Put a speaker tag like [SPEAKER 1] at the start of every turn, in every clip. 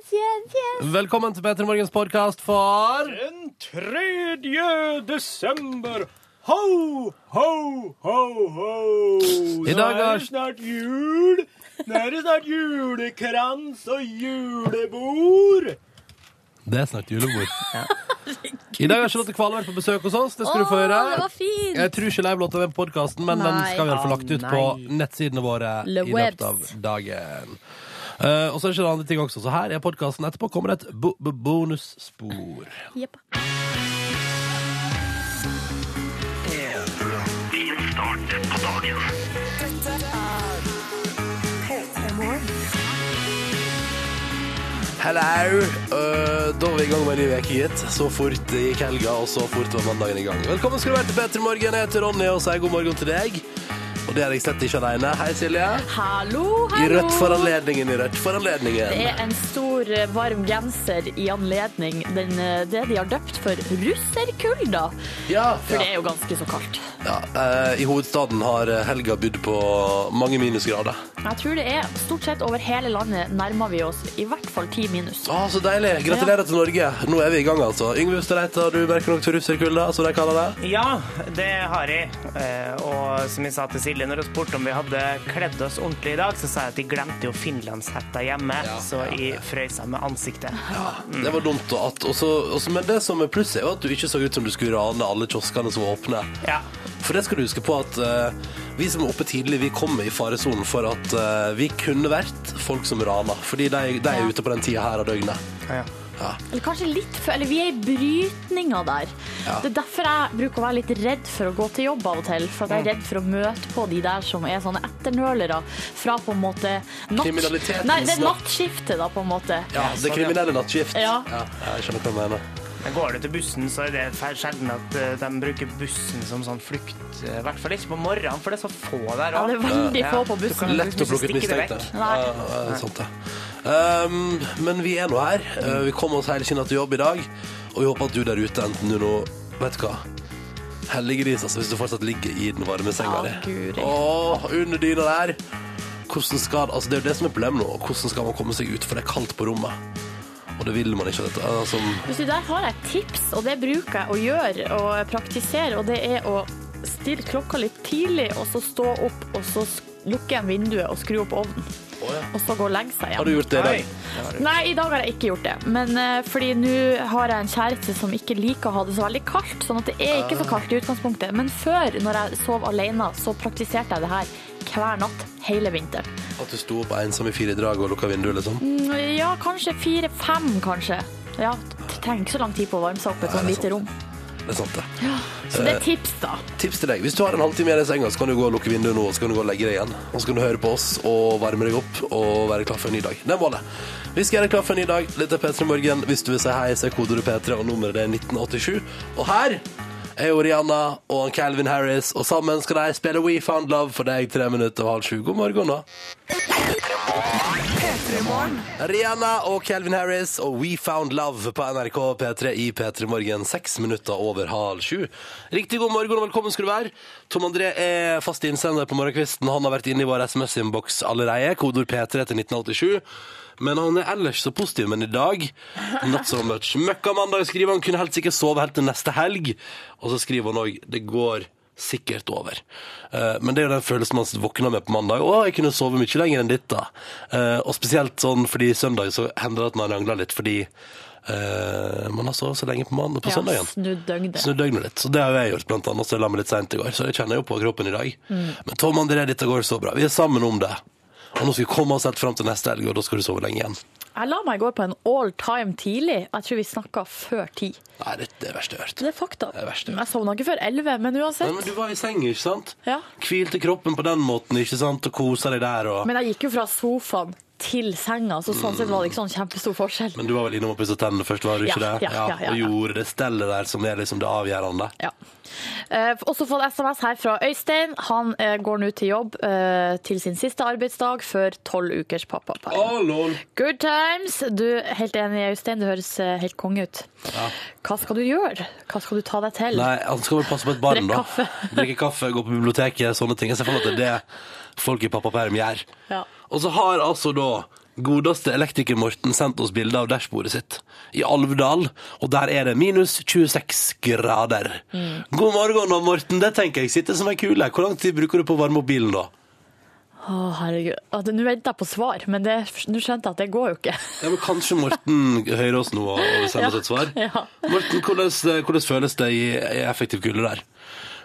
[SPEAKER 1] yes, yes.
[SPEAKER 2] Velkommen til Petter Morgens podkast for
[SPEAKER 3] Den 3. desember. Ho, ho, ho, ho.
[SPEAKER 2] I
[SPEAKER 3] Så
[SPEAKER 2] dag
[SPEAKER 3] er
[SPEAKER 2] har-
[SPEAKER 3] det snart jul. Nå er det snart julekrans og julebord.
[SPEAKER 2] Det er snart julebord. I dag har Charlotte Kvaløy vært på besøk hos oss. Det skal du få gjøre.
[SPEAKER 1] det var fint!
[SPEAKER 2] Jeg tror ikke livelåta er på podkasten, men den
[SPEAKER 1] Nei.
[SPEAKER 2] skal vi i hvert fall lagt ut
[SPEAKER 3] Å,
[SPEAKER 2] på
[SPEAKER 3] nei.
[SPEAKER 2] nettsidene våre
[SPEAKER 1] Le
[SPEAKER 2] i løpet av
[SPEAKER 1] webs.
[SPEAKER 2] dagen. Eh, og så er det ikke noen andre ting også, så her er podkasten. Etterpå kommer det et bo bo bonusspor.
[SPEAKER 1] Jepp.
[SPEAKER 2] Hello! Eh, da var vi i gang med en ny uke, gitt. Så fort gikk helga, og så fort var mandagen i gang. Velkommen skal du være til Petter Morgen. Jeg heter Ronny og sier god morgen til deg. Og det er jeg slett ikke aleine. Hei, Silje.
[SPEAKER 4] Hallo,
[SPEAKER 2] I
[SPEAKER 4] hallo!
[SPEAKER 2] rødt for anledningen, i rødt for anledningen.
[SPEAKER 4] Det er en stor eh, varm genser i anledning den, eh, det de har døpt for russerkulda.
[SPEAKER 2] Ja,
[SPEAKER 4] For det er jo ganske så kaldt.
[SPEAKER 2] ja. eh, I hovedstaden har helga bydd på mange minusgrader.
[SPEAKER 4] Jeg tror det er stort sett over hele landet nærmer vi oss i hvert fall ti minus.
[SPEAKER 2] Å, så deilig. Gratulerer til Norge. Nå er vi i gang, altså. Yngve Ustadreita, du merker nok til russerkulda, som de kaller det.
[SPEAKER 5] Ja, det har jeg. Eh, Og som jeg sa til Silje når hun spurte om vi hadde kledd oss ordentlig i dag, så sa jeg at jeg glemte jo finlandshetta hjemme, så jeg frøs av med ansiktet.
[SPEAKER 2] Det var dumt. Og at, og så- og så- men det som er plusset, er jo at du ikke så ut som du skulle rane alle kioskene som var åpne.
[SPEAKER 5] Ja.
[SPEAKER 2] For det skal du huske på at eh, vi som er oppe tidlig, vi kommer i faresonen for at eh, vi kunne vært folk som raner. Fordi de, de er ute på den tida her av døgnet.
[SPEAKER 5] Ja.
[SPEAKER 4] Eller kanskje litt før, eller vi er i brytninga der. Det er derfor jeg bruker å være litt redd for å gå til jobb av og til. For
[SPEAKER 2] Mm.
[SPEAKER 4] at jeg er redd for å møte på de der som er sånne etternølere fra på en måte natt...
[SPEAKER 2] Kriminalitetens
[SPEAKER 4] Nei, det er
[SPEAKER 2] natt.
[SPEAKER 4] nattskiftet da, på en måte.
[SPEAKER 2] Ja, det
[SPEAKER 5] sånn,
[SPEAKER 2] kriminelle nattskift.
[SPEAKER 4] Ja.
[SPEAKER 2] ja, jeg skjønner hva du mener.
[SPEAKER 5] Men går du til bussen, så er det fæl- sjelden at eh, de bruker bussen som sånn flukt. eh, I hvert fall ikke på morgenen, for det er så få der
[SPEAKER 4] Ja, det er
[SPEAKER 5] òg.
[SPEAKER 4] veldig
[SPEAKER 5] Ja.
[SPEAKER 4] få på
[SPEAKER 5] Du kan-
[SPEAKER 4] bussen.
[SPEAKER 2] Lett å plukke ut
[SPEAKER 5] Stikker det
[SPEAKER 2] mistenkte.
[SPEAKER 5] vekk?
[SPEAKER 4] Nei.
[SPEAKER 2] Ja, ja, ja, sant det. Um, men vi er nå her. Uh, vi kom oss helskinna til jobb i dag. Og vi håper at du der ute, enten du nå Vet du hva? Heldiggris, altså, hvis du fortsatt ligger i den varme
[SPEAKER 4] Ja,
[SPEAKER 2] senga di.
[SPEAKER 4] guri.
[SPEAKER 2] Åh, under dyna der. Hvordan skal, altså, det er jo det som er problemet nå. Hvordan skal man komme seg ut? For det er kaldt på rommet. Og det vil man ikke. Dette. Altså,
[SPEAKER 4] Hvis du der har jeg et tips, og det bruker jeg å gjøre og praktisere, og det er å stille klokka litt tidlig, og så stå opp, og så sk- lukke igjen vinduet og skru opp ovnen. Og så gå og legge seg
[SPEAKER 2] har du
[SPEAKER 4] igjen.
[SPEAKER 2] gjort det i dag?
[SPEAKER 5] Nei.
[SPEAKER 4] Nei, i dag har jeg ikke gjort det. Men eh, fordi nå har jeg en kjæreste som ikke liker å ha det så veldig kaldt, sånn at det er
[SPEAKER 2] Ah.
[SPEAKER 4] ikke så kaldt i utgangspunktet. Men før, når jeg sov alene, så praktiserte jeg det her hver natt hele vinteren.
[SPEAKER 2] At du sto opp ensom i fire drag og lukka vinduet, liksom?
[SPEAKER 4] Mm, Ja, kanskje fire-fem, kanskje. Ja, t- trenger ikke så lang tid på å varme seg opp i et sånt
[SPEAKER 2] det er Eh,
[SPEAKER 4] lite rom.
[SPEAKER 2] Det er sant, det.
[SPEAKER 4] Så det er tips, da.
[SPEAKER 2] Tips til deg. Hvis du har en halvtime igjen i senga, så kan du gå og lukke vinduet nå, og så kan du gå og legge deg igjen. Og så kan du høre på oss og varme deg opp og være klar for en ny dag. Det er målet. Vi skal gjøre deg klar for en ny dag. Dette er P3 Morgen. Hvis du vil si hei, så er kodeordet P3, og nummeret det er 1987. Og her er jo Rihanna og han Calvin Harris, og sammen skal de spille We Found Love for deg tre minutter og halv sju. God morgen, da. Rihanna og Calvin Harris og We Found Love på NRK P3 i P3 Morgen. Seks minutter over halv sju. Riktig god morgen og velkommen skal du være. Tom André er fast innsender på morgenkvisten. Han har vært inne i vår SMS-innboks allerede. Kodord P3 til 1987. Men han er ellers så positiv, men i dag not so much. Møkkamandag skriver han kunne helst ikke sove helt til neste helg. Og så skriver han òg det går sikkert over. Eh, men det er jo den følelsen man våkner med på mandag. Å, jeg kunne sove mye lenger enn ditt, da. Eh, og spesielt sånn fordi søndag så hender det at man rangler litt fordi eh, man har sovet så lenge på, mandag, på søndagen.
[SPEAKER 4] Snudd døgnet.
[SPEAKER 2] Snu døgnet litt. Så det har jo jeg gjort, blant annet. Så jeg la meg litt seint i går. Så jeg kjenner jo på kroppen i dag.
[SPEAKER 4] Mm.
[SPEAKER 2] Men Tom André, dette går så bra. Vi er sammen om det. Og nå skal vi komme oss helt fram til neste helg, og da skal du sove lenge igjen.
[SPEAKER 4] Jeg la meg i går på en all time tidlig. Jeg tror vi snakka før ti.
[SPEAKER 2] Nei, det det er det verste jeg har hørt.
[SPEAKER 4] Det er fakta.
[SPEAKER 2] Det er verst, ja.
[SPEAKER 4] Jeg sovna ikke før elleve, men
[SPEAKER 2] Nei, men
[SPEAKER 4] uansett.
[SPEAKER 2] du var i senga, ikke sant?
[SPEAKER 4] Ja.
[SPEAKER 2] Hvilte kroppen på den måten, ikke sant? Og kosa deg der og
[SPEAKER 4] Men jeg gikk jo fra sofaen til senga, så sånn sett var det ikke sånn kjempestor forskjell.
[SPEAKER 2] Men du var vel innom og pussa tennene først, var du ikke
[SPEAKER 4] Ja,
[SPEAKER 2] det?
[SPEAKER 4] ja, ja, ja,
[SPEAKER 2] Og
[SPEAKER 4] ja.
[SPEAKER 2] gjorde det stellet der som er liksom det avgjørende.
[SPEAKER 4] Ja. Eh, også fått SMS her fra Øystein. Han eh, går nå til jobb eh, til sin siste arbeidsdag før tolv ukers pappaperm.
[SPEAKER 2] lol.
[SPEAKER 4] Good times! Du, helt enig, Øystein. Du høres eh, helt konge ut. Hva skal du gjøre? Hva skal du ta deg til?
[SPEAKER 2] Nei, han skal vel passe på et barn,
[SPEAKER 4] Drikk
[SPEAKER 2] da.
[SPEAKER 4] kaffe.
[SPEAKER 2] Drikke kaffe, gå på biblioteket, sånne ting. Jeg ser for meg at det er det folk i pappaperm gjør.
[SPEAKER 4] Ja.
[SPEAKER 2] Og så har altså da Godeste elektriker Morten sendte oss bilde av dashbordet sitt i Alvdal, og der er det minus 26 grader.
[SPEAKER 4] Mm.
[SPEAKER 2] God morgen, da, Morten. Det tenker jeg sitter som ei kule. Hvor lang tid bruker du på å varme opp bilen, da?
[SPEAKER 4] Å, herregud. At- Nå venter jeg på svar, men det- nå skjønte jeg at det går jo ikke.
[SPEAKER 2] Ja, men Kanskje Morten hører oss nå og sender oss et svar.
[SPEAKER 4] Ja.
[SPEAKER 2] Morten, hvordan, hvordan føles det i, i effektiv kulde der?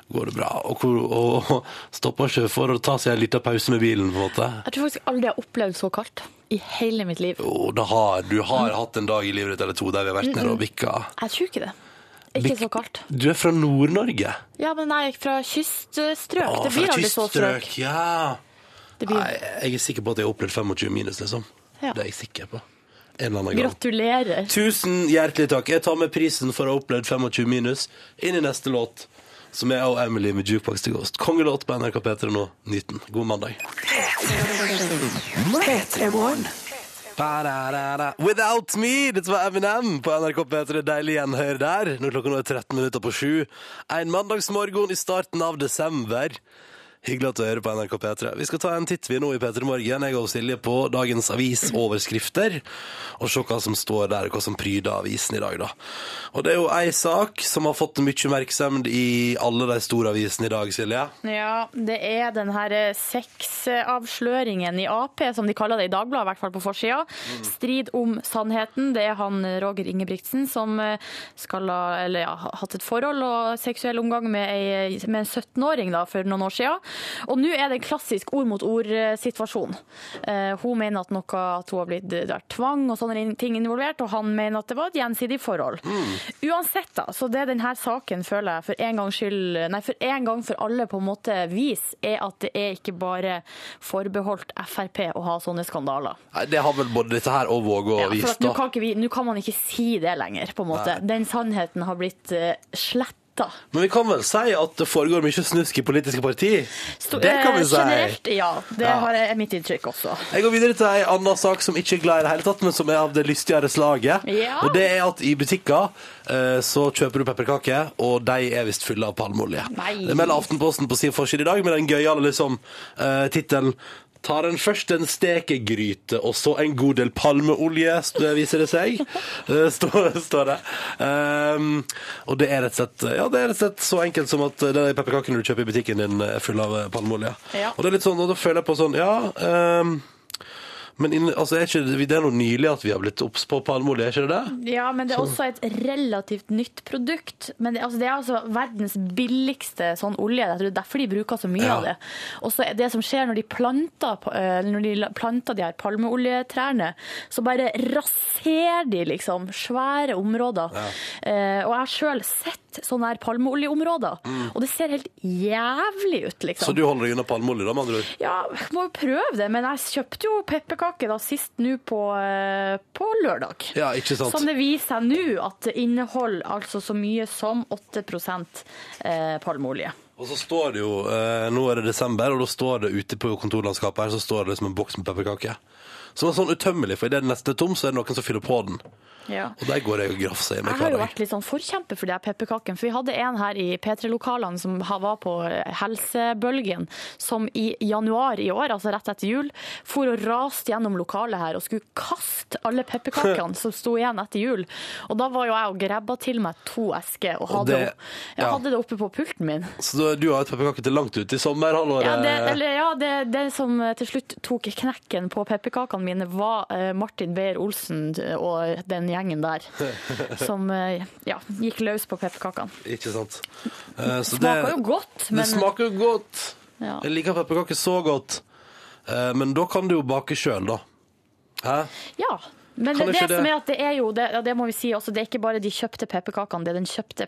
[SPEAKER 2] Går det bra? Og, hvor, og, og stopper ikke for å ta seg en liten pause med bilen, på en måte?
[SPEAKER 4] Jeg tror faktisk aldri jeg har opplevd så kaldt i hele mitt liv.
[SPEAKER 2] Jo, da har, du har hatt en dag i livet ditt eller to der vi har vært nede og bikka.
[SPEAKER 4] Jeg tror ikke det. Ikke så kaldt.
[SPEAKER 2] Du er fra Nord-Norge?
[SPEAKER 4] Ja, men nei, fra kyststrøk.
[SPEAKER 2] Å,
[SPEAKER 4] det blir
[SPEAKER 2] fra
[SPEAKER 4] aldri så strøk.
[SPEAKER 2] kyststrøk, Ja.
[SPEAKER 4] Det
[SPEAKER 2] Nei,
[SPEAKER 4] blir...
[SPEAKER 2] jeg er sikker på at jeg har opplevd 25 minus, liksom.
[SPEAKER 4] Ja.
[SPEAKER 2] Det er jeg sikker på. En eller annen gang.
[SPEAKER 4] Gratulerer.
[SPEAKER 2] Tusen hjertelig takk. Jeg tar med prisen for å ha opplevd 25 minus inn i neste låt, som er av Emily med Jukebox to Ghost. Kongelåt på NRK P3 nå, 19. God mandag. Ba-da-da-da. Without me! Dette var Eminem på NRK P3. Deilig gjenhør der. Når klokka nå er 13 minutter på sju. En mandagsmorgen i starten av desember. Hyggelig at du hører på NRK P3. Vi skal ta en titt vi nå i P3 Morgen, jeg og Silje, på dagens avisoverskrifter. Og se hva som står der, og hva som pryder avisen i dag, da. Og det er jo ei sak som har fått mye oppmerksomhet i alle de store avisene i dag, Silje.
[SPEAKER 4] Ja, det er den her eh, sexavsløringen i Ap, som de kaller det i Dagbladet, i hvert fall på forsida.
[SPEAKER 2] Mm.
[SPEAKER 4] Strid om sannheten. Det er han eh, Roger Ingebrigtsen som eh, skal ha eller, ja, ha hatt et forhold og seksuell omgang med, ei, med en 17-åring da, for noen år siden. Og nå er det en klassisk ord mot ord-situasjon. eh, Hun mener at, noe, at hun har blitt eh, det er tvang og sånne ting involvert, og han mener at det var et gjensidig forhold.
[SPEAKER 2] Mm.
[SPEAKER 4] Uansett, da, så det denne saken føler jeg for en gang skyld Nei, for en gang for alle på en måte vis, er at det er ikke bare forbeholdt Frp å ha sånne skandaler.
[SPEAKER 2] Nei, Det har vel både dette her og Våge og
[SPEAKER 4] Ja, for
[SPEAKER 2] vist,
[SPEAKER 4] at nå
[SPEAKER 2] da.
[SPEAKER 4] kan, ikke vi, nå kan man ikke si det lenger, på en måte. Den sannheten har blitt uh, sletta.
[SPEAKER 2] Men vi kan vel si at det foregår mye snusk i politiske partier? Det kan vi si.
[SPEAKER 4] eh, Generelt, ja. Det
[SPEAKER 2] Ja.
[SPEAKER 4] har jeg- er mitt inntrykk også.
[SPEAKER 2] Jeg går videre til ei anna sak som ikke er glad i det hele tatt, men som er av det lystigere slaget.
[SPEAKER 4] Ja.
[SPEAKER 2] Og det er at i butikker eh, så kjøper du pepperkaker, og de er visst fulle av palmeolje.
[SPEAKER 4] Nei.
[SPEAKER 2] Det melder Aftenposten på sin forside i dag med den gøyale liksom, eh, tittelen Tar en først en stekegryte og så en god del palmeolje, s- det viser det seg. Eh, Står, står det. Ehm, og det er rett og slett Ja, det er rett og slett så enkelt som at de pepperkakene du kjøper i butikken din, er full av eh, palmeolje.
[SPEAKER 4] Ja.
[SPEAKER 2] Og det er litt sånn, og da føler jeg på sånn Ja. ehm, men inn, altså, er ikke, det- det er noe nylig at vi har blitt obs på palmeolje, er ikke det det?
[SPEAKER 4] Ja, men det er også et relativt nytt produkt. Men det, altså, det er altså verdens billigste sånn olje. Jeg tror det er derfor de bruker så mye
[SPEAKER 2] Ja.
[SPEAKER 4] av det. Og så er det som skjer når de planter, pa- eh, når de la- planter de her palmeoljetrærne, så bare raserer de liksom svære områder. Eh, og jeg har sjøl sett sånne her palmeoljeområder, og det ser helt jævlig ut, liksom.
[SPEAKER 2] Mm. Så du holder deg unna palmeolje, da, med andre ord?
[SPEAKER 4] Ja, jeg må jo prøve det, men jeg kjøpte jo pepperkaker da sist nå på, eh, på lørdag.
[SPEAKER 2] Ja, ikke sant?
[SPEAKER 4] Som det viser seg nå, at det inneholder altså så mye som 8 eh, palmeolje.
[SPEAKER 2] Og så står det jo eh, Nå er det desember, og da står det ute på kontorlandskapet her Så står det liksom en boks med pepperkaker. Som er sånn utømmelig, for idet den neste er tom, så er det noen som fyller på den. Og der går jeg og grafser i meg
[SPEAKER 4] Jeg har
[SPEAKER 2] hver
[SPEAKER 4] jo
[SPEAKER 2] dag.
[SPEAKER 4] vært litt sånn forkjemper for de her pepperkakene. For vi hadde en her i P3-lokalene som ha- var på eh, helsebølgen, som i januar i år, altså rett etter jul, for og raste gjennom lokalet her og skulle kaste alle pepperkakene som sto igjen etter jul. Og da var jo jeg og grabba til meg to esker og
[SPEAKER 2] Og
[SPEAKER 4] hadde,
[SPEAKER 2] det-
[SPEAKER 4] jeg
[SPEAKER 2] ja.
[SPEAKER 4] hadde det oppe på pulten min.
[SPEAKER 2] Så du, du har et pepperkake til langt ut i Eh, sommerhalvåret.
[SPEAKER 4] Ja, det, eller, ja det, det som eh, til slutt tok knekken på pepperkakene mine, var eh, Martin Beyer-Olsen og den gjengen der. Som eh, ja, gikk løs på pepperkakene.
[SPEAKER 2] Ikke sant? Eh, så
[SPEAKER 4] Smaker jo godt, men
[SPEAKER 2] Det smaker jo godt.
[SPEAKER 4] Ja.
[SPEAKER 2] Jeg liker pepperkaker så godt. Eh, men da kan du jo bake sjøl, da. Hæ?
[SPEAKER 4] ja. Men
[SPEAKER 2] Kan
[SPEAKER 4] det, det
[SPEAKER 2] ikke det-
[SPEAKER 4] som er at det er jo, det, ja, det må vi si også, det er ikke bare de kjøpte pepperkakene, det er den kjøpte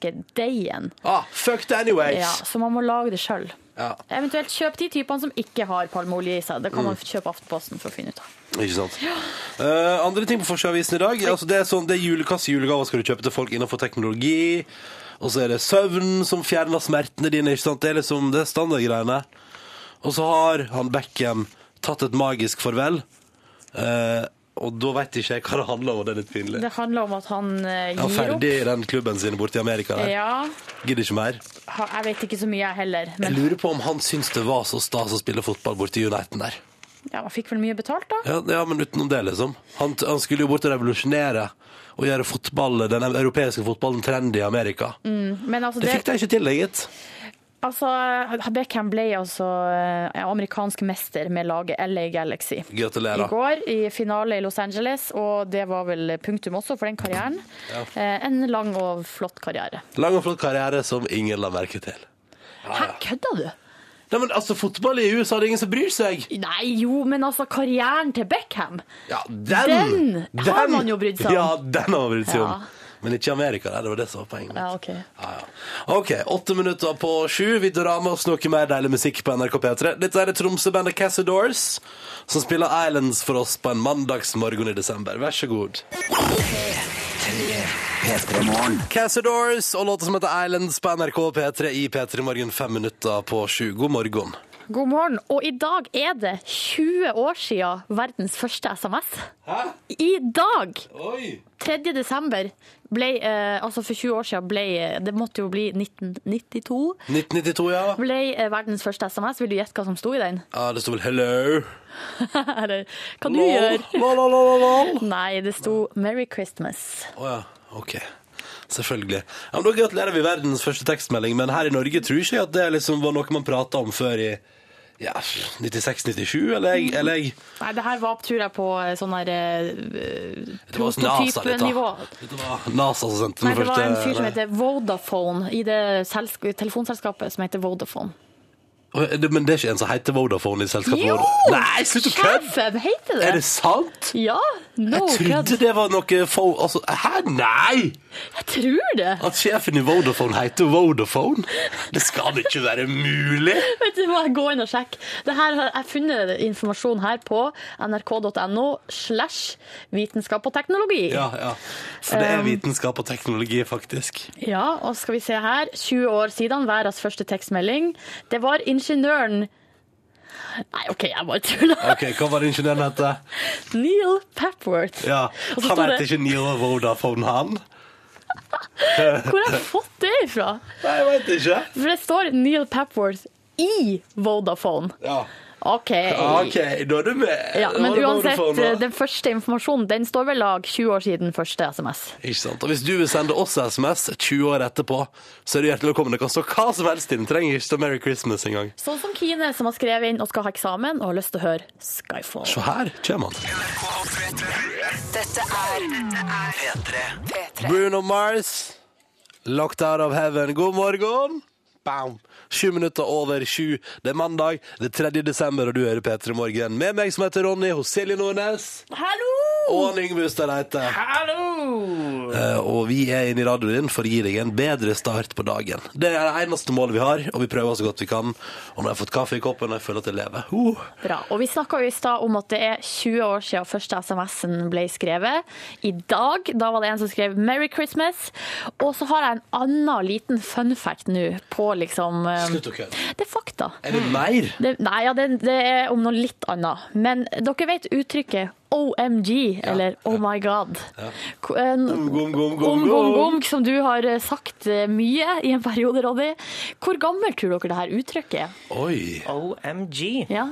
[SPEAKER 4] pepperkakedeigen.
[SPEAKER 2] Ah, fuck the anyways!
[SPEAKER 4] Ja, så man må lage det sjøl.
[SPEAKER 2] Ja,
[SPEAKER 4] Eventuelt kjøp de typene som ikke har palmeolje i seg. Det kan man
[SPEAKER 2] Mm.
[SPEAKER 4] kjøpe Aftenposten for å finne ut av.
[SPEAKER 2] ikke sant. Eh, andre ting på Forsida-avisen i dag altså det er sånn, det er jule, Hvilke julegaver skal du kjøpe til folk innenfor teknologi? Og så er det søvn som fjerner smertene dine. ikke sant? Det er liksom det er standardgreiene. Og så har han Beckham tatt et magisk farvel. Eh, og da veit ikke jeg hva det handler om, og det er litt pinlig.
[SPEAKER 4] Det handler om at han eh,
[SPEAKER 2] Han er
[SPEAKER 4] gir opp.
[SPEAKER 2] ferdig i den klubben sin borte i Amerika. Der.
[SPEAKER 4] Ja,
[SPEAKER 2] Gidder ikke mer.
[SPEAKER 4] ha- jeg vet ikke så mye jeg heller.
[SPEAKER 2] Jeg
[SPEAKER 4] Men
[SPEAKER 2] lurer på om han syns det var så stas å spille fotball borte i Uniten der.
[SPEAKER 4] Ja, man fikk vel mye betalt, da.
[SPEAKER 2] Ja, ja, men utenom det, liksom. Han, han skulle jo bort og revolusjonere og gjøre fotball, den europeiske fotballen trendy i Amerika.
[SPEAKER 4] Men altså,
[SPEAKER 2] Det
[SPEAKER 4] det,
[SPEAKER 2] fikk de ikke til, det, gitt.
[SPEAKER 4] altså Beckham ble altså eh, amerikansk mester med laget LA Galaxy. I
[SPEAKER 2] Gratulerer.
[SPEAKER 4] går i finale i Los Angeles, og det var vel punktum også for den karrieren. Eh, En lang og flott karriere.
[SPEAKER 2] Lang og flott karriere som ingen la merke til.
[SPEAKER 4] Hæ, kødda du?
[SPEAKER 2] Nei, men altså, fotball i USA, det er ingen som bryr seg.
[SPEAKER 4] Nei, jo, men altså, karrieren til Beckham
[SPEAKER 2] Ja, den!
[SPEAKER 4] Den har man jo brydd seg om.
[SPEAKER 2] Ja, den har man brydd seg
[SPEAKER 4] Ja.
[SPEAKER 2] om. Men ikke i Amerika, nei, det var det som var poenget mitt.
[SPEAKER 4] Ja, ok.
[SPEAKER 2] Ja, ja. OK, åtte minutter på sju. Vi drar med oss noe mer deilig musikk på NRK P3. Dette er det Tromsø-bandet Cassadors som spiller Islands for oss på en mandagsmorgen i desember. Vær så god. Cassadors og låta som heter Islands på NRK P3 i P3 Morgen fem minutter på sju. God morgen.
[SPEAKER 4] God morgen. Og i dag er det 20 år siden verdens første SMS.
[SPEAKER 2] Hæ?
[SPEAKER 4] I dag,
[SPEAKER 2] Oi!
[SPEAKER 4] 3. desember, ble, eh, altså for 20 år siden ble, eh, det måtte jo bli 1992,
[SPEAKER 2] 1992, ja.
[SPEAKER 4] ble eh, verdens første SMS. Vil du gjette hva som sto i den?
[SPEAKER 2] Ja, Det står vel 'hello'.
[SPEAKER 4] Eller hva du gjør?
[SPEAKER 2] Lol-lol-lol-lol.
[SPEAKER 4] Nei, det sto 'Merry Christmas'.
[SPEAKER 2] Å ja, ok. Selvfølgelig. Ja, men da gratulerer vi verdens første tekstmelding, men her i Norge tror ikke jeg at det liksom var noe man prata om før i ja, 96-97,
[SPEAKER 4] Mm.
[SPEAKER 2] eller, jeg- eller jeg-
[SPEAKER 4] Nei, det her var, tror jeg, på eh, sånn her eh,
[SPEAKER 2] Det var NASA litt, da.
[SPEAKER 4] prototypenivå.
[SPEAKER 2] Det var NASA som sendte
[SPEAKER 4] Nei,
[SPEAKER 2] den
[SPEAKER 4] det var
[SPEAKER 2] første
[SPEAKER 4] en fyr som heter Vodafone, i det selsk telefonselskapet som heter Vodafone.
[SPEAKER 2] Å, det- Men det er ikke en som heter Vodafone i selskapet
[SPEAKER 4] Jo!
[SPEAKER 2] vår? Nei, slutt å kødde!
[SPEAKER 4] Sjefen heter det!
[SPEAKER 2] Er det sant?
[SPEAKER 4] Ja, no
[SPEAKER 2] Jeg
[SPEAKER 4] kødd.
[SPEAKER 2] trodde det var noe fo... Altså, hæ? Nei!
[SPEAKER 4] Jeg tror det.
[SPEAKER 2] At sjefen i Vodafone heter Vodafone? Det skal det ikke være mulig!
[SPEAKER 4] Vet du hva, gå inn og sjekk. Det her, har- jeg har funnet informasjon her på nrk.no slash vitenskap og teknologi.
[SPEAKER 2] Ja, Um, ja. For det er vitenskap og teknologi, faktisk.
[SPEAKER 4] Ja, og skal vi se her. 20 år siden, verdens første tekstmelding. Det var ingeniøren Nei, OK, jeg bare tuller.
[SPEAKER 2] Ok, Hva var det ingeniøren het?
[SPEAKER 4] Neil Papworth.
[SPEAKER 2] Ja.
[SPEAKER 4] Og så
[SPEAKER 2] Han
[SPEAKER 4] står
[SPEAKER 2] het
[SPEAKER 4] det-
[SPEAKER 2] ikke Niro Vodafone, han?
[SPEAKER 4] Hvor har jeg fått det ifra?
[SPEAKER 2] Nei, jeg veit ikke.
[SPEAKER 4] For det står Neil Papworth i Vodafone.
[SPEAKER 2] Ja.
[SPEAKER 4] OK.
[SPEAKER 2] Ah, OK, da er du med.
[SPEAKER 4] Ja,
[SPEAKER 2] Da
[SPEAKER 4] men
[SPEAKER 2] var det
[SPEAKER 4] uansett, eh,
[SPEAKER 2] Vodafone, da.
[SPEAKER 4] den første informasjonen den står ved lag 20 år siden første SMS.
[SPEAKER 2] Ikke sant? Og Hvis du vil sende oss SMS 20 år etterpå, så er du hjertelig velkommen. Det kan stå hva som helst i den. Trenger ikke stå 'Merry Christmas' engang.
[SPEAKER 4] Sånn som Kine, som har skrevet inn og skal ha eksamen og har lyst til å høre Skyfall.
[SPEAKER 2] Se her kommer han.
[SPEAKER 6] Dette er P3. P3.
[SPEAKER 2] Bruno Mars, 'Locked Out of Heaven'. God morgen! Bam. Sju minutter over sju. Det er mandag, det er 3. desember, og du hører P3 Morgen. Med meg som heter Ronny, hos Silje Nordnes
[SPEAKER 4] Hallo!
[SPEAKER 2] og han Yngve Ustad Reite.
[SPEAKER 5] Hallo!
[SPEAKER 2] Eh, Og vi er inne i radioen din for å gi deg en bedre start på dagen. Det er det eneste målet vi har, og vi prøver så godt vi kan. Og når jeg har fått kaffe i koppen, og jeg føler at jeg lever. Uh.
[SPEAKER 4] Bra. Og vi snakka jo i stad om at det er 20 år siden første SMS-en ble skrevet. I dag da var det en som skrev 'Merry Christmas'. Og så har jeg en annen liten fun fact nå på liksom eh,
[SPEAKER 2] Slutt å kødde.
[SPEAKER 4] Det er fakta.
[SPEAKER 2] Er det mer?
[SPEAKER 4] Det, nei, ja, det, det er om noe litt annet. Men dere vet uttrykket OMG, eller Oh my God. Ko- en-
[SPEAKER 2] gom, gom, gom,
[SPEAKER 4] Om
[SPEAKER 2] gom.
[SPEAKER 4] gom, gom, som du har eh, sagt eh, mye i en periode, Ronny. Hvor gammelt tror dere det her uttrykket er?
[SPEAKER 2] Oi.
[SPEAKER 5] OMG.
[SPEAKER 4] Ja.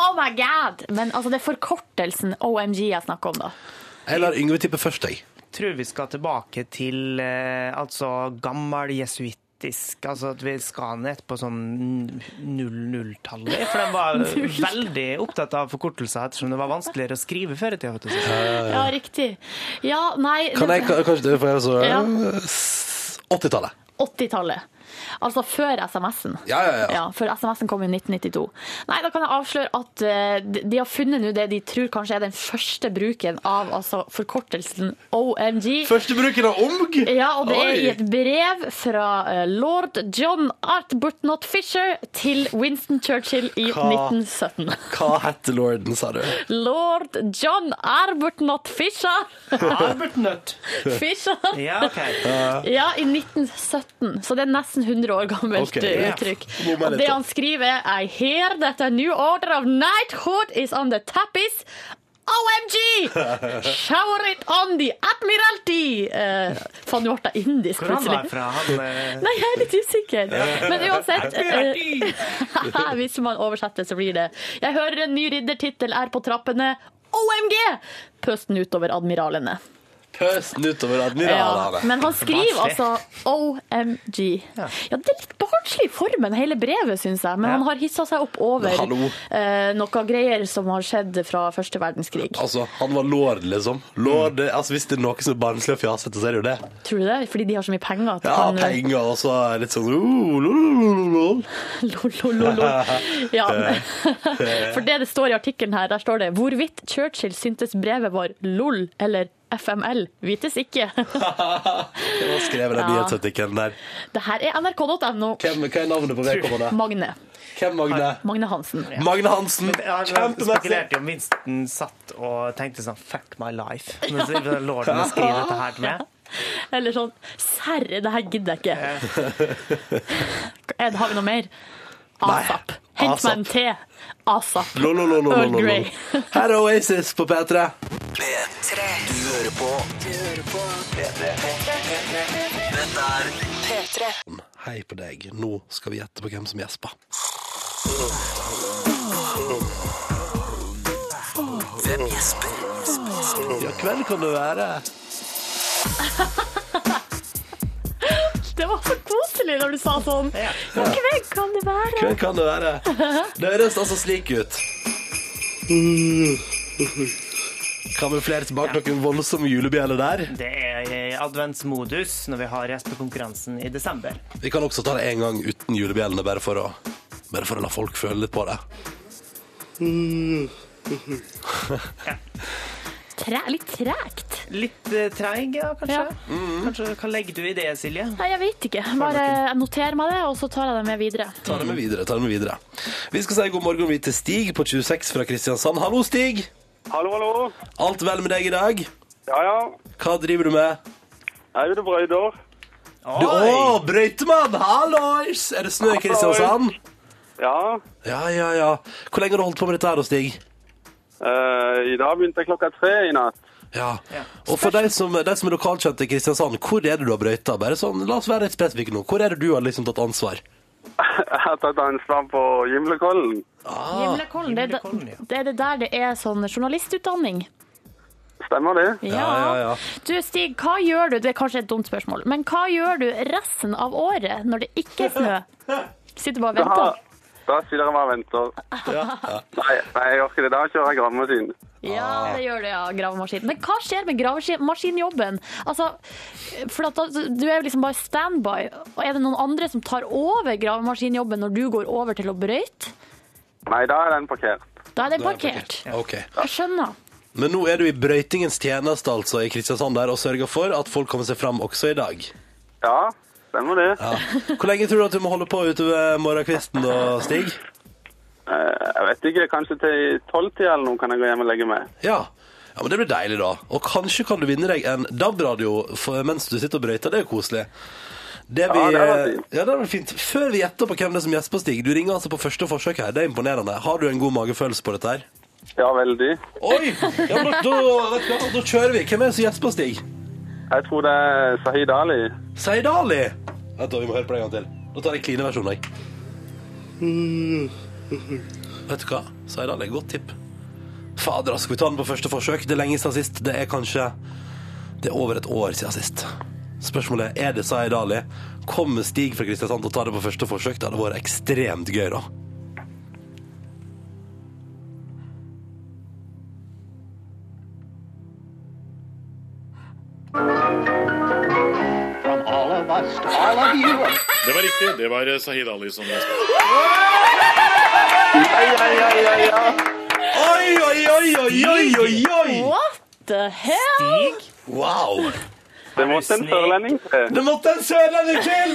[SPEAKER 4] Oh my God! Men altså, det er forkortelsen OMG jeg snakker om, da.
[SPEAKER 2] Jeg lar Yngve tippe først, jeg.
[SPEAKER 5] Tror vi skal tilbake til eh, altså gammel jesuittisk Altså at vi skal ned på sånn 00-tallet. For de var veldig opptatt av forkortelser ettersom det var vanskeligere å skrive før i tida. vet du.
[SPEAKER 4] Ja, riktig. Ja, nei
[SPEAKER 2] Kan jeg
[SPEAKER 4] det-
[SPEAKER 2] ka- kanskje det får jeg så
[SPEAKER 4] Ja.
[SPEAKER 2] S- 80-tallet.
[SPEAKER 4] 80-tallet. Altså før SMS-en.
[SPEAKER 2] Ja, ja, ja.
[SPEAKER 4] for SMS-en kom i 1992. Nei, da kan jeg avsløre at eh, de- de har funnet nå det de tror kanskje er den første bruken av altså, forkortelsen OMG.
[SPEAKER 2] Første bruken av omg!
[SPEAKER 4] Ja, og det er
[SPEAKER 2] Oi.
[SPEAKER 4] i et brev fra eh, lord John Artburt Not Fisher til Winston Churchill i
[SPEAKER 2] Hva?
[SPEAKER 4] 1917.
[SPEAKER 2] Hva heter lorden, sa du?
[SPEAKER 4] Lord John Arbert Not Fisher!
[SPEAKER 5] Albert Nødt.
[SPEAKER 4] Fisher!
[SPEAKER 5] Ja, ok.
[SPEAKER 4] Ja, i 1917. Så det er nesten 100 år gammelt
[SPEAKER 2] Ok,
[SPEAKER 4] eh,
[SPEAKER 2] ja.
[SPEAKER 4] uttrykk.
[SPEAKER 2] Bomma
[SPEAKER 4] Og
[SPEAKER 2] litt,
[SPEAKER 4] det
[SPEAKER 2] da.
[SPEAKER 4] han skriver er I hear that a new order of knighthood is on the tapis. OMG! Shower it on the Admiralty! Eh, faen, nå ble jeg indisk
[SPEAKER 5] Hvor han var
[SPEAKER 4] plutselig.
[SPEAKER 5] fra? Han, eh,
[SPEAKER 4] Nei, jeg er litt usikker. Men uansett eh, Hvis man oversetter, så blir det Jeg hører en ny riddertittel er på trappene. OMG! Pøsten utover admiralene.
[SPEAKER 2] Pøsten utover
[SPEAKER 4] Ja,
[SPEAKER 2] admiralene.
[SPEAKER 4] men han skriver
[SPEAKER 5] Barnslig.
[SPEAKER 4] altså OMG. Ja, det er litt barnslig i formen, hele brevet, syns jeg. Men
[SPEAKER 5] Ja.
[SPEAKER 4] han har hissa seg opp over
[SPEAKER 2] Men hallo.
[SPEAKER 4] eh, noe greier som har skjedd fra første verdenskrig.
[SPEAKER 2] Altså, han var lord, liksom. Lord, det- altså, hvis det er noe som er barnslig og fjasete, så er det jo det.
[SPEAKER 4] Tror du det? Fordi de har så mye penger. At
[SPEAKER 2] Ja,
[SPEAKER 4] han, eh,
[SPEAKER 2] penger og så er det litt sånn uh, lol, lol, lol.
[SPEAKER 4] Lol, lol, lol, lol. Ja. For det det står i artikkelen her, der står det hvorvidt Churchill syntes brevet var LOL eller FML, vites ikke.
[SPEAKER 2] Det var skrevet den
[SPEAKER 4] Ja.
[SPEAKER 2] nyhetsartikkelen der.
[SPEAKER 4] Det her er nrk.no.
[SPEAKER 2] Hvem, hva er navnet på vedkommende?
[SPEAKER 4] Magne.
[SPEAKER 2] Hvem Magne?
[SPEAKER 4] Magne Hansen.
[SPEAKER 2] Magne Hansen.
[SPEAKER 5] han
[SPEAKER 2] eh, Kjempemessig.
[SPEAKER 5] spekulerte jo om Winston satt og tenkte sånn Fuck my life. Men så lorden skriver dette her til meg.
[SPEAKER 4] Eller sånn Serre, det her gidder jeg ikke. Er det- Har vi noe mer? ASAP. Hent meg en te. ASAP.
[SPEAKER 2] Lol, lol, lol, lol,
[SPEAKER 4] Earl
[SPEAKER 2] lol,
[SPEAKER 4] Grey.
[SPEAKER 2] lol. Her er Oasis på P3.
[SPEAKER 6] P3. Du hører på. Du hører på. P3. Dette er P3.
[SPEAKER 2] Hei på deg, nå skal vi gjette på hvem som gjesper.
[SPEAKER 6] Hvem gjesper?
[SPEAKER 2] Ja, kveld kan det være.
[SPEAKER 4] Det var så koselig når du sa sånn. Ja, hvem kan det være?
[SPEAKER 2] Kveld kan det være. Det høres altså slik ut. Kamuflert bak noen voldsomme julebjeller der.
[SPEAKER 5] Det er i adventsmodus når vi har gjestekonkurransen i desember.
[SPEAKER 2] Vi kan også ta det en gang uten julebjellene, bare for å, bare for å la folk føle litt på det.
[SPEAKER 4] Tre, litt tregt.
[SPEAKER 5] Litt eh, treig, ja, kanskje?
[SPEAKER 4] Ja.
[SPEAKER 5] Kanskje, Hva legger du i det, Silje?
[SPEAKER 4] Nei, jeg vet ikke. Bare jeg noterer meg det, og så tar jeg det med videre.
[SPEAKER 2] Ta det med videre. ta det med videre. Vi skal si god morgen vi til Stig på 26 fra Kristiansand. Hallo, Stig.
[SPEAKER 7] Hallo, hallo.
[SPEAKER 2] Alt vel med deg i dag?
[SPEAKER 7] Ja, ja.
[SPEAKER 2] Hva driver du med?
[SPEAKER 7] Jeg er ute og brøyter.
[SPEAKER 5] Oi!
[SPEAKER 2] Du, å, brøytemann! Hallois! Er det snø i Kristiansand?
[SPEAKER 7] Ja.
[SPEAKER 2] Ja, ja, ja. Hvor lenge har du holdt på med dette her, da, Stig?
[SPEAKER 7] eh, I dag begynte jeg klokka tre i natt.
[SPEAKER 2] Ja. Og for deg som, deg som er lokalkjent i Kristiansand, hvor er det du har brøyta? Bare sånn, la oss være litt spesifikke nå. Hvor er det du har liksom tatt ansvar?
[SPEAKER 7] Jeg har tatt ansvar på Gimlekollen.
[SPEAKER 4] Gimlekollen, det, er
[SPEAKER 5] Gimlekollen, ja.
[SPEAKER 4] da- det er det der det er sånn journalistutdanning.
[SPEAKER 7] Stemmer det?
[SPEAKER 4] Ja.
[SPEAKER 2] ja, ja.
[SPEAKER 4] Du Stig, hva gjør du, det er kanskje et dumt spørsmål, men hva gjør du resten av året når det ikke er snø? Sitter bare og
[SPEAKER 7] Da,
[SPEAKER 4] venter?
[SPEAKER 7] da sitter jeg bare og venter. Nei, nei, jeg orker det. Da kjører jeg gravemaskin.
[SPEAKER 4] Ja, det gjør det, ja, gravemaskin. Men hva skjer med gravemaskinjobben? Altså, for at da, du er jo liksom bare standby, og er det noen andre som tar over gravemaskinjobben når du går over til å brøyte?
[SPEAKER 7] Nei, da er den parkert.
[SPEAKER 4] Da er det parkert.
[SPEAKER 2] Ok.
[SPEAKER 4] Jeg skjønner.
[SPEAKER 2] Men nå er du i brøytingens tjeneste altså i Kristiansand der og sørger for at folk kommer seg fram også i dag.
[SPEAKER 7] Ja, stemmer det.
[SPEAKER 2] Ja. Hvor lenge tror du at du må holde på ute ved morgenkvisten da, Stig?
[SPEAKER 7] Eh, Jeg vet ikke, kanskje til tolvtida eller noe kan jeg gå hjem og legge meg.
[SPEAKER 2] Ja. ja, men det blir deilig da. Og kanskje kan du vinne deg en DAB-radio for- mens du sitter og brøyter. Det er jo koselig. Det vi,
[SPEAKER 7] Ja, det hadde vært fint.
[SPEAKER 2] ja, det hadde vært fint. Før vi gjetter på hvem det er som gjesper, Stig, du ringer altså på første forsøk her. Det er imponerende. Har du en god magefølelse på dette her?
[SPEAKER 7] Ja, veldig.
[SPEAKER 2] Oi! Ja, men da, da, da, da kjører vi. Hvem er det som gjesper, Stig?
[SPEAKER 7] Jeg tror det er Sahid Ali.
[SPEAKER 2] Seid Ali. Vent da, vi må høre på det en gang til. Da tar jeg klineversjonen, jeg. Mm-hmm. Vet du hva? Seid Ali, godt tipp. Fader, altså, skal vi ta den på første forsøk? Det er lenge siden sist. Det er kanskje Det er over et år siden sist. Spørsmålet er er det Seid Ali. Kommer Stig fra Kristiansand til å ta det på første forsøk? Det hadde vært ekstremt gøy, da.
[SPEAKER 8] Det var riktig. Det var Sahid Ali som
[SPEAKER 2] Oi, oi, oi, oi, oi, oi, oi!
[SPEAKER 4] What the hell?
[SPEAKER 5] Stig?
[SPEAKER 2] Wow!
[SPEAKER 7] Det måtte en sørlending til.
[SPEAKER 2] Det måtte en sørlending til!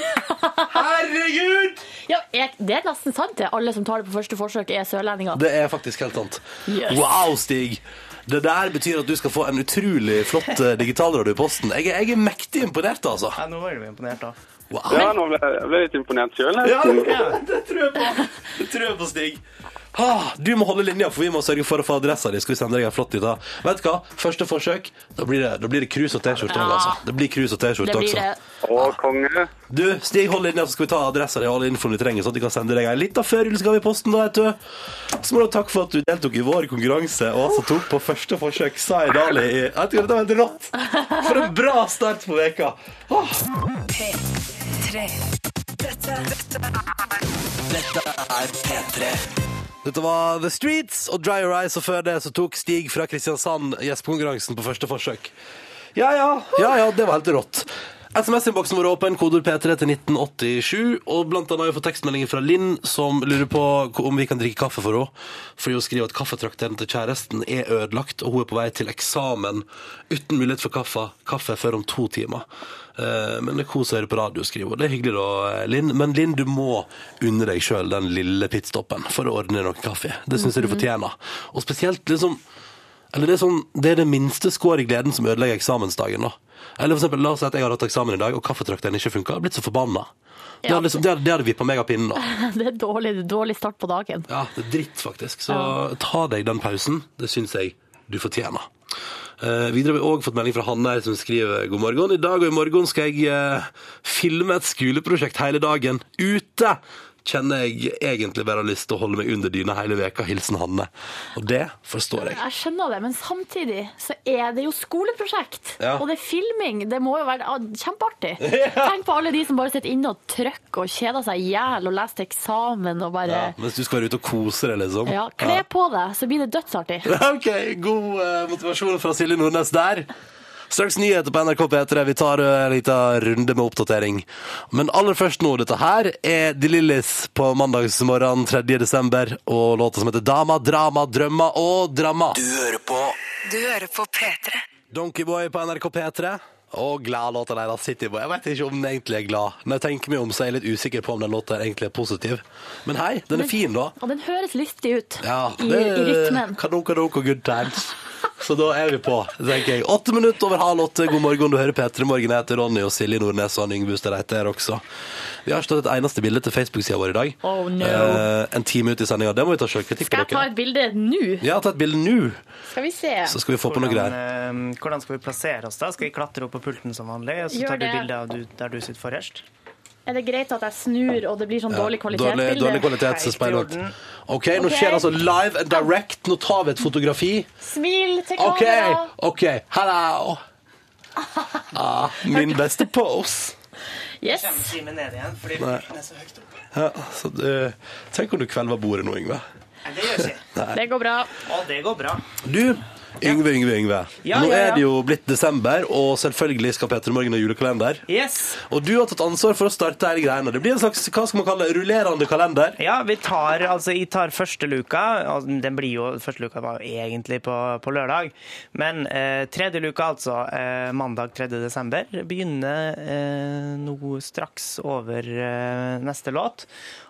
[SPEAKER 2] Herregud!
[SPEAKER 4] Ja, jeg, det er nesten sant, det. Alle som tar det på første forsøk, er sørlendinger.
[SPEAKER 2] Det er faktisk helt sant.
[SPEAKER 4] Yes.
[SPEAKER 2] Wow, Stig! Det der betyr at du skal få en utrolig flott eh, digitalradio i posten. Jeg er, jeg er mektig imponert, altså.
[SPEAKER 5] Ja, nå var du imponert, da.
[SPEAKER 2] Wow.
[SPEAKER 7] Ja, nå ble jeg- jeg ble litt imponert sjøl.
[SPEAKER 2] Ja, det, det tror jeg på. Det tror jeg på, Stig. Ah, du må holde linja, for vi må sørge for å få adressa di. Skal vi sende deg en flott lita Vet du hva? Første forsøk, da blir det, da blir det krus og T-skjorte
[SPEAKER 9] Ja.
[SPEAKER 2] òg, altså. Det blir krus og T-skjorte
[SPEAKER 9] Det blir
[SPEAKER 2] også.
[SPEAKER 9] det.
[SPEAKER 7] Å, konge.
[SPEAKER 2] Du, Stig, hold linja, så skal vi ta adressa di og all infoen du trenger, sånn at vi kan sende deg en lita førjulsgave i posten, da, vet du. Så må du ha takk for at du deltok i vår konkurranse, og altså tok på første forsøk Zaid Ali i Jeg tror det var helt rått! For en bra start på veka. Ah.
[SPEAKER 6] P3. Dette, dette er Dette er P3.
[SPEAKER 2] Dette var The Streets og Dry Your Eyes, og før det så tok Stig fra Kristiansand gjestekonkurransen på første forsøk. Ja ja, ja ja, det var helt rått. SMS-innboksen vår er åpen, kodord P3 til 1987. Og blant annet har vi fått tekstmeldinger fra Linn, som lurer på om vi kan drikke kaffe for henne. Fordi hun skriver at kaffetrakteren til kjæresten er ødelagt, og hun er på vei til eksamen uten mulighet for kaffe, kaffe før om to timer. Eh, Men det er kos å høre på radio, skriver hun. Det er hyggelig da, eh, Linn. Men Linn, du må unne deg sjøl den lille pitstoppen for å ordne noe kaffe. Det syns jeg du fortjener. Og spesielt liksom Eller det er sånn Det er det minste skår i gleden som ødelegger eksamensdagen, da. Eller for eksempel, la oss si at jeg hadde hatt eksamen i dag, og kaffetrakteren ikke funka. Blitt så forbanna. Det
[SPEAKER 9] Ja.
[SPEAKER 2] hadde, liksom, det hadde, det hadde vippa meg av pinnen, da.
[SPEAKER 9] Det er dårlig, dårlig start på dagen.
[SPEAKER 2] Ja, det er dritt, faktisk. Så ta deg den pausen. Det syns jeg du fortjener. Eh, videre har vi også fått melding fra Hanne her som skriver God morgen, i dag og i morgen skal jeg eh, filme et skoleprosjekt hele dagen ute Kjenner jeg egentlig bare har lyst til å holde meg under dyna hele veka Hilsen Hanne Og det forstår jeg
[SPEAKER 9] Jeg skjønner det, men samtidig så er det jo skoleprosjekt.
[SPEAKER 2] Ja.
[SPEAKER 9] Og det er filming. Det må jo være ah, kjempeartig. Tenk på alle de som bare sitter inne og trykker og kjeder seg i hjel og leser til eksamen og bare
[SPEAKER 2] ja, Mens du skal være ute og kose deg liksom
[SPEAKER 9] Eh, Ja, kle på deg, så blir det dødsartig.
[SPEAKER 2] Ok, god eh, motivasjon fra Silje Nordnes der. Straks nyheter på NRK P3. Vi tar eh, en liten runde med oppdatering. Men aller først nå, dette her er De Lillis på mandagsmorgen 3. desember, og låta som heter Dama, Drama, Drømma og Dramma.
[SPEAKER 6] Du hører på Du hører på P3.
[SPEAKER 2] Donkeyboy på NRK P3. Og glad låta deres, Cityboy. Jeg vet ikke om den egentlig er glad. Når jeg tenker meg om, så er jeg litt usikker på om den låta egentlig er positiv. Men hei, den er fin, da.
[SPEAKER 9] Og den høres lystig ut
[SPEAKER 2] Ja,
[SPEAKER 9] i, i rytmen.
[SPEAKER 2] Kanon, kanon, og good times. Så da er vi på, tenker jeg. Åtte minutter over halv åtte. God morgen, du hører P3 Morgen. Jeg heter Ronny og Silje Nordnes og han Yngve Hustad Reite er også. Vi har ikke tatt et eneste bilde til Facebook-sida vår i dag.
[SPEAKER 9] Oh, no.
[SPEAKER 2] Eh, en time ut i sendinga. Det må vi ta sjølkritikk på
[SPEAKER 9] Skal jeg ta
[SPEAKER 2] dere.
[SPEAKER 9] et bilde nå?
[SPEAKER 2] Ja, ta et bilde nå,
[SPEAKER 9] Skal vi se.
[SPEAKER 2] så skal vi få på noe
[SPEAKER 5] Hvordan,
[SPEAKER 2] greier.
[SPEAKER 5] eh, hvordan skal vi plassere oss da? Skal vi klatre opp på pulten som vanlig, og så
[SPEAKER 9] Gjør
[SPEAKER 5] tar du
[SPEAKER 9] det.
[SPEAKER 5] bilde av du, der du sitter forrest?
[SPEAKER 9] Er det greit at jeg snur, og det blir sånn dårlig
[SPEAKER 2] Dårlig,
[SPEAKER 9] kvalitetsbilde?
[SPEAKER 2] dårlig kvalitet, så
[SPEAKER 5] Helt i
[SPEAKER 2] speil godt.
[SPEAKER 5] orden.
[SPEAKER 2] OK, nå
[SPEAKER 9] Ok.
[SPEAKER 2] skjer det altså live and direct. Nå tar vi et fotografi.
[SPEAKER 9] Smil til
[SPEAKER 2] OK,
[SPEAKER 9] kamera.
[SPEAKER 2] OK. Hello. Ah, min beste pose.
[SPEAKER 9] Yes.
[SPEAKER 5] Time ned igjen, fordi pulten er så høyt opp.
[SPEAKER 2] Ja, så det, tenk om du kvelver bordet nå, Yngve.
[SPEAKER 5] Nei, det gjør ikke.
[SPEAKER 9] Det går bra.
[SPEAKER 5] Og det går bra.
[SPEAKER 2] Du, Yngve, Yngve, Yngve.
[SPEAKER 5] Ja,
[SPEAKER 2] nå
[SPEAKER 5] ja, ja.
[SPEAKER 2] er det jo blitt desember, og selvfølgelig skal Peter Morgen ha julekalender.
[SPEAKER 5] Yes.
[SPEAKER 2] Og du har tatt ansvar for å starte hele greiene. Det blir en slags hva skal man kalle det, rullerende kalender.
[SPEAKER 5] Ja, vi tar, altså, jeg tar første luka. Altså, den blir jo, første luka var jo egentlig på, på lørdag. Men eh, tredje luka, altså eh, mandag 3. desember, begynner eh, nå straks over eh, neste låt.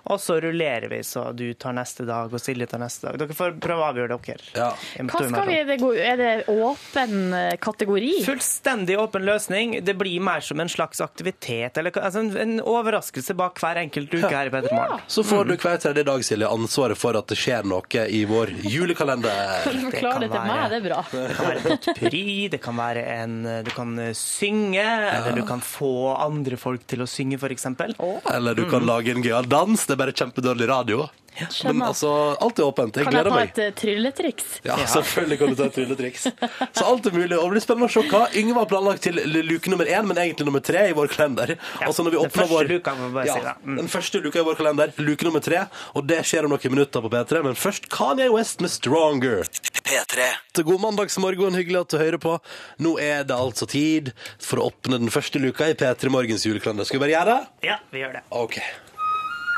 [SPEAKER 5] Og så rullerer vi, så du tar neste dag, og Silje tar neste dag. Dere får prøve å avgjøre dere.
[SPEAKER 2] Ja.
[SPEAKER 5] Jeg må
[SPEAKER 9] Hva
[SPEAKER 5] ta meg
[SPEAKER 9] skal vi,
[SPEAKER 5] sånn.
[SPEAKER 9] er det go- er det åpen eh, kategori?
[SPEAKER 5] Fullstendig åpen løsning. Det blir mer som en slags aktivitet, eller hva- altså en, en overraskelse bak hver enkelt uke her i Petermorgen.
[SPEAKER 2] Så får du hver tredje dag, Silje, ansvaret for at det skjer noe i vår julekalender.
[SPEAKER 5] kan
[SPEAKER 9] Forklar det til meg,
[SPEAKER 5] være-
[SPEAKER 9] det er bra.
[SPEAKER 5] Det kan være potpurri, det kan være en Du kan eh, synge, eller du kan få andre folk til å synge, f.eks.
[SPEAKER 2] Eller du kan lage en gøyal dans. Det er bare kjempedårlig radio. Men
[SPEAKER 9] Skjønner.
[SPEAKER 2] altså, alt er åpent. Jeg
[SPEAKER 9] Kan jeg
[SPEAKER 2] gleder
[SPEAKER 9] ta
[SPEAKER 2] meg.
[SPEAKER 9] et eh, trylletriks?
[SPEAKER 2] Ja, selvfølgelig kan du ta et trylletriks. Så alt er mulig. Og det blir spennende å se hva Yngve har planlagt til l- luke nummer én, men egentlig nummer tre i vår kalender. Altså når vi
[SPEAKER 5] den
[SPEAKER 2] åpner
[SPEAKER 5] første
[SPEAKER 2] vår...
[SPEAKER 5] luka, må vi bare
[SPEAKER 2] ja,
[SPEAKER 5] si da. Mm.
[SPEAKER 2] Den første luka i vår kalender, luke nummer tre, og det skjer om noen minutter på P3. Men først Kanye West med 'Stronger'.
[SPEAKER 6] P3.
[SPEAKER 2] Til god mandagsmorgen, hyggelig at du hører på. Nå er det altså tid for å åpne den første luka i P3 Morgens julekalender. Skal vi bare gjøre det?
[SPEAKER 5] Ja, vi gjør det.
[SPEAKER 2] Ok.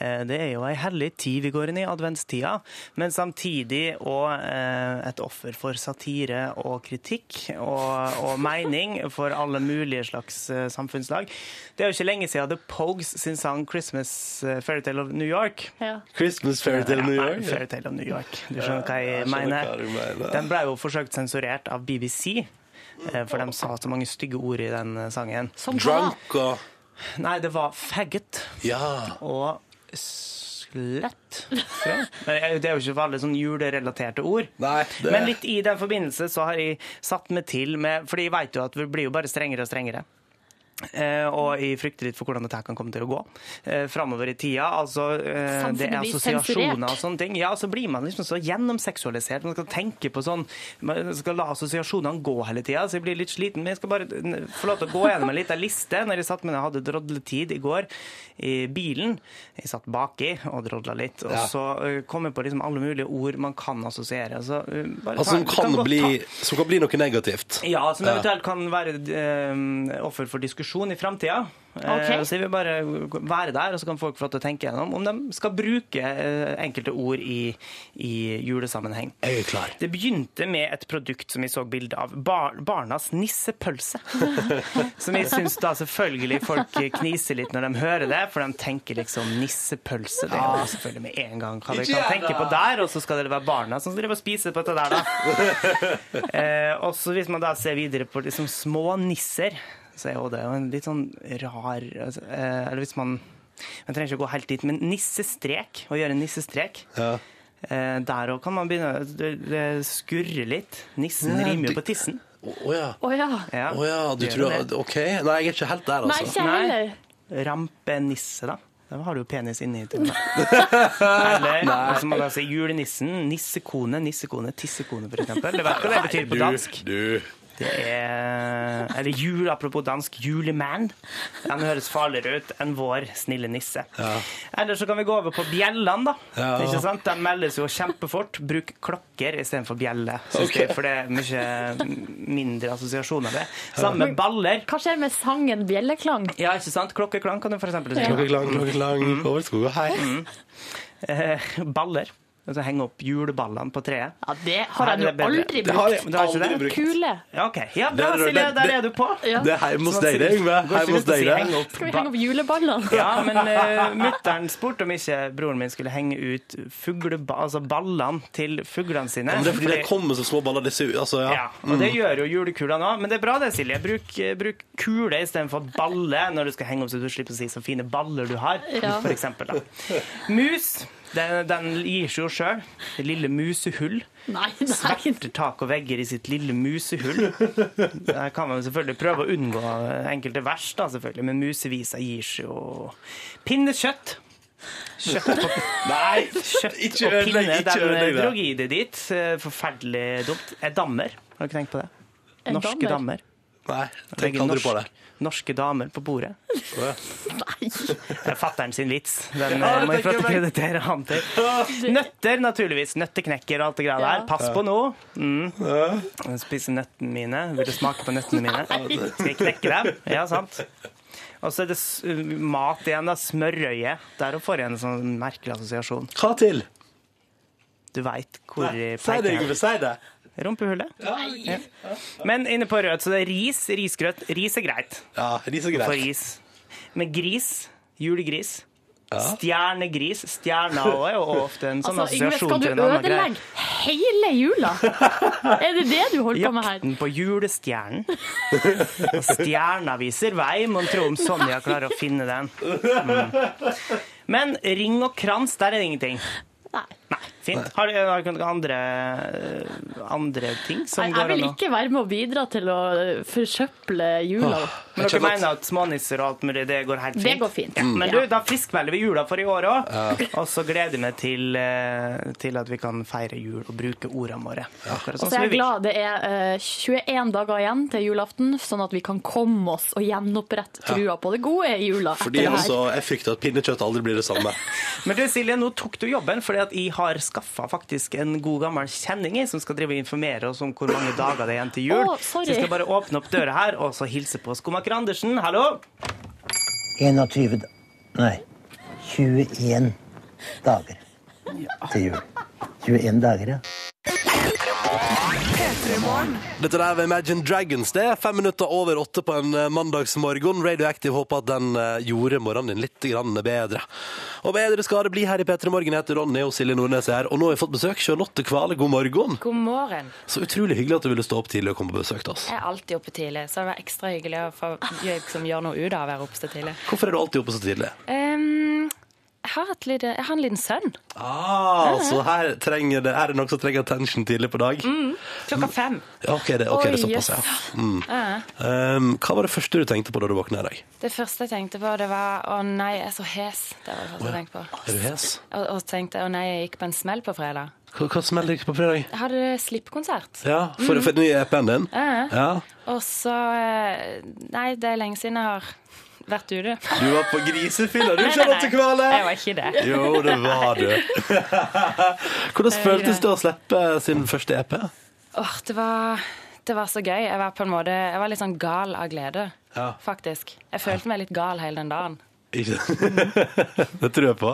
[SPEAKER 5] eh, det er jo ei herlig tid vi går inn i, adventstida, men samtidig òg eh, et offer for satire og kritikk og, og mening for alle mulige slags eh, samfunnslag. Det er jo ikke lenge siden The Pogues sin sang 'Christmas eh, Fairytale of New York'
[SPEAKER 9] Ja.
[SPEAKER 2] Christmas Fairytale New
[SPEAKER 5] Ja,
[SPEAKER 2] York.
[SPEAKER 5] nei, Fairytale of New York. Du skjønner
[SPEAKER 2] Ja,
[SPEAKER 5] hva jeg
[SPEAKER 2] jeg skjønner hva
[SPEAKER 5] mener.
[SPEAKER 2] du mener.
[SPEAKER 5] Den ble jo forsøkt sensurert av BBC, eh, for de sa så mange stygge ord i den eh, sangen.
[SPEAKER 9] Som hva?
[SPEAKER 2] Drunk og
[SPEAKER 5] Nei, det var faggot
[SPEAKER 2] Ja.
[SPEAKER 5] og slett. tror jeg. Men jeg- Det er jo ikke for alle sånn julerelaterte ord.
[SPEAKER 2] Nei, det-
[SPEAKER 5] Men litt i den forbindelse så har jeg satt meg til med Fordi jeg vet jo at vi blir jo bare strengere og strengere. Eh, og jeg frykter litt for hvordan dette her kan komme til å gå eh, framover i tida. Altså, eh, det er
[SPEAKER 9] Samfunnet blir
[SPEAKER 5] assosiasjoner og
[SPEAKER 9] sensurert.
[SPEAKER 5] sånne ting. Ja, så blir man liksom så gjennomseksualisert. Man skal tenke på sånn Man skal la assosiasjonene gå hele tida. Så jeg blir litt sliten. Men jeg skal bare n- få lov til å gå gjennom en liten liste. Når jeg satt med jeg hadde drodletid i går i bilen. Jeg satt baki og drodla litt. Og
[SPEAKER 2] Ja.
[SPEAKER 5] så eh, kom jeg på liksom alle mulige ord man kan assosiere. Så, eh, bare
[SPEAKER 2] Altså, som
[SPEAKER 5] ta- du
[SPEAKER 2] kan,
[SPEAKER 5] godt ta-
[SPEAKER 2] bli, som kan bli noe negativt.
[SPEAKER 5] ja, som eventuelt kan være eh, offer for diskusjon i framtida.
[SPEAKER 9] Ok.
[SPEAKER 5] så jeg vil bare være der, og så kan folk få lov til å tenke gjennom om de skal bruke eh, enkelte ord i, i julesammenheng.
[SPEAKER 2] Jeg er klar.
[SPEAKER 5] Det begynte med et produkt som jeg så bilde av. Bar barnas nissepølse. som jeg syns da selvfølgelig folk kniser litt når de hører det, for de tenker liksom nissepølse. Det er jo selvfølgelig med en gang hva de kan tenke på der, og så skal det være barna som driver og spiser på dette der, da. Eh, og så hvis man da ser videre på liksom små nisser, så er jo det jo en litt sånn rar altså, eh, Eller hvis man Man trenger ikke å gå helt dit, men nissestrek, å gjøre en nissestrek
[SPEAKER 2] Ja.
[SPEAKER 5] eh, Der òg kan man begynne å det- det skurre litt. Nissen
[SPEAKER 2] Nei,
[SPEAKER 5] rimer jo
[SPEAKER 2] du-
[SPEAKER 5] på tissen.
[SPEAKER 2] Å å ja.
[SPEAKER 9] Å ja.
[SPEAKER 5] Ja.
[SPEAKER 2] Å ja, du
[SPEAKER 5] Gjør
[SPEAKER 2] tror
[SPEAKER 5] det.
[SPEAKER 2] OK. Nei, jeg er ikke helt der,
[SPEAKER 9] Nei,
[SPEAKER 2] altså.
[SPEAKER 9] ikke jeg
[SPEAKER 5] Nei.
[SPEAKER 9] heller.
[SPEAKER 5] Rampenisse, da. Da har du jo penis inni til og med. Eller og så må man da si julenissen, nissekone, nissekone, tissekone, for eksempel. Du vet hva det betyr på dansk?
[SPEAKER 2] Du,
[SPEAKER 5] Det er Eller jul, apropos dansk, juleman. Den høres farligere ut enn vår snille nisse. Eller så kan vi gå over på bjellene, da.
[SPEAKER 2] Ja.
[SPEAKER 5] Ikke sant? De meldes jo kjempefort. Bruk klokker istedenfor bjelle, synes
[SPEAKER 2] Ok.
[SPEAKER 5] jeg, for det er mye mindre assosiasjoner ved. Samme med baller.
[SPEAKER 9] Hva skjer med sangen Bjelleklang?
[SPEAKER 5] Ja, ikke sant? Klokkeklang kan du for eksempel si.
[SPEAKER 2] klokkeklang, klokkeklang,
[SPEAKER 5] Mm.
[SPEAKER 2] over skog og hei.
[SPEAKER 5] Eh, Baller. Altså henge opp juleballene på treet.
[SPEAKER 9] Ja, det har
[SPEAKER 5] Nei,
[SPEAKER 9] jeg
[SPEAKER 5] det
[SPEAKER 9] nå
[SPEAKER 5] er bedre.
[SPEAKER 9] aldri
[SPEAKER 5] Det
[SPEAKER 2] Det har
[SPEAKER 9] brukt.
[SPEAKER 2] jeg
[SPEAKER 5] Det har ikke
[SPEAKER 2] aldri
[SPEAKER 5] det?
[SPEAKER 2] brukt.
[SPEAKER 9] Kule.
[SPEAKER 5] Ja, OK. Ja, bra,
[SPEAKER 2] Der er du-
[SPEAKER 5] Silje.
[SPEAKER 2] der-
[SPEAKER 5] Der er du på.
[SPEAKER 9] Ja.
[SPEAKER 2] Det er hjemme hos deg, det, Yngve.
[SPEAKER 5] Går ikke
[SPEAKER 2] Hjemme hos
[SPEAKER 5] ut og
[SPEAKER 2] deg,
[SPEAKER 5] sier
[SPEAKER 2] det.
[SPEAKER 5] henge opp
[SPEAKER 9] Skal vi
[SPEAKER 5] ba-
[SPEAKER 9] henge opp juleballene?
[SPEAKER 5] Ja, men uh, mutter'n spurte om ikke broren min skulle henge ut fugleba altså ballene til fuglene sine.
[SPEAKER 2] Men det er fordi det kommer som små baller. Det ser ut altså, ja.
[SPEAKER 5] ja, og det gjør jo julekulene òg, men det er bra det, Silje. Bruk, eh, bruk kule istedenfor balle når du skal henge opp, så du slipper å si så fine baller du har,
[SPEAKER 9] Ja.
[SPEAKER 5] for eksempel. Da. Mus, den, den gir seg jo sjøl. Det lille musehull.
[SPEAKER 9] Nei, nei.
[SPEAKER 5] Sverter tak og vegger i sitt lille musehull. Der kan man jo selvfølgelig prøve å unngå enkelte vers, da, selvfølgelig, men musevisa gir seg jo Pinnekjøtt. Kjøtt og,
[SPEAKER 2] Nei!
[SPEAKER 5] kjøtt
[SPEAKER 2] Ikke
[SPEAKER 5] og
[SPEAKER 2] ødelegg,
[SPEAKER 5] pinne,
[SPEAKER 2] ikke
[SPEAKER 5] den
[SPEAKER 2] ødelegg det.
[SPEAKER 5] drog i det dit. Eh, Forferdelig dumt. Er dammer. Har du ikke tenkt på det?
[SPEAKER 9] Er
[SPEAKER 5] Norske
[SPEAKER 9] dammer?
[SPEAKER 5] dammer.
[SPEAKER 2] Nei, tenk
[SPEAKER 5] Legger
[SPEAKER 2] aldri på det.
[SPEAKER 5] norsk- Norske damer på bordet.
[SPEAKER 9] Nei.
[SPEAKER 5] Det er fatteren sin vits. Den eh, må jeg få lov til å kreditere han til. Nøtter, naturligvis. Nøtteknekker og alt det greia
[SPEAKER 9] Ja.
[SPEAKER 5] der. Pass på nå. Mm. Jeg spiser nøttene mine. Vil du smake på nøttene mine? Skal jeg knekke dem? Ja, sant. Og så er det s- uh, mat igjen, da. Smørøye. Der får jeg en sånn merkelig assosiasjon.
[SPEAKER 2] Hva til?
[SPEAKER 5] Du veit hvor jeg
[SPEAKER 2] Si det,
[SPEAKER 5] peker.
[SPEAKER 2] Yngve. Si det.
[SPEAKER 5] Rumpehullet. Ja. Men inne på rødt, så det er ris, risgrøt. Ris er greit.
[SPEAKER 2] Ja, ris og
[SPEAKER 5] For
[SPEAKER 2] greit.
[SPEAKER 5] is. Men gris, julegris, stjernegris Stjerna også er jo ofte en sånn
[SPEAKER 9] Altså, Yngve,
[SPEAKER 5] assosiasjon
[SPEAKER 9] skal du
[SPEAKER 5] til en annen greie.
[SPEAKER 9] ødelegge hele jula? Er det det du holder på med her?
[SPEAKER 5] Jakten på julestjernen. Og Stjerna viser vei, mon tro om Sonja klarer å finne den. Mm. Men ring og krans, der er det ingenting.
[SPEAKER 9] Nei.
[SPEAKER 5] Nei, fint. Har du, har du noen andre, eh, andre ting som
[SPEAKER 9] Nei, jeg
[SPEAKER 5] går
[SPEAKER 9] vil
[SPEAKER 5] an å
[SPEAKER 9] ikke være med å bidra til å eh, forsøple jula.
[SPEAKER 2] Jeg
[SPEAKER 5] Men dere
[SPEAKER 2] kjenner at-
[SPEAKER 5] mener at smånisser og alt mulig, det går helt fint?
[SPEAKER 9] Det går fint.
[SPEAKER 5] Ja, men
[SPEAKER 9] Ja.
[SPEAKER 5] du, da friskmelder vi jula for i år òg. Og så gleder jeg meg til, eh, til at vi kan feire jul og bruke ordene våre. Akkurat
[SPEAKER 9] Og så
[SPEAKER 5] sånn som
[SPEAKER 9] er
[SPEAKER 5] vi
[SPEAKER 9] jeg
[SPEAKER 5] vil.
[SPEAKER 9] glad det er eh, 21 dager igjen til julaften, sånn at vi kan komme oss og gjenopprette trua på det gode i jula. etter
[SPEAKER 2] Fordi
[SPEAKER 9] det her.
[SPEAKER 2] altså, jeg frykter at pinnekjøtt aldri blir det samme.
[SPEAKER 5] Men du Silje, nå tok du jobben, fordi at jeg har skaffa faktisk en god gammel kjenning i, som skal drive og informere oss om hvor mange dager det er igjen til jul.
[SPEAKER 9] Å, sorry.
[SPEAKER 5] så jeg skal bare åpne opp døra her og så hilse på skomaker Andersen. Hallo!
[SPEAKER 10] 21 da- Nei, 21 dager til jul. 21 dager, ja.
[SPEAKER 2] Dette der var Imagine Dragons. Det er fem minutter over åtte på en eh, mandagsmorgen. Radioactive håper at den eh, gjorde morgenen din litt grann bedre. Og bedre skal det bli her i P3 Morgen. Jeg heter Ronny og Silje Nordnes er her. Og nå har vi fått besøk. Charlotte Kvale, god morgen.
[SPEAKER 11] God morgen.
[SPEAKER 2] Så utrolig hyggelig at du ville stå opp tidlig og komme på besøk til oss.
[SPEAKER 11] Jeg er alltid oppe tidlig, så det var ekstra hyggelig å få liksom, gjøre noe ut av å være oppe så tidlig.
[SPEAKER 2] Hvorfor er du alltid oppe så tidlig?
[SPEAKER 11] Ehm, jeg, har et lite, jeg har en liten sønn.
[SPEAKER 2] Ah, så her, trenger det, her er det noen som trenger attention tidlig på dag.
[SPEAKER 11] Mm,
[SPEAKER 2] Mm.
[SPEAKER 11] Klokka fem.
[SPEAKER 2] Ja, ok, det, ok, det er
[SPEAKER 11] Oi,
[SPEAKER 2] såpass, ja. Mm. Um, hva var det første du tenkte på da du våkna i dag?
[SPEAKER 11] Det første jeg tenkte på, det var å nei, jeg er så hes. Det var det første jeg tenkte på.
[SPEAKER 2] Er du hes?
[SPEAKER 11] Og, og tenkte å nei, jeg gikk på en smell på fredag.
[SPEAKER 2] Hva, hva smeller ikke på fredag?
[SPEAKER 11] Jeg hadde slippkonsert.
[SPEAKER 2] Ja, for, for den nye EP-en din?
[SPEAKER 11] Ja.
[SPEAKER 2] Ja.
[SPEAKER 11] Og så eh, Nei, det er lenge siden jeg har vært ute.
[SPEAKER 2] Du var på grisefylla, du,
[SPEAKER 11] Nei, nei, nei.
[SPEAKER 2] Charlotte Kvale!
[SPEAKER 11] Jeg var ikke det.
[SPEAKER 2] Jo, det var du. Hvordan føltes det å slippe sin første E EP?
[SPEAKER 11] Åh, det var, det var så gøy. Jeg var på en måte Jeg var litt sånn gal av glede,
[SPEAKER 2] Ja.
[SPEAKER 11] faktisk. Jeg følte meg litt gal hele den dagen.
[SPEAKER 2] Ikke Det tror jeg på.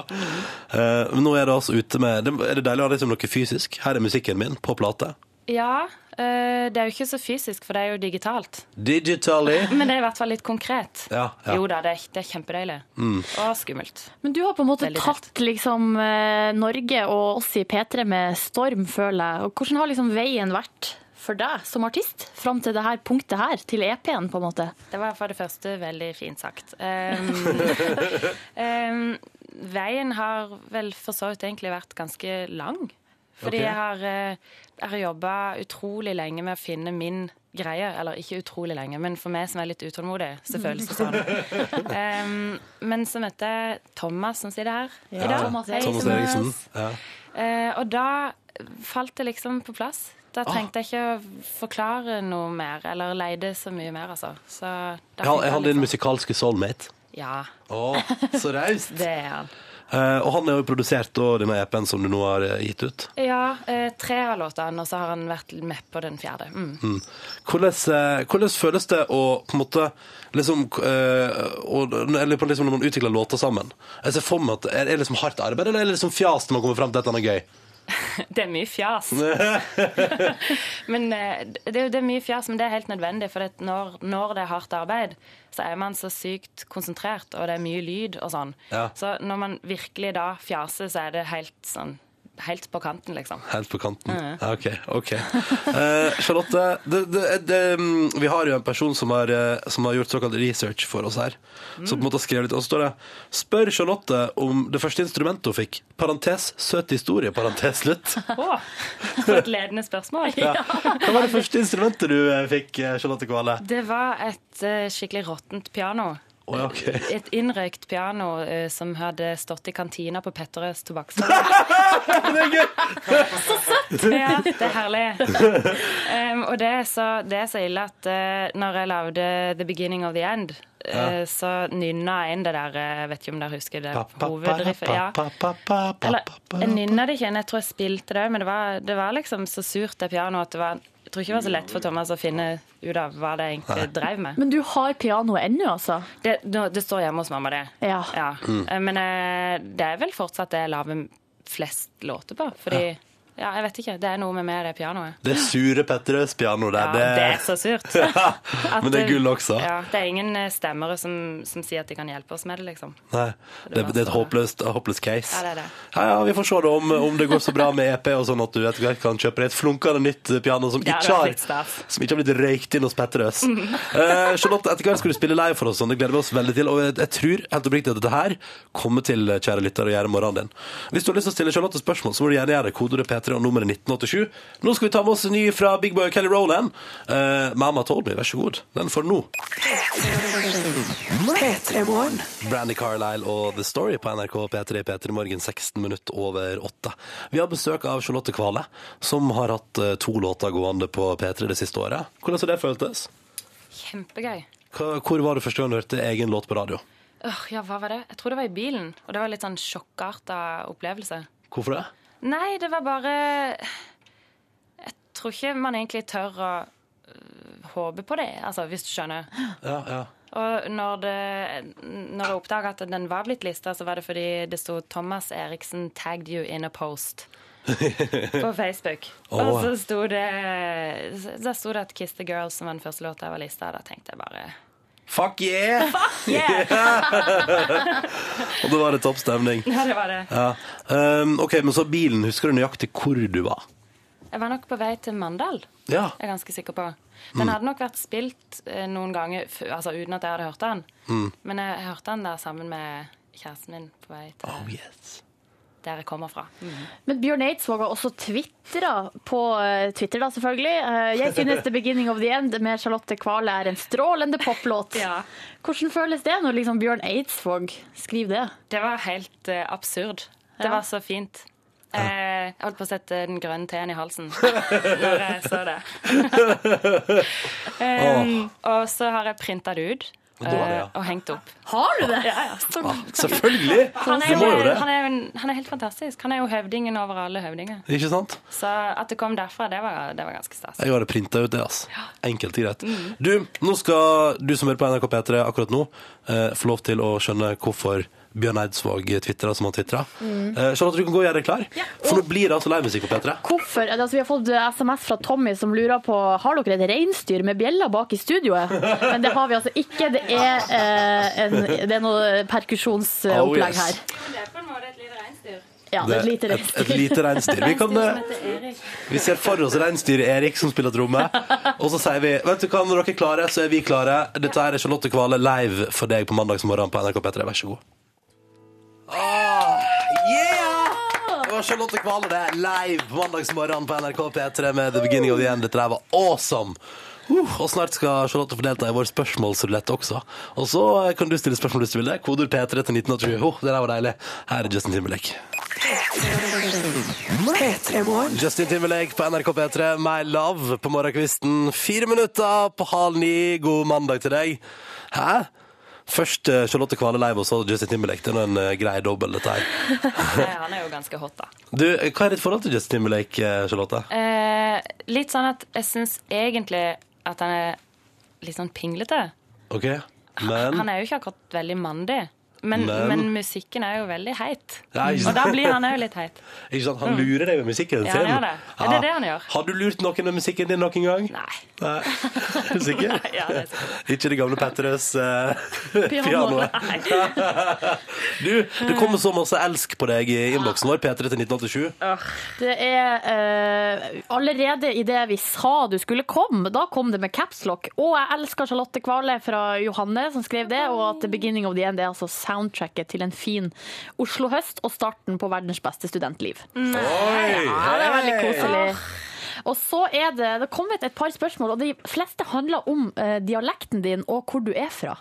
[SPEAKER 2] Eh, men nå er det altså ute med det- Er det deilig å ha det som noe fysisk? Her er musikken min på plate.
[SPEAKER 11] Ja, eh, det er jo ikke så fysisk, for det er jo digitalt.
[SPEAKER 2] Digitally.
[SPEAKER 11] Men det er i hvert fall litt konkret.
[SPEAKER 2] Ja, ja. Mm.
[SPEAKER 11] Jo da, det er, det er kjempedeilig. Og skummelt.
[SPEAKER 9] Men du har på en måte
[SPEAKER 11] Veldig
[SPEAKER 9] tatt liksom, eh, Norge og oss i P3 med storm, føler jeg. Og hvordan har liksom veien vært for deg som artist fram til det her punktet her, til EP-en, på en måte?
[SPEAKER 11] Det var for det første veldig fint sagt. Um, um, veien har vel for så vidt egentlig vært ganske lang. Fordi
[SPEAKER 2] Ok.
[SPEAKER 11] jeg har, eh, jeg har jobba utrolig lenge med å finne min greie. Eller ikke utrolig lenge, men for meg som er litt utålmodig, så føles det sånn. Um, men så møtte jeg Thomas, som sitter her i dag.
[SPEAKER 9] Thomas
[SPEAKER 11] Hei,
[SPEAKER 9] Eriksen.
[SPEAKER 2] Thomas Eriksen. Ja.
[SPEAKER 11] Eh, og da falt det liksom på plass.
[SPEAKER 2] Ah.
[SPEAKER 11] Da trengte jeg ikke å forklare noe mer, eller leide så mye mer, altså. Så da
[SPEAKER 2] Jeg har-
[SPEAKER 11] fikk
[SPEAKER 2] jeg har din
[SPEAKER 11] liksom-
[SPEAKER 2] musikalske soulmate.
[SPEAKER 11] Ja,
[SPEAKER 2] Å, så raust.
[SPEAKER 11] det er han.
[SPEAKER 2] Eh, og han har jo produsert da, denne EP-en som du nå har eh, gitt ut.
[SPEAKER 11] Ja, eh, tre av låtene, og så har han vært med på den fjerde. Mm.
[SPEAKER 2] Hvordan, eh, hvordan føles det å på en måte liksom, eh, og, Eller på liksom når man utvikler låter sammen? Jeg ser for meg at Er det liksom hardt arbeid, eller er det liksom fjas når man kommer fram til et eller annet gøy?
[SPEAKER 11] Det er mye fjas. men eh, det, er jo- det er mye fjas, men det er helt nødvendig, for det, når, når det er hardt arbeid, så er man så sykt konsentrert, og det er mye lyd og sånn.
[SPEAKER 2] Ja.
[SPEAKER 11] Så når man virkelig da fjaser, så er det helt sånn Helt på kanten, liksom.
[SPEAKER 2] Helt på kanten. Ja, OK. ok. Eh, Charlotte, det, det, det, mm, vi har jo en person som har, eh, som har gjort såkalt research for oss her. Som på en måte har skrevet litt. Og så står det Spør Charlotte om det første instrumentet hun fikk. Parentes søt historie. Parentes slutt.
[SPEAKER 11] Å, for et ledende spørsmål.
[SPEAKER 2] Hva var det første instrumentet du eh, fikk, eh, Charlotte Kvale?
[SPEAKER 11] Det var et eh, skikkelig råttent piano.
[SPEAKER 2] Å, ja, ok.
[SPEAKER 11] Et innrøykt piano eh, som hadde stått i kantina på Petterøes tobakksskole.
[SPEAKER 2] Det er gøy!
[SPEAKER 11] Ja, det er herlig. Em, og det er, så, det er så ille at eh, når jeg lagde 'The Beginning of the End', eh, så nynna jeg inn det der eh, Jeg vet ikke om dere husker det hovedriffet? Ja. Eller, jeg nynna det ikke, jeg tror jeg spilte det òg, men det var, det var liksom så surt, det pianoet, at det var Jeg tror ikke det var så lett for Thomas å finne ut av hva det egentlig drev med.
[SPEAKER 9] Men du har pianoet ennå, altså?
[SPEAKER 11] Det, nå- det står hjemme hos mamma, det.
[SPEAKER 9] Ja.
[SPEAKER 2] Mm.
[SPEAKER 11] Eh, Men eh, det er vel fortsatt det jeg lager flest låter på. Fordi ja. jeg vet ikke. Det er noe med meg og det pianoet.
[SPEAKER 2] Det sure Petterøes piano der,
[SPEAKER 11] Ja,
[SPEAKER 2] det,
[SPEAKER 11] det... er så surt. At
[SPEAKER 2] Men det er gull også.
[SPEAKER 11] Ja, det er ingen eh, stemmere som, som sier at de kan hjelpe oss med det, liksom.
[SPEAKER 2] Nei, det, det er et håpløst, håpløst case.
[SPEAKER 11] Ja, det er det.
[SPEAKER 2] Ja, ja, vi får se da om, om det går så bra med EP, og sånn at du etter hvert kan kjøpe deg et flunkende nytt piano som
[SPEAKER 11] Det hadde
[SPEAKER 2] ikke
[SPEAKER 11] vært
[SPEAKER 2] har,
[SPEAKER 11] litt stas. Mm.
[SPEAKER 2] som ikke har blitt røykt inn hos Petterøes. Eh, Charlotte, etter hvert skal du spille live for oss, sånn. det gleder vi oss veldig til. Og jeg, jeg tror helt oppriktig at dette her kommer til, eh, kjære lytter, å gjøre morgenen din. Hvis du har lyst til å stille Charlotte spørsmål, så må du gjerne gjøre det. Kodeordet P3 og nummeret 1987. Nå skal vi ta med oss en ny fra Big Boy Kelly Rowland. Eh, Mama told me, vær så god. Den får du nå. Brandy Carlisle og The Story på NRK P3 P3 Morgen 16 minutter over 8. Vi har besøk av Charlotte Kvale, som har hatt eh, to låter gående på P3 det siste året. Hvordan så det føltes?
[SPEAKER 11] Kjempegøy.
[SPEAKER 2] Hva- Hvor var det første gang du hørte egen låt på radio?
[SPEAKER 11] Åh, ja, hva var det? Jeg tror det var i bilen. Og det var litt sånn sjokkarta opplevelse.
[SPEAKER 2] Hvorfor det?
[SPEAKER 11] Nei, det var bare Jeg eh, tror ikke man egentlig tør å øh, håpe på det, altså, hvis du skjønner.
[SPEAKER 2] Ja, ja.
[SPEAKER 11] Og når, det, når jeg oppdaga at den var blitt lista, så var det fordi det sto 'Thomas Eriksen tagged you in a post' på Facebook. Og
[SPEAKER 2] Åh.
[SPEAKER 11] så sto det, så sto det at 'Kiss the Girls' som var den første låta jeg var lista, og da tenkte jeg bare
[SPEAKER 2] Fuck yeah!
[SPEAKER 11] Yeah!
[SPEAKER 2] Og det var en topp stemning.
[SPEAKER 11] Ja, det var det.
[SPEAKER 2] Ja. Um, ok, men så bilen. Husker du nøyaktig hvor du var?
[SPEAKER 11] Jeg var nok på vei til Mandal.
[SPEAKER 2] Ja.
[SPEAKER 11] Jeg er ganske sikker på. Den hadde nok vært spilt eh, noen ganger f altså uten at jeg hadde hørt den. Men jeg hørte den der sammen med kjæresten min på vei til
[SPEAKER 2] Oh, yes.
[SPEAKER 11] der jeg kommer fra.
[SPEAKER 4] Men Bjørn Eidsvåg har også tvitra på eh, Twitter, da selvfølgelig. Eh, Jeg synes The Beginning of the End med Charlotte Kvale er en strålende poplåt.
[SPEAKER 11] Ja.
[SPEAKER 4] Hvordan føles det når liksom Bjørn Eidsvåg skriver det?
[SPEAKER 11] Det var helt eh, absurd. Det
[SPEAKER 4] Ja.
[SPEAKER 11] var så fint. Eh, jeg holdt på å sette den grønne teen i halsen når jeg så det. um, og så har jeg printa det ut
[SPEAKER 2] da var det,
[SPEAKER 11] eh,
[SPEAKER 2] ja.
[SPEAKER 11] og hengt opp.
[SPEAKER 4] Har du det?
[SPEAKER 2] Ah, Selvfølgelig!
[SPEAKER 11] Han er,
[SPEAKER 2] Du må jo det.
[SPEAKER 11] han, er, jo en- han er helt fantastisk. Han er jo høvdingen over alle høvdinger.
[SPEAKER 2] Ikke sant?
[SPEAKER 11] Så at det kom derfra, det var, det var ganske stas.
[SPEAKER 2] Jeg har printa ut det, ass. Enkelt og greit.
[SPEAKER 4] Mm.
[SPEAKER 2] Du, nå skal du som hører på NRK P3 akkurat nå, eh, få lov til å skjønne hvorfor Bjørn Eidsvåg tvitra som han tvitra.
[SPEAKER 4] Mm.
[SPEAKER 2] Eh, Charlotte, du kan gå og gjøre deg klar, for nå blir det altså livemusikk på P3.
[SPEAKER 4] Hvorfor? Eller, Altså, vi har fått SMS fra Tommy som lurer på har dere et reinsdyr med bjeller bak i studioet. Men det har vi altså ikke. Det er, eh, en, det er noe
[SPEAKER 2] Oh,
[SPEAKER 4] perkusjonsopplegg
[SPEAKER 2] yes.
[SPEAKER 4] her.
[SPEAKER 11] Det er på en måte et lite reinsdyr.
[SPEAKER 4] Ja, det er et lite
[SPEAKER 2] et, et
[SPEAKER 4] reinsdyr.
[SPEAKER 2] lite reinsdyr. Vi, kan, eh, vi ser for oss reinsdyret Erik som spiller tromme, og så sier vi Vet du hva, når dere er klare, så er vi klare. Dette her er Charlotte Kvale live for deg på mandagsmorgen på NRK P3. Vær så god. Ah, yeah! Det var Charlotte Kvale det, live på mandagsmorgen på NRK P3 med The Beginning of the End. Dette her var awesome! Uh, og snart skal Charlotte få delta i vår spørsmålsrulett også. Og så kan du stille spørsmål hvis du vil det. Koder P3 til 1920. Oh, det der var deilig. Her er Justin Timberlake. Justin Timberlake på NRK P3, My Love på morgenkvisten. Fire minutter på halv ni. God mandag til deg. Hæ? Først eh, Charlotte Kvale Leiv og så Justin Timberlake. Det er nå en eh, grei dobbel, dette her.
[SPEAKER 11] Han er jo ganske hot, da.
[SPEAKER 2] Du, eh, hva er ditt forhold til Justin Timberlake, eh, Charlotte?
[SPEAKER 11] Eh, litt sånn at jeg syns egentlig at han er litt sånn pinglete.
[SPEAKER 2] OK, men
[SPEAKER 11] Han er jo ikke akkurat veldig mandig. Men,
[SPEAKER 2] Men-
[SPEAKER 11] men. musikken er jo veldig heit.
[SPEAKER 2] Nei, ikke sant.
[SPEAKER 11] Og da blir han òg litt heit.
[SPEAKER 2] ikke sant, Han lurer deg med musikken
[SPEAKER 11] Ja,
[SPEAKER 2] sin.
[SPEAKER 11] han gjør det. Er det det han gjør?
[SPEAKER 2] Har du lurt noen med musikken din noen gang?
[SPEAKER 11] Nei.
[SPEAKER 2] Nei. Er du sikker?
[SPEAKER 11] Ja, det er sikkert.
[SPEAKER 2] Ikke det gamle Petterøes eh, pianoet.
[SPEAKER 11] Nei.
[SPEAKER 2] Du, det kommer så masse elsk på deg i innboksen vår, P3 til 1987.
[SPEAKER 4] Det er eh, allerede i det vi sa du skulle komme, da kom det med capslock. Og jeg elsker Charlotte Kvale fra Johanne som skrev det, og at The Beginning of the End er altså soundtracket til en fin Oslo-høst og starten på verdens beste studentliv.
[SPEAKER 2] Oi!
[SPEAKER 4] Ja, det er veldig koselig. Ah. Og så er det, det kommet et par spørsmål, og de fleste handler om eh, dialekten din og hvor du er fra.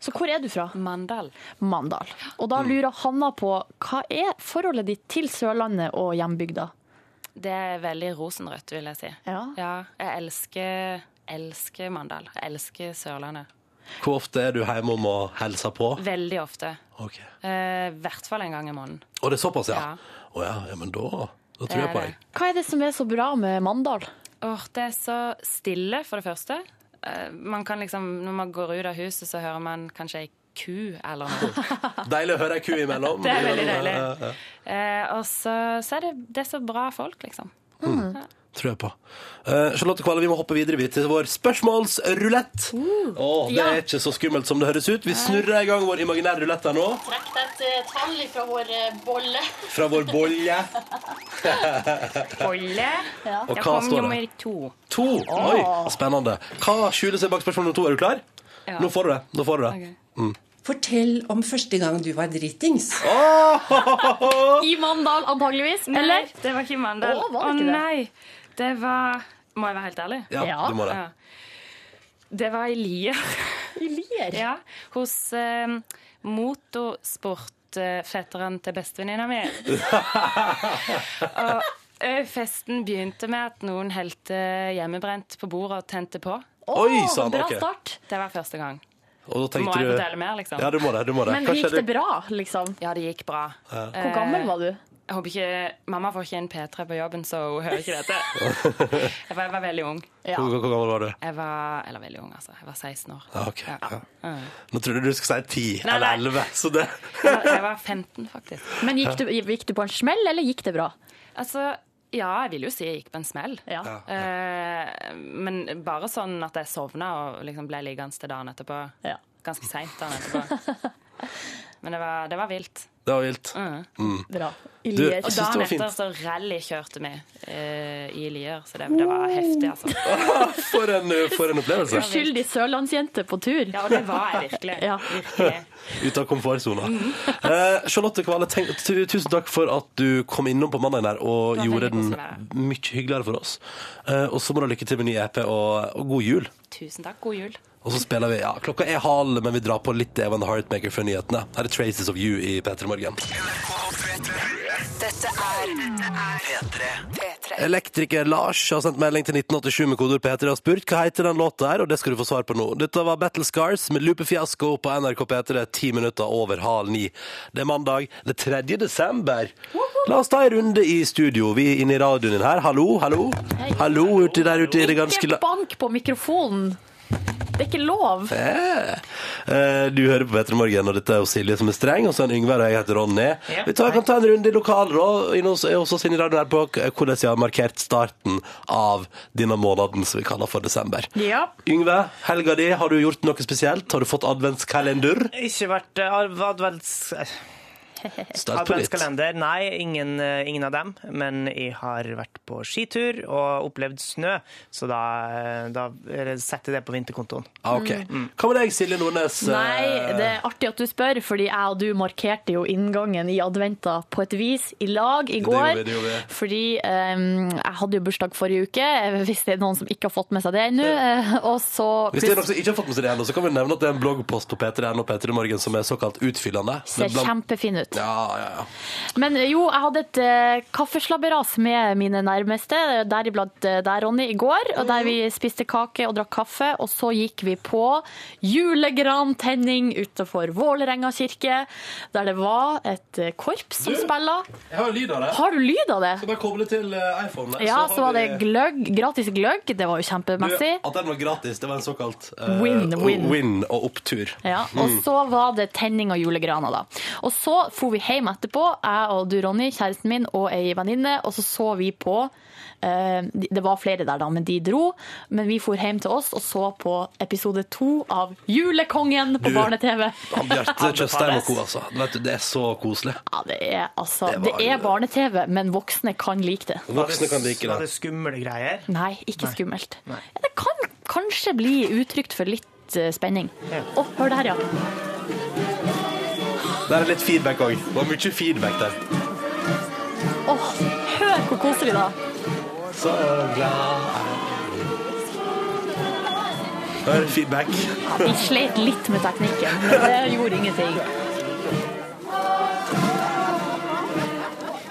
[SPEAKER 4] Så hvor er du fra?
[SPEAKER 11] Mandal.
[SPEAKER 4] Mandal. Og da lurer Hanna på hva er forholdet ditt til Sørlandet og hjembygda?
[SPEAKER 11] Det er veldig rosenrødt, vil jeg si.
[SPEAKER 4] Ja.
[SPEAKER 11] jeg elsker, elsker Mandal. Jeg elsker Sørlandet.
[SPEAKER 2] Hvor ofte er du hjemme om å helse på?
[SPEAKER 11] Veldig ofte.
[SPEAKER 2] Ok.
[SPEAKER 11] Eh, I hvert fall en gang i måneden.
[SPEAKER 2] Og det er såpass, ja?
[SPEAKER 11] Ja.
[SPEAKER 2] Å ja. ja, men da, da
[SPEAKER 11] Det
[SPEAKER 2] tror jeg
[SPEAKER 11] er
[SPEAKER 2] på
[SPEAKER 11] det.
[SPEAKER 2] deg.
[SPEAKER 4] Hva er det som er så bra med Mandal?
[SPEAKER 11] Åh, det er så stille, for det første. Eh, Man kan liksom, når man går ut av huset, så hører man kanskje ei ku eller noe.
[SPEAKER 2] Deilig å høre ei ku imellom.
[SPEAKER 11] Det er veldig deilig.
[SPEAKER 2] Ja, ja, ja.
[SPEAKER 11] Eh, og så, så er det, det er så bra folk, liksom.
[SPEAKER 2] Tror jeg på. Eh, Charlotte Kvale, vi må hoppe videre vi, til vår spørsmålsrulett.
[SPEAKER 11] Mm.
[SPEAKER 2] Åh, det
[SPEAKER 4] ja.
[SPEAKER 2] er ikke så skummelt som det høres ut. Vi snurrer i gang vår imaginære rulett her nå,
[SPEAKER 4] Trekk et eh, tall fra vår eh, bolle.
[SPEAKER 2] fra vår bolle. Og
[SPEAKER 11] Bolle. Jeg
[SPEAKER 2] hva står
[SPEAKER 11] kom
[SPEAKER 2] det?
[SPEAKER 11] nummer to.
[SPEAKER 2] To. Oi, spennende. Hva skjuler seg bak spørsmål nummer to? Er du klar?
[SPEAKER 11] Ja.
[SPEAKER 2] Nå får du det. Nå får du det.
[SPEAKER 11] Ok.
[SPEAKER 6] Fortell om første gang du var dritings.
[SPEAKER 4] I Mandal, antageligvis.
[SPEAKER 11] Eller?
[SPEAKER 4] Eller?
[SPEAKER 11] Det var ikke Mandal.
[SPEAKER 4] Å, var det ikke det?
[SPEAKER 11] nei. Det var Må jeg være helt ærlig?
[SPEAKER 2] Ja,
[SPEAKER 4] Ja.
[SPEAKER 2] du må det.
[SPEAKER 11] Ja. Det var i Lier.
[SPEAKER 4] I Lier.
[SPEAKER 11] ja. Hos eh, motorsportfetteren til bestevenninna mi. og eh, festen begynte med at noen helte hjemmebrent på bordet og tente på.
[SPEAKER 2] Oi, sa han,
[SPEAKER 4] Bra
[SPEAKER 2] ok.
[SPEAKER 4] start.
[SPEAKER 11] Det var første gang.
[SPEAKER 2] Og da
[SPEAKER 11] Må
[SPEAKER 2] tenkte
[SPEAKER 11] jeg
[SPEAKER 2] du
[SPEAKER 11] fortelle mer, liksom?
[SPEAKER 2] Ja, du må det. Du må det.
[SPEAKER 4] Men
[SPEAKER 2] Kanskje
[SPEAKER 4] gikk det
[SPEAKER 2] du-
[SPEAKER 4] bra, liksom?
[SPEAKER 11] Ja, det gikk bra.
[SPEAKER 4] Hvor gammel var du?
[SPEAKER 11] Jeg håper ikke, Mamma får ikke en P3 på jobben, så hun hører ikke dette. Jeg var, jeg var veldig ung.
[SPEAKER 2] Hvor, hvor gammel var du?
[SPEAKER 11] Jeg var, eller veldig ung, altså. Jeg var 16 år.
[SPEAKER 2] Ja, ok. Ja.
[SPEAKER 11] Ja.
[SPEAKER 2] Nå trodde du skulle si 10
[SPEAKER 11] Nei,
[SPEAKER 2] eller
[SPEAKER 11] nei.
[SPEAKER 2] 11, så det
[SPEAKER 11] Jeg var, jeg var 15, faktisk.
[SPEAKER 4] Men gikk du, gikk du på en smell, eller gikk det bra?
[SPEAKER 11] Altså, ja, jeg vil jo si jeg gikk på en smell.
[SPEAKER 4] Ja.
[SPEAKER 11] Eh, men bare sånn at jeg sovna og liksom ble liggende til dagen etterpå. Ganske seint dagen etterpå. Men det var, det var vilt.
[SPEAKER 2] Det var vilt.
[SPEAKER 11] Mm.
[SPEAKER 2] Mm.
[SPEAKER 4] Bra.
[SPEAKER 2] I Du, Lier.
[SPEAKER 11] og
[SPEAKER 2] jeg synes det
[SPEAKER 11] dagen
[SPEAKER 2] var fint.
[SPEAKER 11] etter så rallykjørte vi eh, i Lier, så det, det var heftig, altså.
[SPEAKER 2] For en, for en opplevelse.
[SPEAKER 4] Uskyldig sørlandsjente på tur. Ja,
[SPEAKER 11] og det var jeg virkelig.
[SPEAKER 2] Ut av komfortsona. Eh, Charlotte Kvale, tenk, tu, tusen takk for at du kom innom på mandagen her og
[SPEAKER 11] Det var
[SPEAKER 2] gjorde den
[SPEAKER 11] veldig koselig å
[SPEAKER 2] mye hyggeligere for oss. Eh, og så må du ha lykke til med ny EP, og, og god jul.
[SPEAKER 11] Tusen takk. God jul.
[SPEAKER 2] Og så spiller vi, ja, Klokka er halv, men vi drar på litt Evan the Heartmaker før nyhetene. Her er Traces of You i P3 Morgen.
[SPEAKER 6] Dette er P3. P3.
[SPEAKER 2] Elektriker Lars har sendt melding til 1987 med kodord P3 og spurt hva heter den låta her, og det skal du få svar på nå. Dette var Battle Scars med Lupefiasko på NRK P3 ti minutter over halv ni. Det er mandag det er 3. desember. La oss ta en runde i studio. Vi er inne i radioen din her. Hallo, hallo. Hallo uti der ute i det ganske
[SPEAKER 4] Ikke
[SPEAKER 2] la...
[SPEAKER 4] bank på mikrofonen! Det er ikke lov.
[SPEAKER 2] Eh. Eh, Du hører på P3 Morgen, og dette er jo Silje som er streng, og så er det Yngvar, og jeg heter Ronny.
[SPEAKER 5] Ja.
[SPEAKER 2] Vi tar, kan ta en runde i lokalet da, inne hos- hos oss inne i radioen her på k- hvordan vi har markert starten av denne måneden som vi kaller for desember.
[SPEAKER 5] Ja.
[SPEAKER 2] Yngve, helga di, har du gjort noe spesielt? Har du fått adventskalender?
[SPEAKER 5] Ikke vært eh, arv- advents...
[SPEAKER 2] Start på nytt.
[SPEAKER 5] Adventskalender? Nei, ingen, eh, ingen av dem. Men jeg har vært på skitur og opplevd snø, så da, eh, da eh, setter jeg det på vinterkontoen.
[SPEAKER 2] Ah, ok. Hva med deg, Silje Nordnes? Eh,
[SPEAKER 4] Nei, det er artig at du spør, fordi jeg og du markerte jo inngangen i adventa på et vis i lag i
[SPEAKER 2] Det
[SPEAKER 4] går.
[SPEAKER 2] gjorde vi, det gjorde vi.
[SPEAKER 4] Fordi em, jeg hadde jo bursdag forrige uke, eh, hvis det er noen som ikke har fått med seg det ennå. eh, Og så
[SPEAKER 2] Hvis det er noen som ikke har fått med seg det ennå, så kan vi nevne at det er en bloggpost på P3N og P3 Morgen som er såkalt utfyllende.
[SPEAKER 4] ser
[SPEAKER 2] Det er blant-
[SPEAKER 4] kjempefin ut.
[SPEAKER 2] Ja, ja, ja.
[SPEAKER 4] Men jo, jeg hadde et eh, kaffeslabberas med mine nærmeste, deriblant eh, deg, Ronny, i går. Og der vi
[SPEAKER 2] Mhm.
[SPEAKER 4] spiste kake og drakk kaffe, og så gikk vi på julegrantenning utenfor Vålerenga kirke, der det var et eh, korps som
[SPEAKER 2] Du?
[SPEAKER 4] spilla.
[SPEAKER 2] Jeg har jo lyd av det.
[SPEAKER 4] Har du lyd av det?
[SPEAKER 2] Skal bare koble til eh, iPhone. der,
[SPEAKER 4] Ja,
[SPEAKER 2] har
[SPEAKER 4] så var
[SPEAKER 2] vi-
[SPEAKER 4] det gløgg, gratis gløgg. Det var jo
[SPEAKER 2] Du,
[SPEAKER 4] kjempemessig.
[SPEAKER 2] At den var gratis, det var en såkalt eh,
[SPEAKER 4] Win-win.
[SPEAKER 2] win og opptur.
[SPEAKER 4] Ja, og
[SPEAKER 2] Mm.
[SPEAKER 4] så var det tenning av julegrana da. Og så for vi hjem etterpå, jeg og du Ronny, kjæresten min og ei venninne, og så så vi på, eh, de- det var flere der da, men de dro, men vi for hjem til oss og så på episode 2 av Julekongen på
[SPEAKER 2] Du,
[SPEAKER 4] barne-tv.
[SPEAKER 2] Han Bjarte Tjøstheim og co., altså. Vet du, det er så koselig.
[SPEAKER 4] Ja, det er, altså,
[SPEAKER 2] Det
[SPEAKER 4] det,
[SPEAKER 2] var-
[SPEAKER 4] er barne-tv, men voksne kan like det.
[SPEAKER 2] Voksne kan like
[SPEAKER 5] Var det
[SPEAKER 2] det.
[SPEAKER 5] skumle greier?
[SPEAKER 4] Nei, ikke skummelt. Ja, Det kan kanskje bli uttrykt for litt eh, spenning. Å, hør der, ja.
[SPEAKER 2] Der er litt feedback òg. Det var mye feedback der.
[SPEAKER 4] Åh, hør hvor koselig da.
[SPEAKER 2] Så eh, glad Hør feedback.
[SPEAKER 4] Ja, Vi slet litt med teknikken, men det gjorde ingenting.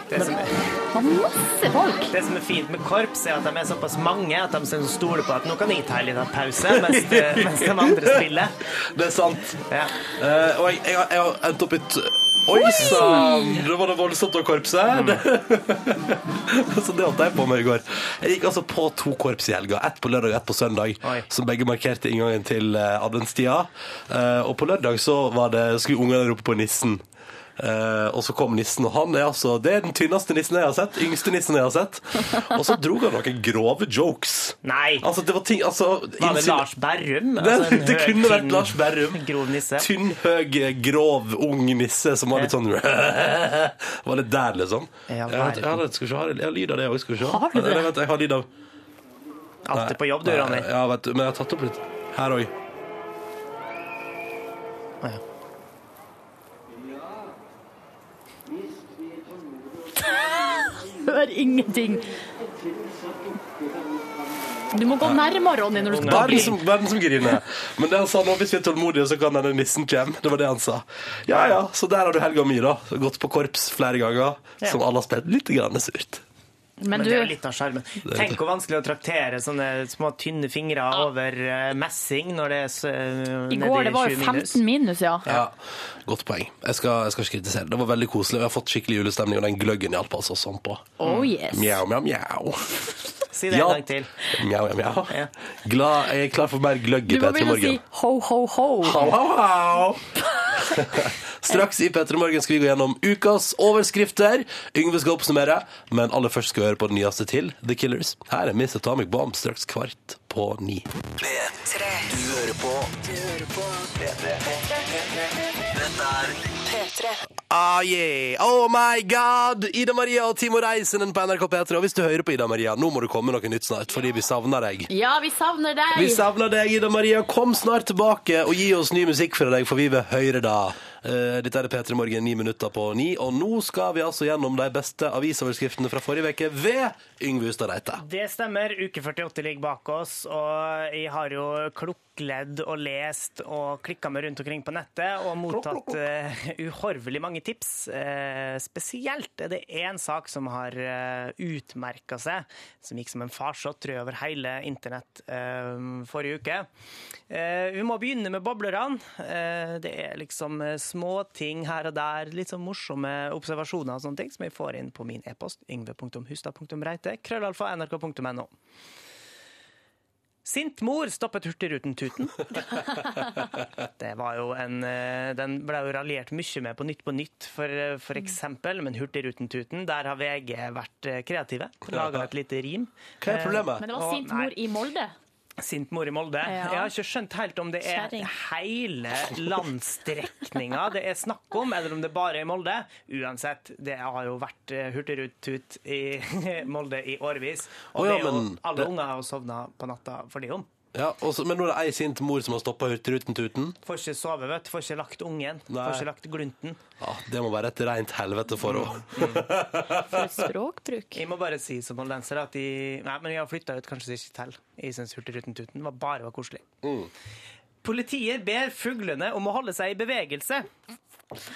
[SPEAKER 5] Det som,
[SPEAKER 4] masse folk.
[SPEAKER 5] det som er fint med korps, er at de er såpass mange at de som stoler på at nå kan jeg ta en liten pause mens, de- mens de andre spiller.
[SPEAKER 2] Det er sant.
[SPEAKER 5] Ja.
[SPEAKER 2] Eh, og jeg, jeg, har- jeg har endt opp i et Oi sann! Det var det voldsomt av korpset. så det holdt jeg på med i går. Jeg gikk altså på to korps i helga. Ett på lørdag og ett på søndag. Som begge markerte inngangen til eh, adventstida. Eh, og på lørdag så var det, skulle ungene rope på nissen. Eh, og så kom nissen, og han er altså Det er den tynneste nissen jeg har sett. Yngste nissen jeg har sett. Og så dro han noen grove jokes.
[SPEAKER 5] Nei!
[SPEAKER 2] Altså, det var ting altså,
[SPEAKER 5] Hva med
[SPEAKER 2] innsiden-
[SPEAKER 5] Lars Berrum?
[SPEAKER 2] Det,
[SPEAKER 5] Altså, en
[SPEAKER 2] det
[SPEAKER 5] høy,
[SPEAKER 2] kunne vært
[SPEAKER 5] tynn,
[SPEAKER 2] Lars Berrum.
[SPEAKER 5] Grov nisse.
[SPEAKER 2] Tynn, høy, grov, ung nisse som var litt sånn Var det der, liksom?
[SPEAKER 5] Ja,
[SPEAKER 2] Jeg har- jeg har- skal vi se, har jeg- jeg har lyd av det òg, skal vi se.
[SPEAKER 5] Har du det?
[SPEAKER 2] Nei, vent, jeg har lyd av
[SPEAKER 5] Alltid på jobb, du, Ronny.
[SPEAKER 2] Ja, vet du, men jeg har tatt opp litt her òg.
[SPEAKER 4] Hør ingenting. Du må gå nærmere, Ronny, når du skal
[SPEAKER 2] Verden som, verden som griner. Men det han sa nå, hvis vi er tålmodige, så kan denne nissen komme. Det var det han sa. Ja ja, så der har du helga mi, da. Gått på korps flere ganger,
[SPEAKER 5] Ja.
[SPEAKER 2] som alle har spilt litt grann surt.
[SPEAKER 5] Men, det er jo litt av sjarmen. Tenk hvor vanskelig å traktere sånne små, tynne fingre over eh, messing når det er eh, så,
[SPEAKER 9] I går det var jo 15 minus, ja.
[SPEAKER 2] Ja, Godt poeng. Jeg skal, jeg skal ikke kritisere. Det var veldig koselig. og Jeg har fått skikkelig julestemning, og den gløggen hjalp altså sånn på.
[SPEAKER 9] Oh, yes.
[SPEAKER 2] Mjau, mjau, mjau.
[SPEAKER 5] Si det
[SPEAKER 2] Ja.
[SPEAKER 5] en gang til.
[SPEAKER 2] Mjau, mjau, mjau. Glad, jeg er klar for mer gløgg
[SPEAKER 9] Du
[SPEAKER 2] i
[SPEAKER 9] må
[SPEAKER 2] P3
[SPEAKER 9] begynne å si
[SPEAKER 2] Morgen.
[SPEAKER 9] ho, ho, ho.
[SPEAKER 2] Au, au, au. Straks i P3 Morgen skal vi gå gjennom ukas overskrifter. Yngve skal oppsummere, men aller først skal vi høre på den nyeste til, The Killers. Her er Miss Atomic Bomb straks kvart på ni.
[SPEAKER 6] P3. Du hører på. Du hører på. P3. Dette er P3.
[SPEAKER 2] Ah, yeah. Oh my god! Ida Maria og Timo Reisenden på NRK P3. Og hvis du hører på Ida Maria, nå må du komme med noe nytt snart, fordi vi savner deg.
[SPEAKER 9] Ja, vi savner deg.
[SPEAKER 2] Vi savner deg, Ida Maria. Kom snart tilbake og gi oss ny musikk fra deg, for vi vil høre da. Eh, Dette er P3 Morgen, ni minutter på ni. Og nå skal vi altså gjennom de beste avisoverskriftene fra forrige uke ved Yngve Hustad Reite.
[SPEAKER 5] Det stemmer. Uke 48 ligger bak oss, og jeg har jo klukkledd og lest og klikka meg rundt omkring på nettet og mottatt eh, uhorvelig mange tips. Eh, spesielt er det én sak som har uh, utmerka seg, som gikk som en farsott tror jeg, over hele internett eh, forrige uke. Eh, vi må begynne med boblerne. Eh, det er liksom eh, små ting her og der, litt sånn morsomme observasjoner og sånne ting, som jeg får inn på min e-post yngve.hustad.reite, krøllalfa nrk.no. Sint mor stoppet Hurtigruten Tuten. Det var jo en, eh, den ble jo raljert mye med på Nytt på Nytt, for, eh, for eksempel, men Hurtigruten Tuten, der har VG vært eh, kreative. Laga et lite rim.
[SPEAKER 2] Hva er problemet?
[SPEAKER 9] Eh, Men det var
[SPEAKER 5] Og-
[SPEAKER 9] sint
[SPEAKER 5] nei.
[SPEAKER 9] mor i Molde.
[SPEAKER 5] Sint mor i Molde.
[SPEAKER 9] Ja.
[SPEAKER 5] Jeg har ikke skjønt helt om det er
[SPEAKER 9] Kjerring.
[SPEAKER 5] hele landstrekninga det er snakk om, eller om det bare er Molde. Uansett, det har jo vært eh, hurtigrut-tut i Molde i årevis. Og
[SPEAKER 2] Å ja,
[SPEAKER 5] det er jo,
[SPEAKER 2] men
[SPEAKER 5] alle
[SPEAKER 2] det-
[SPEAKER 5] unger har jo sovna på natta for det om.
[SPEAKER 2] Ja, og så- men nå er det ei sint mor som har stoppa Hurtigruten-tuten.
[SPEAKER 5] Får ikke sove, vet du. Får ikke lagt ungen.
[SPEAKER 2] Nei.
[SPEAKER 5] Får ikke lagt glunten.
[SPEAKER 2] Ja, Ah, det må være et rent helvete for henne.
[SPEAKER 9] For et språkbruk.
[SPEAKER 5] Jeg må bare si som moldenser at de Nei, men jeg har flytta ut, kanskje de ikke teller. Jeg syns Hurtigruten-tuten var bare var koselig.
[SPEAKER 2] Mm.
[SPEAKER 5] Politiet ber fuglene om å holde seg i bevegelse.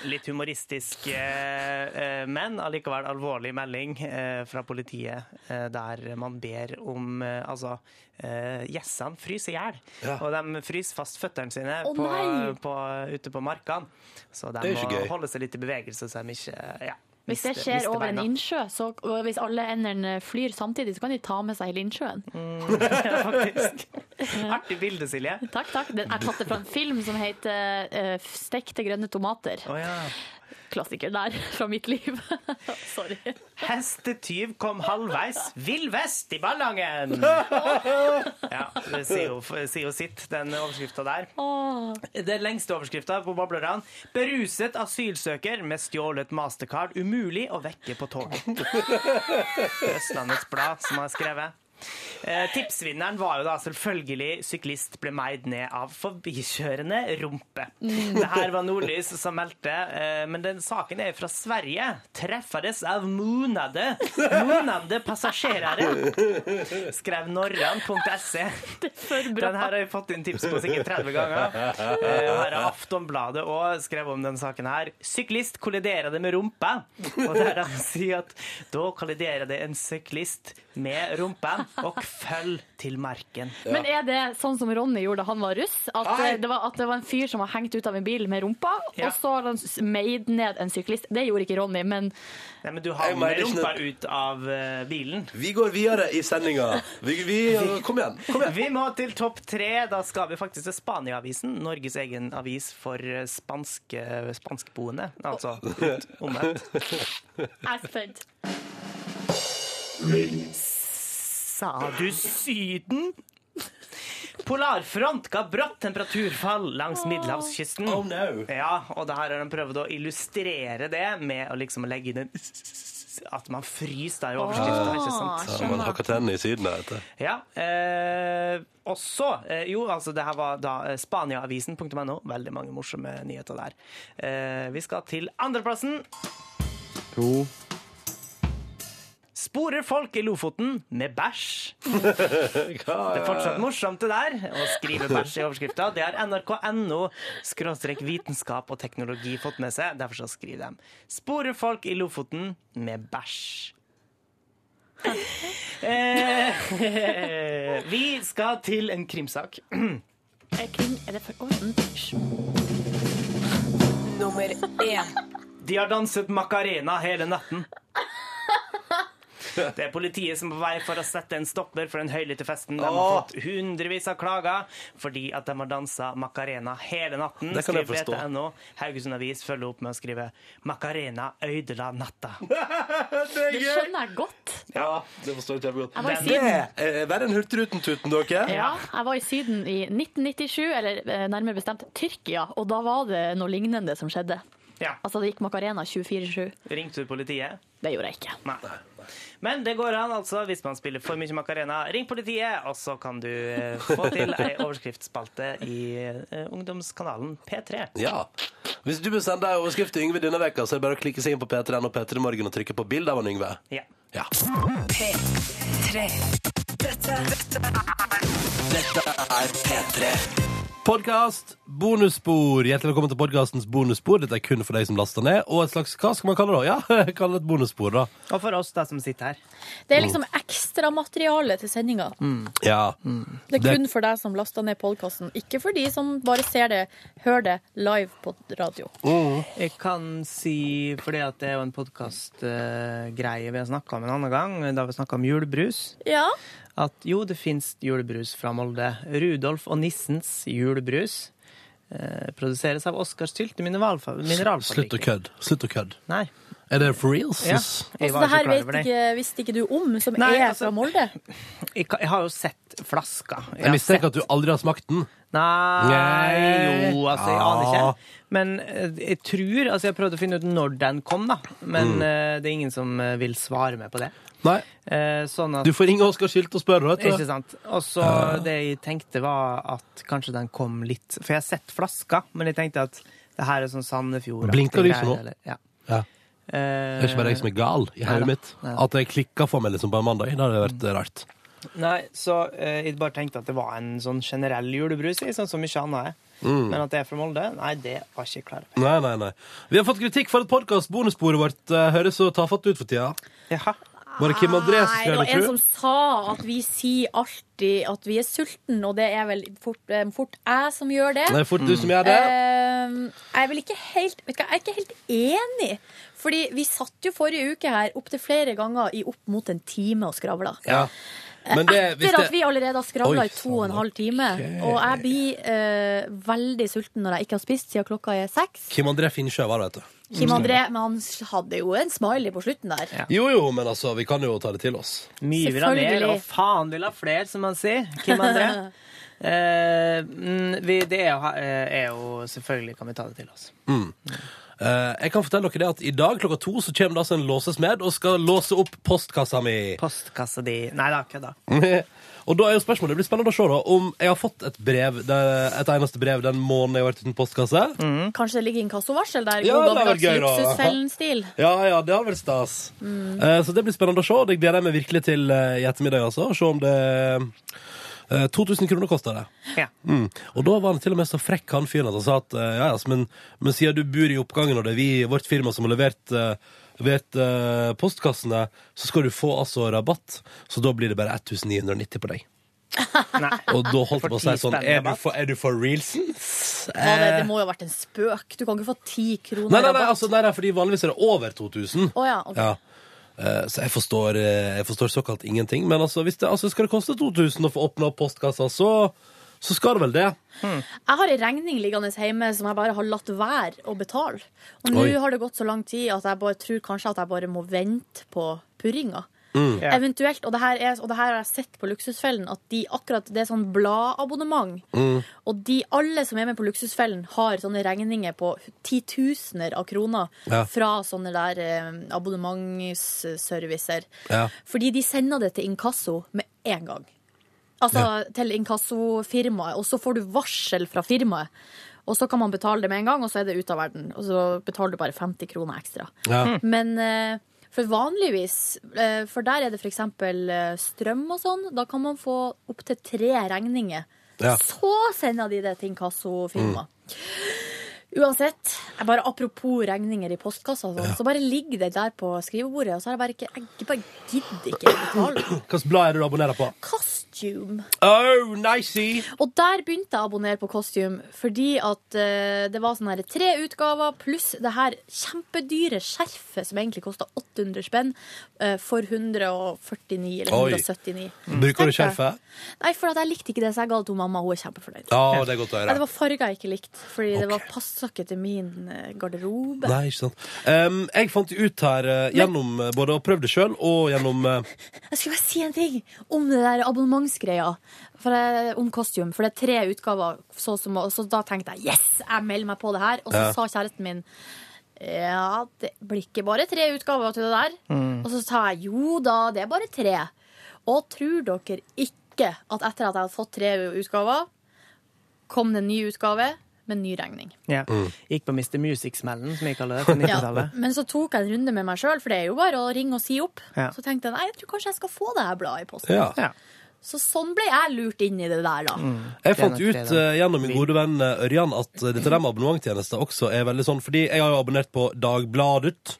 [SPEAKER 5] Litt humoristisk, eh, eh, men allikevel alvorlig melding eh, fra politiet, eh, der man ber om eh, Altså, eh, gjessene fryser i hjel.
[SPEAKER 2] Ja.
[SPEAKER 5] Og de fryser fast føttene sine
[SPEAKER 9] Å,
[SPEAKER 5] på,
[SPEAKER 9] nei!
[SPEAKER 5] på, ute på markene. Så de
[SPEAKER 2] Det er jo
[SPEAKER 5] må
[SPEAKER 2] ikke gøy.
[SPEAKER 5] holde seg litt i bevegelse, så de ikke eh, ja,
[SPEAKER 9] Hvis det
[SPEAKER 5] mister-
[SPEAKER 9] skjer
[SPEAKER 5] mister
[SPEAKER 9] over en
[SPEAKER 5] beina.
[SPEAKER 9] innsjø, så, og hvis alle endene flyr samtidig, så kan de ta med seg hele innsjøen.
[SPEAKER 5] Mm. Ja, faktisk. Artig bilde, Silje.
[SPEAKER 9] Takk, takk. Den er tatt fra en film som heter eh, 'Stekte grønne tomater'. Klassiker der fra mitt liv. Sorry.
[SPEAKER 5] Hestetyv kom halvveis. Vill vest i Ballangen! Ja, det sier jo, sier jo sitt, den overskrifta der.
[SPEAKER 9] Åh.
[SPEAKER 5] Den lengste overskrifta på boblerne. Beruset asylsøker med stjålet mastercard. Umulig å vekke på toget. Østlandets Blad som har skrevet. Eh, tipsvinneren var jo da selvfølgelig syklist ble meid ned av forbikjørende rumpe. Det her var Nordlys som meldte, eh, men den saken er fra Sverige. Treffes av månede, månede passasjerer, skrev norran.se. Den her har jeg fått inn tips på sikkert 30 ganger. Eh, Her har Aftonbladet òg skrevet om den saken her. Syklist kolliderer det med rumpa. Og der han sier at da kolliderer det en syklist med rumpa, og følg til marken.
[SPEAKER 9] Men er det sånn som Ronny gjorde da han var russ? At, eh, det var, at det var en fyr som var hengt ut av en bil med rumpa,
[SPEAKER 5] Ja.
[SPEAKER 9] og så har han s- meid ned en syklist. Det gjorde ikke Ronny, men
[SPEAKER 5] Nei, men du
[SPEAKER 2] Jeg
[SPEAKER 5] har
[SPEAKER 2] mener
[SPEAKER 5] med
[SPEAKER 2] ikke
[SPEAKER 5] rumpa
[SPEAKER 2] noe-
[SPEAKER 5] ut av eh, bilen.
[SPEAKER 2] Vi går videre i sendinga. Vi, vi, kom igjen. Kom igjen.
[SPEAKER 5] Vi må til topp tre. Da skal vi faktisk til Spania-avisen. Norges egen avis for eh, spanske, spanskboende. Altså ut, omvendt.
[SPEAKER 9] jeg er spent.
[SPEAKER 5] Sa du Syden? Polarfront ga brått temperaturfall langs middelhavskysten.
[SPEAKER 2] Oh, no.
[SPEAKER 5] Ja, og det her har de prøvd å illustrere det med å liksom legge inn en at man fryser der i overskriften, ikke sant?
[SPEAKER 9] Åh,
[SPEAKER 2] Ja, man hakker tennene i Syden, da, vet du.
[SPEAKER 5] Ja. Eh, også eh, Jo, altså, det her var da eh, spaniaavisen.no. Veldig mange morsomme nyheter der. Eh, vi skal til andreplassen.
[SPEAKER 3] To.
[SPEAKER 5] Sporer folk i Lofoten med bæsj. Det er fortsatt morsomt det der, å skrive bæsj i overskrifta. Det har nrk.no skråstrek vitenskap og teknologi fått med seg. Derfor så skriver de 'Sporer folk i Lofoten med bæsj'. Eh, vi skal til en krimsak.
[SPEAKER 9] Er krim eh, Er det for Oi, mm, hysj.
[SPEAKER 5] Nummer én. De har danset Macarena hele natten. Det er politiet som er på vei for å sette en stopper for den høylytte festen. De har
[SPEAKER 2] Åh.
[SPEAKER 5] fått hundrevis av klager fordi at de har dansa Macarena hele natten.
[SPEAKER 2] Det kan jeg
[SPEAKER 5] Skriv
[SPEAKER 2] forstå.
[SPEAKER 5] BTNO. Haugesund Avis følger opp med å skrive 'Macarena ødela natta'.
[SPEAKER 9] Det skjønner jeg godt.
[SPEAKER 2] Ja, det forstår jeg kjempegodt.
[SPEAKER 9] Jeg var i
[SPEAKER 2] Det
[SPEAKER 9] Syden.
[SPEAKER 2] er Eh, verre enn Hurtigruten-tuten, dere.
[SPEAKER 9] Ja, jeg var i Syden i 1997, eller eh, nærmere bestemt Tyrkia, og da var det noe lignende som skjedde.
[SPEAKER 5] Ja.
[SPEAKER 9] Altså, det gikk Macarena 24-7.
[SPEAKER 5] Ringte du politiet?
[SPEAKER 9] Det gjorde jeg ikke.
[SPEAKER 5] Nei. Men det går an, altså, hvis man spiller for mye Macarena. Ring politiet, og så kan du eh, få til ei overskriftsspalte i eh, ungdomskanalen P3.
[SPEAKER 2] Ja. Hvis du vil sende deg overskrift til Yngve denne veka, så er det bare å klikke seg inn på P3N og P3 Morgen og trykke på bilde av han Yngve.
[SPEAKER 5] Ja.
[SPEAKER 2] Ja.
[SPEAKER 6] P3. Dette, dette er Dette er P3.
[SPEAKER 2] Podkast bonusspor. Hjertelig velkommen til podkastens bonusspor. Dette er kun for deg som laster ned. Og et slags Hva skal man kalle det? da? Ja, kalle det et bonusspor, da.
[SPEAKER 5] Og for oss da som sitter her.
[SPEAKER 4] Det er liksom ekstramateriale til sendinga.
[SPEAKER 2] Ja.
[SPEAKER 4] Det er kun for deg som lasta ned podkasten, ikke for de som bare ser det, hører det live på radio.
[SPEAKER 5] Jeg kan si, fordi at det er jo en podkastgreie vi har snakka om en annen gang, da vi snakka om julebrus,
[SPEAKER 4] Ja.
[SPEAKER 5] at jo, det fins julebrus fra Molde. Rudolf og Nissens julebrus eh, produseres av Oskar Stylte mineralfa- mineralfabrikk.
[SPEAKER 2] Slutt å kødde. Slutt å kødde.
[SPEAKER 5] Nei.
[SPEAKER 2] Er det for reals?
[SPEAKER 5] Ja. Jeg
[SPEAKER 4] Altså,
[SPEAKER 5] var
[SPEAKER 4] det
[SPEAKER 5] ikke
[SPEAKER 4] her
[SPEAKER 5] klar
[SPEAKER 4] vet
[SPEAKER 5] over det.
[SPEAKER 4] ikke, visste ikke du om, som
[SPEAKER 5] Nei,
[SPEAKER 4] er
[SPEAKER 5] altså-
[SPEAKER 4] fra Molde.
[SPEAKER 5] Jeg, kan- jeg har jo sett flaska. Jeg
[SPEAKER 2] Jeg
[SPEAKER 5] har
[SPEAKER 2] mistenker at du aldri har smakt den.
[SPEAKER 5] Nei,
[SPEAKER 2] Nei.
[SPEAKER 5] Jo, altså, jeg aner
[SPEAKER 2] Ja.
[SPEAKER 5] ikke. Men eh, jeg tror Altså, jeg har prøvd å finne ut når den kom, da. Men
[SPEAKER 2] Mm.
[SPEAKER 5] eh, det er ingen som eh, vil svare meg på det.
[SPEAKER 2] Nei.
[SPEAKER 5] Eh, sånn at
[SPEAKER 2] Du får ringe Oskar Sylt og spørre, vet du.
[SPEAKER 5] Ikke sant. Og så
[SPEAKER 2] Ja.
[SPEAKER 5] det jeg tenkte, var at kanskje den kom litt For jeg har sett flaska, men jeg tenkte at det her er sånn Sandefjord
[SPEAKER 2] Blinker lyset nå?
[SPEAKER 5] Ja.
[SPEAKER 2] Ja. Det er ikke bare jeg som er gal i
[SPEAKER 5] Neida.
[SPEAKER 2] hodet mitt.
[SPEAKER 5] Neida.
[SPEAKER 2] At jeg klikka for meg liksom på en mandag, det hadde vært rart.
[SPEAKER 5] Nei, så eh, jeg bare tenkte at det var en sånn generell julebrus, i, sånn som mye annet er.
[SPEAKER 2] Mm.
[SPEAKER 5] Men at det er fra Molde, nei, det var ikke jeg klar over.
[SPEAKER 2] Nei, nei, nei. Vi har fått kritikk for at podkast-bonussporet vårt eh, høres så tafatt ut for tida. Var det Kim André som
[SPEAKER 4] Ah, Nei, det
[SPEAKER 2] skrev
[SPEAKER 4] var en som
[SPEAKER 2] det,
[SPEAKER 4] sa at vi sier alltid at vi er sulten, og det er vel fort, eh, fort jeg som gjør det.
[SPEAKER 2] Det er fort du som gjør det.
[SPEAKER 4] Eh, jeg er vel ikke helt, vet du hva, jeg er ikke helt enig. Fordi vi satt jo forrige uke her opptil flere ganger i opp mot en time og skravla.
[SPEAKER 2] tror jeg? Ja. Men det, hvis
[SPEAKER 4] Etter
[SPEAKER 2] det
[SPEAKER 4] at vi allerede har
[SPEAKER 2] Oi,
[SPEAKER 4] skravla i to og en halv time. Og jeg blir eh, veldig sulten når jeg ikke har spist siden klokka er seks.
[SPEAKER 2] Kim André Finnsjø var det, vet du.
[SPEAKER 4] Kim André men han hadde jo en smiley på slutten der.
[SPEAKER 2] Jo, jo, men altså, vi kan jo ta det til oss.
[SPEAKER 5] Mye vil ha mer, og faen vil ha flere, som man sier. Kim André. Eh, mm, vi, det er jo, eh, er jo Selvfølgelig kan vi ta det til oss.
[SPEAKER 2] Mm. Eh, jeg kan fortelle dere det at I dag klokka to så kommer det altså en låsesmed og skal låse opp postkassa mi.
[SPEAKER 5] Postkassa di Nei da, kødda.
[SPEAKER 2] og da er jo spørsmålet, det blir spennende å se da, om jeg har fått et brev, det, et eneste brev den måneden jeg har vært uten postkasse.
[SPEAKER 4] Kanskje det ligger inkassovarsel der?
[SPEAKER 2] Ja,
[SPEAKER 4] God
[SPEAKER 2] det hadde vært
[SPEAKER 4] gammeldags
[SPEAKER 2] gøy, da.
[SPEAKER 4] luksusfellen-stil.
[SPEAKER 2] Ja, ja, det hadde vært stas.
[SPEAKER 4] Mm.
[SPEAKER 2] Eh, så det blir spennende å se, og det gleder jeg meg virkelig til eh, i ettermiddag, altså. å Se om det eh, 2000 kroner koster det.
[SPEAKER 5] Ja.
[SPEAKER 2] Mm. Og da var han til og med så frekk han fyren at han sa at eh, ja, altså, men, men siden du bor i oppgangen og det er vi i vårt firma som har levert, eh, levert eh, postkassene, så skal du få altså rabatt. Så da blir det bare 1990 på deg. Og da holdt jeg på å si sånn Er du for, er du for realsons?
[SPEAKER 4] Ja, det,
[SPEAKER 2] Eh,
[SPEAKER 4] det må jo ha vært en spøk. Du kan ikke få ti kroner
[SPEAKER 2] Nei, nei, nei,
[SPEAKER 4] rabatt.
[SPEAKER 2] altså, nei, nei, fordi vanligvis er det over 2000.
[SPEAKER 4] Å ja, ok.
[SPEAKER 2] Ja. Eh, Så jeg forstår, eh, jeg forstår såkalt ingenting. Men altså, hvis det, altså, skal det koste 2000 å få åpna opp postkassa, så, så skal det vel det.
[SPEAKER 4] Jeg har ei regning liggende hjemme som jeg bare har latt være å betale. Og nå
[SPEAKER 2] Oi.
[SPEAKER 4] har det gått så lang tid at jeg bare tror kanskje at jeg bare må vente på purringa.
[SPEAKER 12] Mm. Ja.
[SPEAKER 4] Eventuelt, og det, her er, og det her har jeg sett på Luksusfellen, at de akkurat, det er sånn bladabonnement.
[SPEAKER 12] Mm.
[SPEAKER 4] Og de alle som er med på Luksusfellen, har sånne regninger på titusener av kroner
[SPEAKER 12] Ja.
[SPEAKER 4] fra sånne der eh, abonnementsservicer.
[SPEAKER 12] Ja.
[SPEAKER 4] Fordi de sender det til inkasso med en gang. Altså
[SPEAKER 12] Ja.
[SPEAKER 4] til inkassofirmaet, og så får du varsel fra firmaet. Og så kan man betale det med en gang, og så er det ute av verden. Og så betaler du bare 50 kroner ekstra.
[SPEAKER 12] Ja.
[SPEAKER 2] Hmm.
[SPEAKER 4] Men eh, for vanligvis, eh, for der er det f.eks. strøm og sånn, da kan man få opptil tre regninger.
[SPEAKER 12] Ja.
[SPEAKER 4] Så sender de det til inkassofirmaet. Uansett, Jeg bare Apropos regninger i postkassa, og sånn, så bare ligger det der på skrivebordet, og så har jeg bare ikke Jeg bare gidder ikke betale.
[SPEAKER 2] Hvilket blad er det du abonnerer på?
[SPEAKER 4] Costume.
[SPEAKER 2] Oh, nicey!
[SPEAKER 4] Og der begynte jeg å abonnere på Costume, fordi at eh, det var sånne her tre utgaver pluss det her kjempedyre skjerfet som egentlig kosta 800 spenn, eh, for 149 eller
[SPEAKER 2] Oi.
[SPEAKER 4] 179.
[SPEAKER 2] Bruker du skjerfet?
[SPEAKER 4] Nei, for at jeg likte ikke det, så jeg ga det til mamma. og Hun er kjempefornøyd.
[SPEAKER 2] Ja, det er godt å høre.
[SPEAKER 4] Nei, det var farger jeg ikke likte, fordi det var passa ikke til min eh, garderobe.
[SPEAKER 2] Nei, ikke sant. Em, jeg fant ut her eh, gjennom eh, både å prøve det sjøl og gjennom eh,
[SPEAKER 4] Jeg skulle bare si en ting om det der abonnementsgreia. For jeg, om costume. For det er tre utgaver. Så, som, så da tenkte jeg yes, jeg melder meg på det her. Og så
[SPEAKER 12] Ja.
[SPEAKER 4] sa kjæresten min ja, det blir ikke bare tre utgaver til det der.
[SPEAKER 12] Mm.
[SPEAKER 4] Og så sa jeg jo da, det er bare tre. Og tror dere ikke at etter at jeg hadde fått tre utgaver, kom det en ny utgave med en ny regning?
[SPEAKER 5] Ja.
[SPEAKER 4] Mm.
[SPEAKER 5] Gikk på Mr. Music-smellen, som jeg kaller det, på 90-tallet.
[SPEAKER 4] Men så tok jeg en runde med meg sjøl, for det er jo bare å ringe og si opp.
[SPEAKER 5] Ja.
[SPEAKER 4] Så tenkte jeg nei, jeg tror kanskje jeg skal få det her bladet i posten.
[SPEAKER 2] Ja.
[SPEAKER 4] Så sånn ble jeg lurt inn i det der, da.
[SPEAKER 2] Jeg fant ut eh, gjennom min gode venn eh, Ørjan at eh, dette der med abonnementtjenester også er veldig sånn, fordi jeg har jo abonnert på Dagbladet.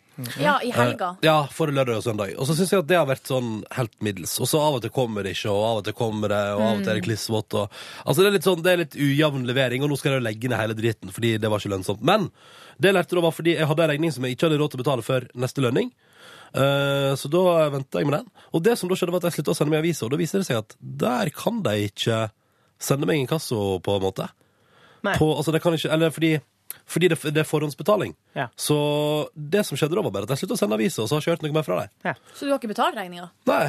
[SPEAKER 4] Ja, i helga.
[SPEAKER 2] Eh, ja, forrige lørdag og søndag. Og så syns jeg at det har vært sånn helt middels. Og så av og til kommer det ikke, og av og til kommer det, og av og til er det klissvått og Altså det er litt sånn, det er litt ujevn levering, og nå skal jeg jo legge ned hele dritten fordi det var ikke lønnsomt. Men det jeg lærte da var fordi jeg hadde en regning som jeg ikke hadde råd til å betale før neste lønning. Eh, så da venta jeg med den. Og det som da skjedde, var at jeg slutta å sende meg aviser, og da viser det seg at der kan de ikke sende meg inkasso, på en måte. På, altså det kan ikke, eller fordi fordi det, det er forhåndsbetaling.
[SPEAKER 5] Ja.
[SPEAKER 2] Så det som skjedde da, var bare at jeg slutta å sende aviser, og så har jeg ikke hørt noe mer fra dem.
[SPEAKER 4] Så du har ikke betalt regninga?
[SPEAKER 2] Nei.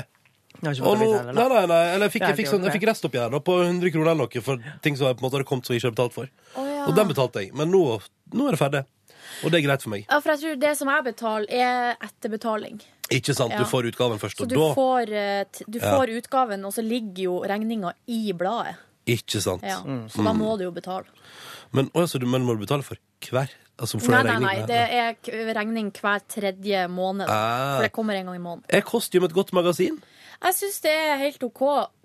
[SPEAKER 5] Jeg har
[SPEAKER 2] Og
[SPEAKER 5] ikke fått
[SPEAKER 2] nå,
[SPEAKER 5] å vite det,
[SPEAKER 2] nei,
[SPEAKER 5] eller?
[SPEAKER 2] nei, nei, eller jeg fikk,
[SPEAKER 5] Det
[SPEAKER 2] jeg
[SPEAKER 5] har
[SPEAKER 2] fikk,
[SPEAKER 5] ikke
[SPEAKER 2] sånn, jeg
[SPEAKER 5] gjort
[SPEAKER 2] fikk restoppgjør da, på 100 kroner eller noe for ting som jeg på en måte hadde kommet som jeg ikke hadde betalt for. Og den betalte jeg. Men nå, nå er det ferdig. Og det er greit for meg.
[SPEAKER 4] Ja, for jeg tror det som jeg betaler, er etterbetaling.
[SPEAKER 2] Ikke sant?
[SPEAKER 4] Ja.
[SPEAKER 2] Du får utgaven først,
[SPEAKER 4] Så
[SPEAKER 2] og
[SPEAKER 4] du
[SPEAKER 2] da
[SPEAKER 4] får, eh, t- du
[SPEAKER 2] Ja.
[SPEAKER 4] får utgaven, og så ligger jo regninga i bladet.
[SPEAKER 2] Ikke sant.
[SPEAKER 4] Ja. Så da må du jo betale.
[SPEAKER 2] Men, å, ja, så du, men må du betale for hver? Altså, for
[SPEAKER 4] Nei,
[SPEAKER 2] den
[SPEAKER 4] nei, nei.
[SPEAKER 2] regningen?
[SPEAKER 4] Det er k- regning hver tredje måned.
[SPEAKER 2] Ah.
[SPEAKER 4] For det kommer en gang i måneden.
[SPEAKER 2] Er Kostium et godt magasin?
[SPEAKER 4] Jeg syns det er helt OK.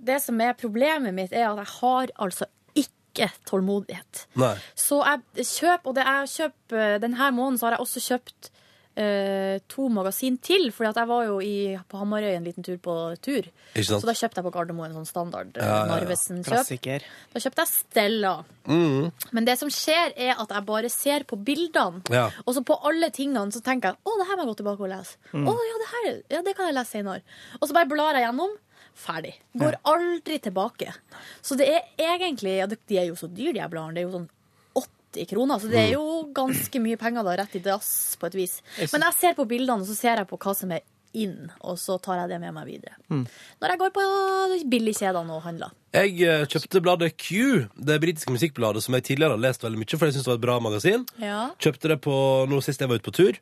[SPEAKER 4] Det som er problemet mitt, er at jeg har altså ikke tålmodighet.
[SPEAKER 2] Nei.
[SPEAKER 4] Så jeg kjøper, og det er kjøp, denne måneden så har jeg også kjøpt eh, to magasin til, fordi at jeg var jo i, på Hamarøy en liten tur på tur.
[SPEAKER 2] Ikke sant?
[SPEAKER 4] Så da kjøpte jeg på Gardermoen sånn standard eh,
[SPEAKER 2] Ja, ja, ja.
[SPEAKER 4] Narvesen-kjøp.
[SPEAKER 5] Klassiker.
[SPEAKER 4] Da kjøpte jeg Stella.
[SPEAKER 2] Mm.
[SPEAKER 4] Men det som skjer, er at jeg bare ser på bildene.
[SPEAKER 2] Ja.
[SPEAKER 4] Og så på alle tingene så tenker jeg å, det her må jeg gå tilbake og lese.
[SPEAKER 2] Mm.
[SPEAKER 4] Å, ja, det her, ja, det kan jeg lese senere. Og så bare blar jeg gjennom. Ferdig. Går aldri tilbake. Så det er egentlig ja, det- De er jo så dyre, de her bladene. Det er jo sånn 80 kroner. Så det
[SPEAKER 2] Mm.
[SPEAKER 4] er jo ganske mye penger da, rett i dass, på et vis.
[SPEAKER 12] Jeg synes-
[SPEAKER 4] Men jeg ser på bildene, og så ser jeg på hva som er inn, og så tar jeg det med meg videre.
[SPEAKER 2] Mm.
[SPEAKER 4] Når jeg går på billigkjedene og handler.
[SPEAKER 2] Jeg eh, kjøpte bladet Q, det britiske musikkbladet som jeg tidligere har lest veldig mye, for jeg syns det var et bra magasin.
[SPEAKER 4] Ja.
[SPEAKER 2] Kjøpte det på nå sist jeg var ute på tur.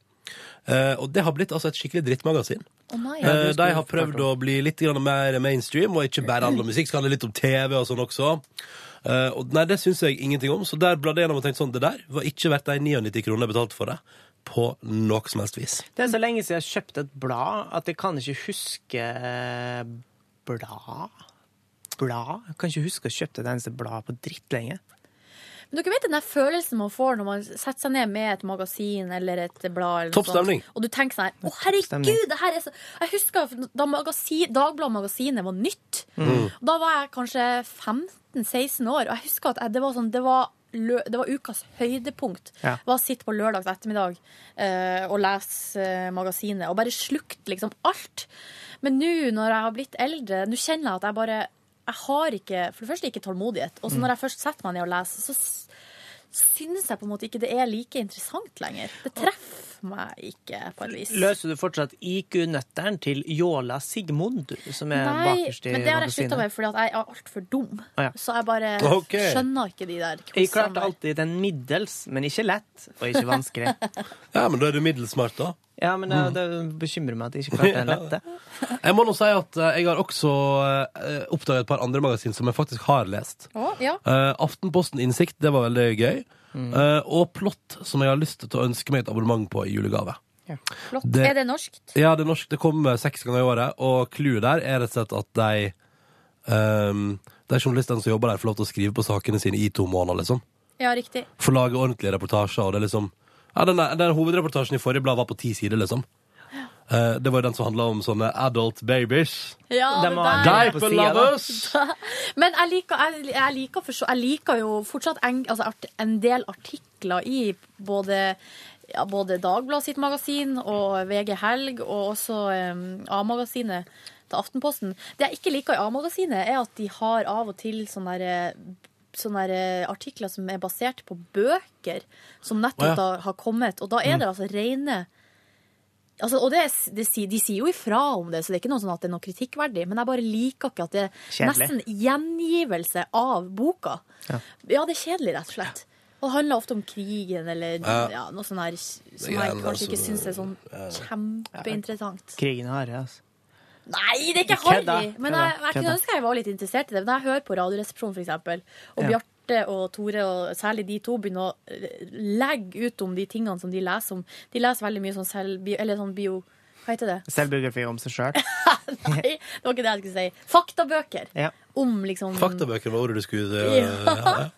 [SPEAKER 2] Eh, og det har blitt altså et skikkelig drittmagasin.
[SPEAKER 4] Å nei.
[SPEAKER 2] Eh, de har prøvd å bli litt grann mer mainstream, og ikke bare handle om musikk. Skal handle litt om TV og sånn også. Eh, og nei, det syns jeg ingenting om, så der bladde jeg gjennom og tenkte sånn, det der var ikke verdt de 99 kronene jeg betalte for det. På noe som helst vis.
[SPEAKER 5] Det er så lenge siden jeg kjøpte et blad at jeg kan ikke huske eh, blad. Blad? Jeg kan ikke huske å ha kjøpt et eneste blad på dritt lenge.
[SPEAKER 4] Men dere vet den der følelsen man får når man setter seg ned med et magasin eller et blad. Eller noe
[SPEAKER 5] Topp
[SPEAKER 4] sånt,
[SPEAKER 5] stemning.
[SPEAKER 4] Og du tenker sånn her Å,
[SPEAKER 5] stemning.
[SPEAKER 4] herregud, det her er så Jeg husker da magasin, Dagbladet Magasinet var nytt.
[SPEAKER 12] Mm.
[SPEAKER 4] Da var jeg kanskje 15-16 år, og jeg husker at jeg, det var sånn det var, lø, det var ukas høydepunkt.
[SPEAKER 12] Ja.
[SPEAKER 4] Var å sitte på lørdags ettermiddag eh, og lese eh, magasinet og bare slukte liksom alt. Men nå når jeg har blitt eldre, nå kjenner jeg at jeg bare Jeg har ikke For det første ikke tålmodighet. Og så
[SPEAKER 12] Mm.
[SPEAKER 4] når jeg først setter meg ned og leser, så s- syns jeg på en måte ikke det er like interessant lenger. Det treffer meg ikke på et vis.
[SPEAKER 5] Løser du fortsatt IQ-nøtteren til Jåla Sigmund, som er
[SPEAKER 4] Nei,
[SPEAKER 5] eh, bakerst i
[SPEAKER 4] men det har jeg
[SPEAKER 5] magasinet?
[SPEAKER 4] slutta med fordi at jeg er altfor dum.
[SPEAKER 5] Å, ja.
[SPEAKER 4] Så jeg bare
[SPEAKER 5] Ok.
[SPEAKER 4] skjønner ikke de der
[SPEAKER 5] Jeg
[SPEAKER 4] quizene.
[SPEAKER 5] klarte alltid den middels, men ikke lett, og ikke vanskelig.
[SPEAKER 2] Ja, men da er du middelsmart, da.
[SPEAKER 5] Ja, men det, det bekymrer meg at jeg ikke klarte den lette.
[SPEAKER 2] Jeg må nå si at eh, jeg har også eh, oppdaget et par andre magasin som jeg faktisk har lest.
[SPEAKER 4] Å, ja.
[SPEAKER 2] Eh, Aftenposten Innsikt, det var veldig gøy. Eh, og Plott, som jeg har lyst til å ønske meg et abonnement på i julegave.
[SPEAKER 4] Flott.
[SPEAKER 2] Det-
[SPEAKER 4] Er det norsk?
[SPEAKER 2] Ja, det er norsk, det kommer seks ganger i året, og clouet der er rett og slett at de ehm, De journalistene som jobber der, får lov til å skrive på sakene sine i to måneder, liksom.
[SPEAKER 4] Ja, riktig.
[SPEAKER 2] Få lage ordentlige reportasjer, og det er liksom Ja, den, der- den hovedreportasjen i forrige blad var på ti sider, liksom. Eh, det var den som handla om sånne adult babies.
[SPEAKER 4] Ja, det der.
[SPEAKER 2] Diaper lovers!
[SPEAKER 4] Men jeg liker, jeg, jeg, liker for, så- jeg liker jo fortsatt en, altså art, en del artikler i både, ja, både Dagbladet sitt magasin og VG Helg og også em, A-magasinet til Aftenposten. Det jeg ikke liker i A-magasinet, er at de har av og til sånne der, eh, sånne der eh, artikler som er basert på bøker som nettopp
[SPEAKER 12] Å, ja.
[SPEAKER 4] da har kommet. Og da er det
[SPEAKER 12] Mm.
[SPEAKER 4] altså rene Altså, og det, er- det, sier- de sier jo ifra om det, så det er ikke noe sånn at det er noe kritikkverdig. Men jeg bare liker ikke at det er
[SPEAKER 12] Kjedelig.
[SPEAKER 4] nesten gjengivelse av boka. Ja. det er kjedelig, rett og slett. Og det handler ofte om krigen eller
[SPEAKER 5] Ja.
[SPEAKER 4] ja, noe sånt her som
[SPEAKER 5] Det er
[SPEAKER 4] jeg
[SPEAKER 5] greiene
[SPEAKER 4] kanskje ikke
[SPEAKER 5] som-
[SPEAKER 4] syns er sånn
[SPEAKER 5] Ja.
[SPEAKER 4] kjempeinteressant.
[SPEAKER 5] Krigen er harry, altså.
[SPEAKER 4] Nei, det er ikke
[SPEAKER 5] Kødda,
[SPEAKER 4] harry! Men jeg, jeg
[SPEAKER 5] kødda.
[SPEAKER 4] kunne ønske jeg var litt interessert i det. Men når jeg hører på Radioresepsjonen, for eksempel, og
[SPEAKER 5] Ja.
[SPEAKER 4] Bjarte og Tore, og særlig de to, begynner å legge ut om de tingene som de leser om. De leser veldig mye sånn selv... Eller sånn bio... Hva heter det?
[SPEAKER 5] Selvbiografi om seg sjøl.
[SPEAKER 4] Nei, det var ikke det jeg skulle si. Faktabøker.
[SPEAKER 5] Ja.
[SPEAKER 4] Om liksom
[SPEAKER 2] Faktabøker var ordet du skulle eh,
[SPEAKER 4] Ja.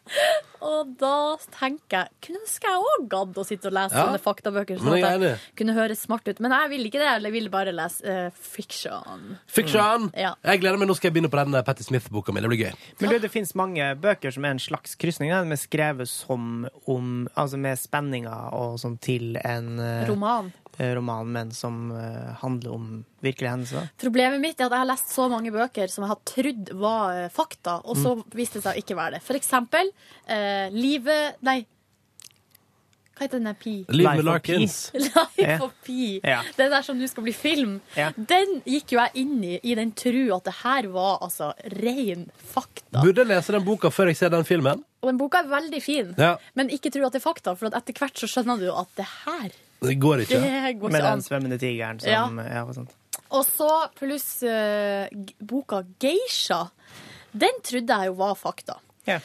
[SPEAKER 4] Og da tenker jeg Kunne ønske jeg òg gadd å sitte og lese
[SPEAKER 2] Ja.
[SPEAKER 4] sånne faktabøker.
[SPEAKER 2] Men
[SPEAKER 4] Sånn
[SPEAKER 2] jeg er
[SPEAKER 4] at jeg
[SPEAKER 2] enig.
[SPEAKER 4] kunne høres smart ut. Men jeg vil ikke det. Jeg vil bare lese eh, fiction.
[SPEAKER 2] Fiction!
[SPEAKER 4] Mm. Ja.
[SPEAKER 2] Jeg gleder meg. Nå skal jeg begynne på den eh, Patti Smith-boka mi. Det blir gøy.
[SPEAKER 5] Men du, det finnes mange bøker som er en slags krysning. da. De er skrevet som om Altså med spenninger og sånn til en eh,
[SPEAKER 4] Roman.
[SPEAKER 5] eh, roman, men som eh, handler om virkelige hendelser.
[SPEAKER 4] Problemet mitt er at jeg har lest så mange bøker som jeg har trodd var eh, fakta, og så
[SPEAKER 2] Mm.
[SPEAKER 4] viste det seg å ikke være det. For eksempel eh, Livet Nei. Hva heter den der Pi?
[SPEAKER 2] Liv med Larkins.
[SPEAKER 4] Life of Pi.
[SPEAKER 2] Ja.
[SPEAKER 4] Den der som nå skal bli film. Den gikk jo jeg inn i i den tru at det her var altså ren fakta.
[SPEAKER 2] Burde jeg lese den boka før jeg ser den filmen?
[SPEAKER 4] Og den boka er veldig fin,
[SPEAKER 2] Ja.
[SPEAKER 4] men ikke tro at det er fakta, for at etter hvert så skjønner du jo at det her
[SPEAKER 2] Det går ikke.
[SPEAKER 4] Det går ikke Med den an.
[SPEAKER 5] svømmende tigeren
[SPEAKER 4] som- Ja.
[SPEAKER 5] hva sånt.
[SPEAKER 4] Og så pluss eh, g- boka Geisha. Den trodde jeg jo var fakta.
[SPEAKER 5] Ja.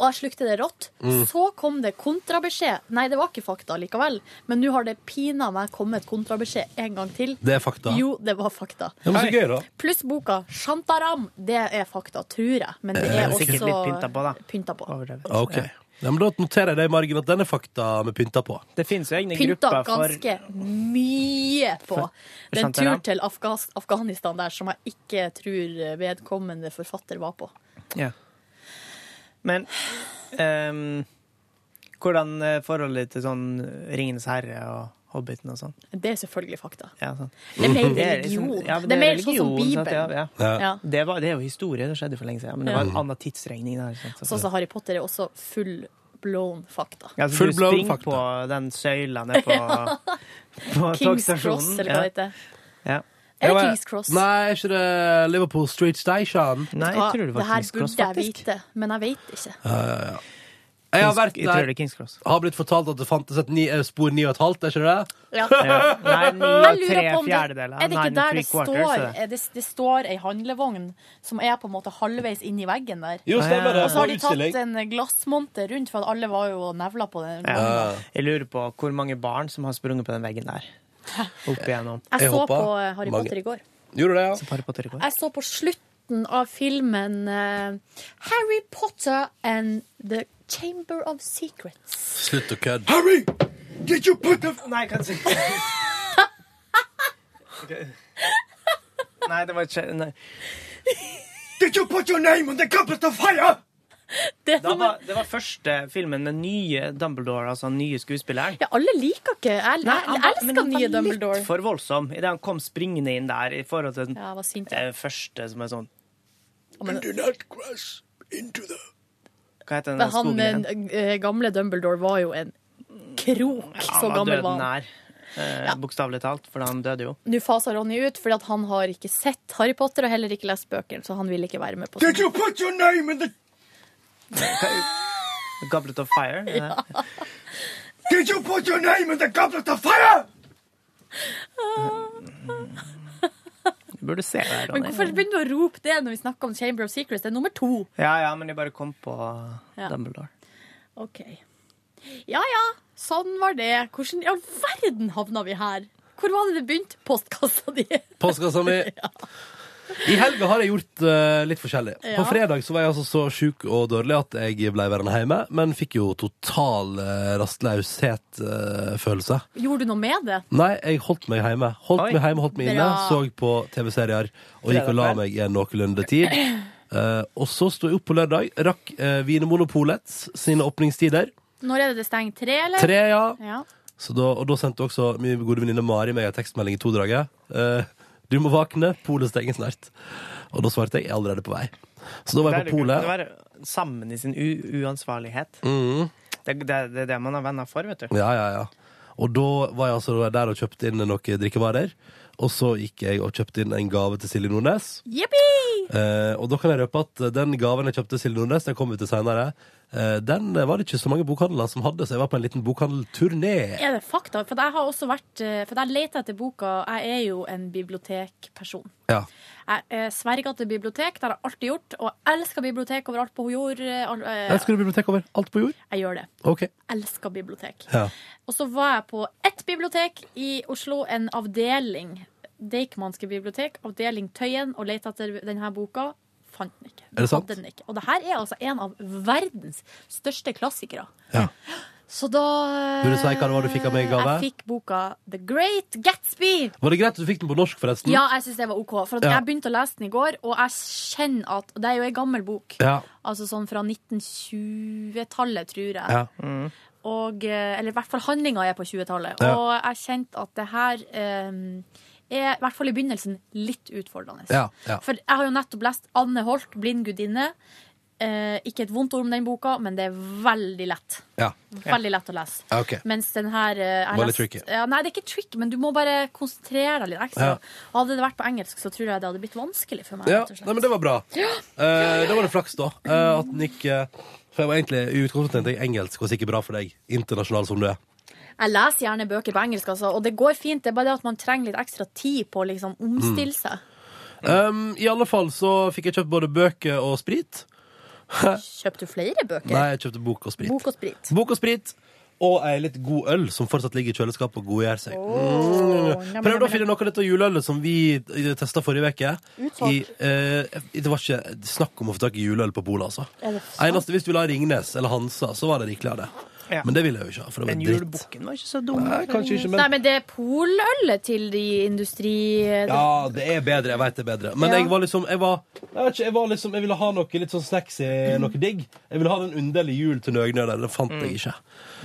[SPEAKER 4] Og jeg slukte det rått.
[SPEAKER 12] Mm.
[SPEAKER 4] Så kom det kontrabeskjed. Nei, det var ikke fakta likevel. Men nå har det pina meg kommet kontrabeskjed en gang til.
[SPEAKER 2] Det er fakta.
[SPEAKER 4] Jo, det var fakta.
[SPEAKER 2] Det var så gøy, da.
[SPEAKER 4] Pluss boka Shantaram. Det er fakta, tror jeg. Men det
[SPEAKER 2] Eh,
[SPEAKER 4] er også
[SPEAKER 2] sikkert litt pynta
[SPEAKER 5] på, da.
[SPEAKER 4] Pynta på.
[SPEAKER 2] Ok. Ja, men da noterer jeg det i margen at den er fakta med pynta på.
[SPEAKER 5] Det fins jo egne
[SPEAKER 4] pynta ganske mye på.
[SPEAKER 2] For-
[SPEAKER 4] Det er en
[SPEAKER 2] skjønte jeg
[SPEAKER 4] tur
[SPEAKER 2] det.
[SPEAKER 4] til Afgas Afghanistan der som jeg ikke tror vedkommende forfatter var på.
[SPEAKER 5] Ja. Men ehm, hvordan er forholdet til sånn Ringenes herre og Hobbiten og sånn?
[SPEAKER 4] Det er selvfølgelig fakta.
[SPEAKER 5] Ja, sånn.
[SPEAKER 4] Det er mer
[SPEAKER 5] liksom-
[SPEAKER 4] religion.
[SPEAKER 5] ja, men
[SPEAKER 4] Det er mer sånn som
[SPEAKER 5] religion, sant?
[SPEAKER 4] Bibelen.
[SPEAKER 5] Ja,
[SPEAKER 4] Ja.
[SPEAKER 5] ja.
[SPEAKER 4] Ja.
[SPEAKER 5] Det, var, det er jo historie, det skjedde for lenge siden. Men det
[SPEAKER 4] Ja.
[SPEAKER 5] var en annen tidsregning. Der, sant?
[SPEAKER 4] Sånn som Harry Potter er også full blown fakta.
[SPEAKER 5] Ja, så du springer på den søyla nede på,
[SPEAKER 4] Ja.
[SPEAKER 5] på
[SPEAKER 4] Kings
[SPEAKER 5] togstasjonen.
[SPEAKER 4] Cross, eller hva det heter.
[SPEAKER 5] Ja.
[SPEAKER 4] Er det Kings Cross?
[SPEAKER 2] Nei, er ikke det Liverpool Street Station?
[SPEAKER 4] Hva? det her burde jeg vite, men jeg vet ikke.
[SPEAKER 2] Ja, ja, ja. Jeg har
[SPEAKER 5] Kings-
[SPEAKER 2] vært
[SPEAKER 5] jeg tror det
[SPEAKER 2] der.
[SPEAKER 5] er Kings Cross.
[SPEAKER 2] Har blitt fortalt at det fantes et ni, eh, spor 9,5, er ikke det?
[SPEAKER 4] Ja.
[SPEAKER 5] Nei, ni og
[SPEAKER 4] Jeg lurer
[SPEAKER 5] tre
[SPEAKER 4] på om det-
[SPEAKER 5] fjerdedeler.
[SPEAKER 4] Er det ikke
[SPEAKER 5] Nine
[SPEAKER 4] der
[SPEAKER 5] three
[SPEAKER 4] det
[SPEAKER 5] quarters, er
[SPEAKER 4] står
[SPEAKER 5] det.
[SPEAKER 4] det, det står ei handlevogn som er på en måte halvveis inn i veggen der?
[SPEAKER 5] Jo, stemmer det,
[SPEAKER 4] Og så har
[SPEAKER 5] på
[SPEAKER 4] de tatt
[SPEAKER 5] utstilling.
[SPEAKER 4] en glassmonter rundt, for at alle var jo og nevla på den.
[SPEAKER 5] Ja. Jeg lurer på hvor mange barn som har sprunget på den veggen der. Opp igjennom.
[SPEAKER 4] Jeg så på eh, Harry Potter i går.
[SPEAKER 2] Gjorde du det,
[SPEAKER 5] ja? Harry Potter i går.
[SPEAKER 4] Jeg så på slutten av filmen eh, Harry Potter and The Chamber of Secrets.
[SPEAKER 2] Slutt å kødde.
[SPEAKER 5] Harry! Did you put the Nei, kanskje ikke. Nei, det var ikke nei. Did you put your name on the goblet of fire?
[SPEAKER 4] Det
[SPEAKER 5] var, det var første filmen med nye Dumbledore, altså den nye skuespilleren.
[SPEAKER 4] Ja, alle liker ikke Jeg, jeg,
[SPEAKER 5] han var- men
[SPEAKER 4] elsker
[SPEAKER 5] han var
[SPEAKER 4] nye Dumbledore.
[SPEAKER 5] Litt for voldsom idet han kom springende inn der i forhold til den
[SPEAKER 4] Ja, jeg var sint,
[SPEAKER 5] eh, første som er sånn
[SPEAKER 4] Men-
[SPEAKER 5] Do not crash into the Hva heter den
[SPEAKER 4] Men
[SPEAKER 5] der
[SPEAKER 4] han
[SPEAKER 5] skogen igjen?
[SPEAKER 4] eh, gamle Dumbledore var jo en krok, så gammel var
[SPEAKER 5] døden
[SPEAKER 4] han.
[SPEAKER 5] nær, eh, bokstavelig talt, for han døde jo.
[SPEAKER 4] Nå faser Ronny ut, fordi at han har ikke sett Harry Potter og heller ikke lest bøkene, så han vil ikke være med på sånt.
[SPEAKER 5] Goblet of Fire? Ja.
[SPEAKER 3] Did you put your name in the goblet of fire?
[SPEAKER 5] Du burde se det. her,
[SPEAKER 4] Men
[SPEAKER 5] Ronny.
[SPEAKER 4] hvorfor begynner du å rope det når vi snakker om Chamber of Secrets? Det er nummer to.
[SPEAKER 5] Ja, ja, men jeg bare kom på
[SPEAKER 4] Ja.
[SPEAKER 5] Dumbledore.
[SPEAKER 4] Ok. Ja ja, sånn var det. Hvordan i all verden havna vi her? Hvor var det det begynte? Postkassa di.
[SPEAKER 2] Postkassa mi. I helga har jeg gjort eh, litt forskjellig.
[SPEAKER 12] Ja.
[SPEAKER 2] På fredag så var jeg altså så sjuk og dårlig at jeg ble værende hjemme, men fikk jo total eh, rastløshet-følelse.
[SPEAKER 4] Gjorde du noe med det?
[SPEAKER 2] Nei, jeg holdt meg hjemme. Holdt
[SPEAKER 4] Oi.
[SPEAKER 2] meg hjemme, holdt meg inne,
[SPEAKER 4] Bra.
[SPEAKER 2] så på TV-serier og gikk og la meg i en noenlunde tid. Eh, og så sto jeg opp på lørdag, rakk uh, Vinmonopolets sine åpningstider.
[SPEAKER 4] Når er det det stenger? Tre, eller?
[SPEAKER 2] Tre, ja.
[SPEAKER 4] ja.
[SPEAKER 2] Så da, og da sendte også min gode venninne Mari meg en tekstmelding i todraget. Eh, du må våkne, polet stenger snart. Og da svarte jeg, jeg er allerede på vei. Så da var jeg
[SPEAKER 5] Det
[SPEAKER 2] på
[SPEAKER 5] er det
[SPEAKER 2] polet.
[SPEAKER 5] gøy. Det var sammen i sin u uansvarlighet.
[SPEAKER 2] Mhm.
[SPEAKER 5] Det er det, det, er det man har venner for, vet du.
[SPEAKER 2] Ja, ja, ja. Og da var jeg altså der og kjøpte inn noen drikkevarer. Og så gikk jeg og kjøpte inn en gave til Silje Nordnes.
[SPEAKER 4] Jippi!
[SPEAKER 2] Eh, og da kan jeg røpe at den gaven jeg kjøpte til Silje Nordnes, den kommer vi til senere, eh, den var det ikke så mange bokhandler som hadde, så jeg var på en liten bokhandelturné.
[SPEAKER 4] Er det fakta? For jeg har også vært eh, For jeg leter etter boka. Jeg er jo en bibliotekperson.
[SPEAKER 2] Ja.
[SPEAKER 4] Jeg eh, sverger til bibliotek, det har jeg alltid gjort. Og jeg elsker bibliotek overalt på jord. eh, all- eh,
[SPEAKER 2] Jeg skulle bibliotek over alt på jord.
[SPEAKER 4] Jeg gjør det.
[SPEAKER 2] Ok.
[SPEAKER 4] Elsker bibliotek.
[SPEAKER 2] Ja.
[SPEAKER 4] Og så var jeg på ett bibliotek i Oslo, en avdeling. Deichmanske bibliotek, avdeling Tøyen, og lette etter denne boka. Fant den ikke.
[SPEAKER 2] Er det sant?
[SPEAKER 4] Hadde Den ikke. Og det her er altså en av verdens største klassikere.
[SPEAKER 2] Ja.
[SPEAKER 4] Så da eh,
[SPEAKER 2] Vil du si hva det var du fikk av meg i gave?
[SPEAKER 4] Jeg fikk boka The Great Gatsby.
[SPEAKER 2] Var det greit at du fikk den på norsk, forresten?
[SPEAKER 4] Ja, jeg syns det var OK. For at
[SPEAKER 2] Mm. Ja.
[SPEAKER 4] jeg begynte å lese den i går, og jeg kjenner at og Det er jo ei gammel bok.
[SPEAKER 2] Ja.
[SPEAKER 4] Altså sånn fra 1920-tallet, tror jeg.
[SPEAKER 2] ja.
[SPEAKER 4] Og, eh, eller i hvert fall handlinga er på 20-tallet.
[SPEAKER 2] Ja.
[SPEAKER 4] Og jeg kjente at det her eh, er, i hvert fall i begynnelsen, litt utfordrende.
[SPEAKER 2] Ja, ja.
[SPEAKER 4] For jeg har jo nettopp lest Anne Holt, 'Blind gudinne'. Eh, ikke et vondt ord om den boka, men det er veldig lett.
[SPEAKER 2] Ja.
[SPEAKER 4] Veldig lett å lese.
[SPEAKER 2] Ja, ok.
[SPEAKER 4] Mens den her eh, jeg har
[SPEAKER 2] Veldig
[SPEAKER 4] lest-
[SPEAKER 2] tricky.
[SPEAKER 4] Ja, nei, det er ikke tricky, men du må bare konsentrere deg litt ekstra.
[SPEAKER 2] Ja.
[SPEAKER 4] Hadde det vært på engelsk, så tror jeg det hadde blitt vanskelig for meg.
[SPEAKER 2] Ja,
[SPEAKER 4] rett og slett.
[SPEAKER 2] nei, men det var bra.
[SPEAKER 4] Ja.
[SPEAKER 2] Eh, da var det flaks, da. eh, at den gikk eh, For jeg var egentlig i utgangspunktet tenkte jeg engelsk var sikkert bra for deg, internasjonal som du er.
[SPEAKER 4] Jeg leser gjerne bøker på engelsk, altså, og det går fint. Det er bare det at man trenger litt ekstra tid på å liksom, omstille
[SPEAKER 2] Mm.
[SPEAKER 4] seg.
[SPEAKER 2] Um, I alle fall så fikk jeg kjøpt både bøker og sprit.
[SPEAKER 4] Kjøpte du flere bøker?
[SPEAKER 2] Nei, jeg kjøpte bok og sprit.
[SPEAKER 4] Bok og sprit.
[SPEAKER 2] Bok og sprit og ei litt god øl som fortsatt ligger i kjøleskapet og godgjør seg.
[SPEAKER 4] Åh,
[SPEAKER 2] Mm.
[SPEAKER 4] jamen,
[SPEAKER 2] Prøvde
[SPEAKER 4] jamen.
[SPEAKER 2] å finne noe av dette juleølet som vi testa forrige uke. I,
[SPEAKER 4] Utsolgt.
[SPEAKER 2] eh, det var ikke snakk om å få tak i juleøl på polet, altså.
[SPEAKER 5] Er det sant?
[SPEAKER 2] Eneste hvis du ville ha Ringnes eller Hansa, så var det rikelig av det.
[SPEAKER 5] Ja.
[SPEAKER 2] Men det ville jeg jo ikke ha, for det var
[SPEAKER 5] Den
[SPEAKER 2] dritt.
[SPEAKER 5] julebukken var ikke så dum.
[SPEAKER 2] Nei, kanskje ikke, men-
[SPEAKER 4] Nei, men det er polølet til de industri...
[SPEAKER 2] Ja, det er bedre. Jeg veit det er bedre. Men
[SPEAKER 4] Ja.
[SPEAKER 2] jeg var liksom jeg, var, jeg, vet ikke, jeg var liksom jeg ville ha noe litt sånn snacksy, noe digg. Jeg ville ha den underlige jul til Nøgnø der. Det fant jeg ikke.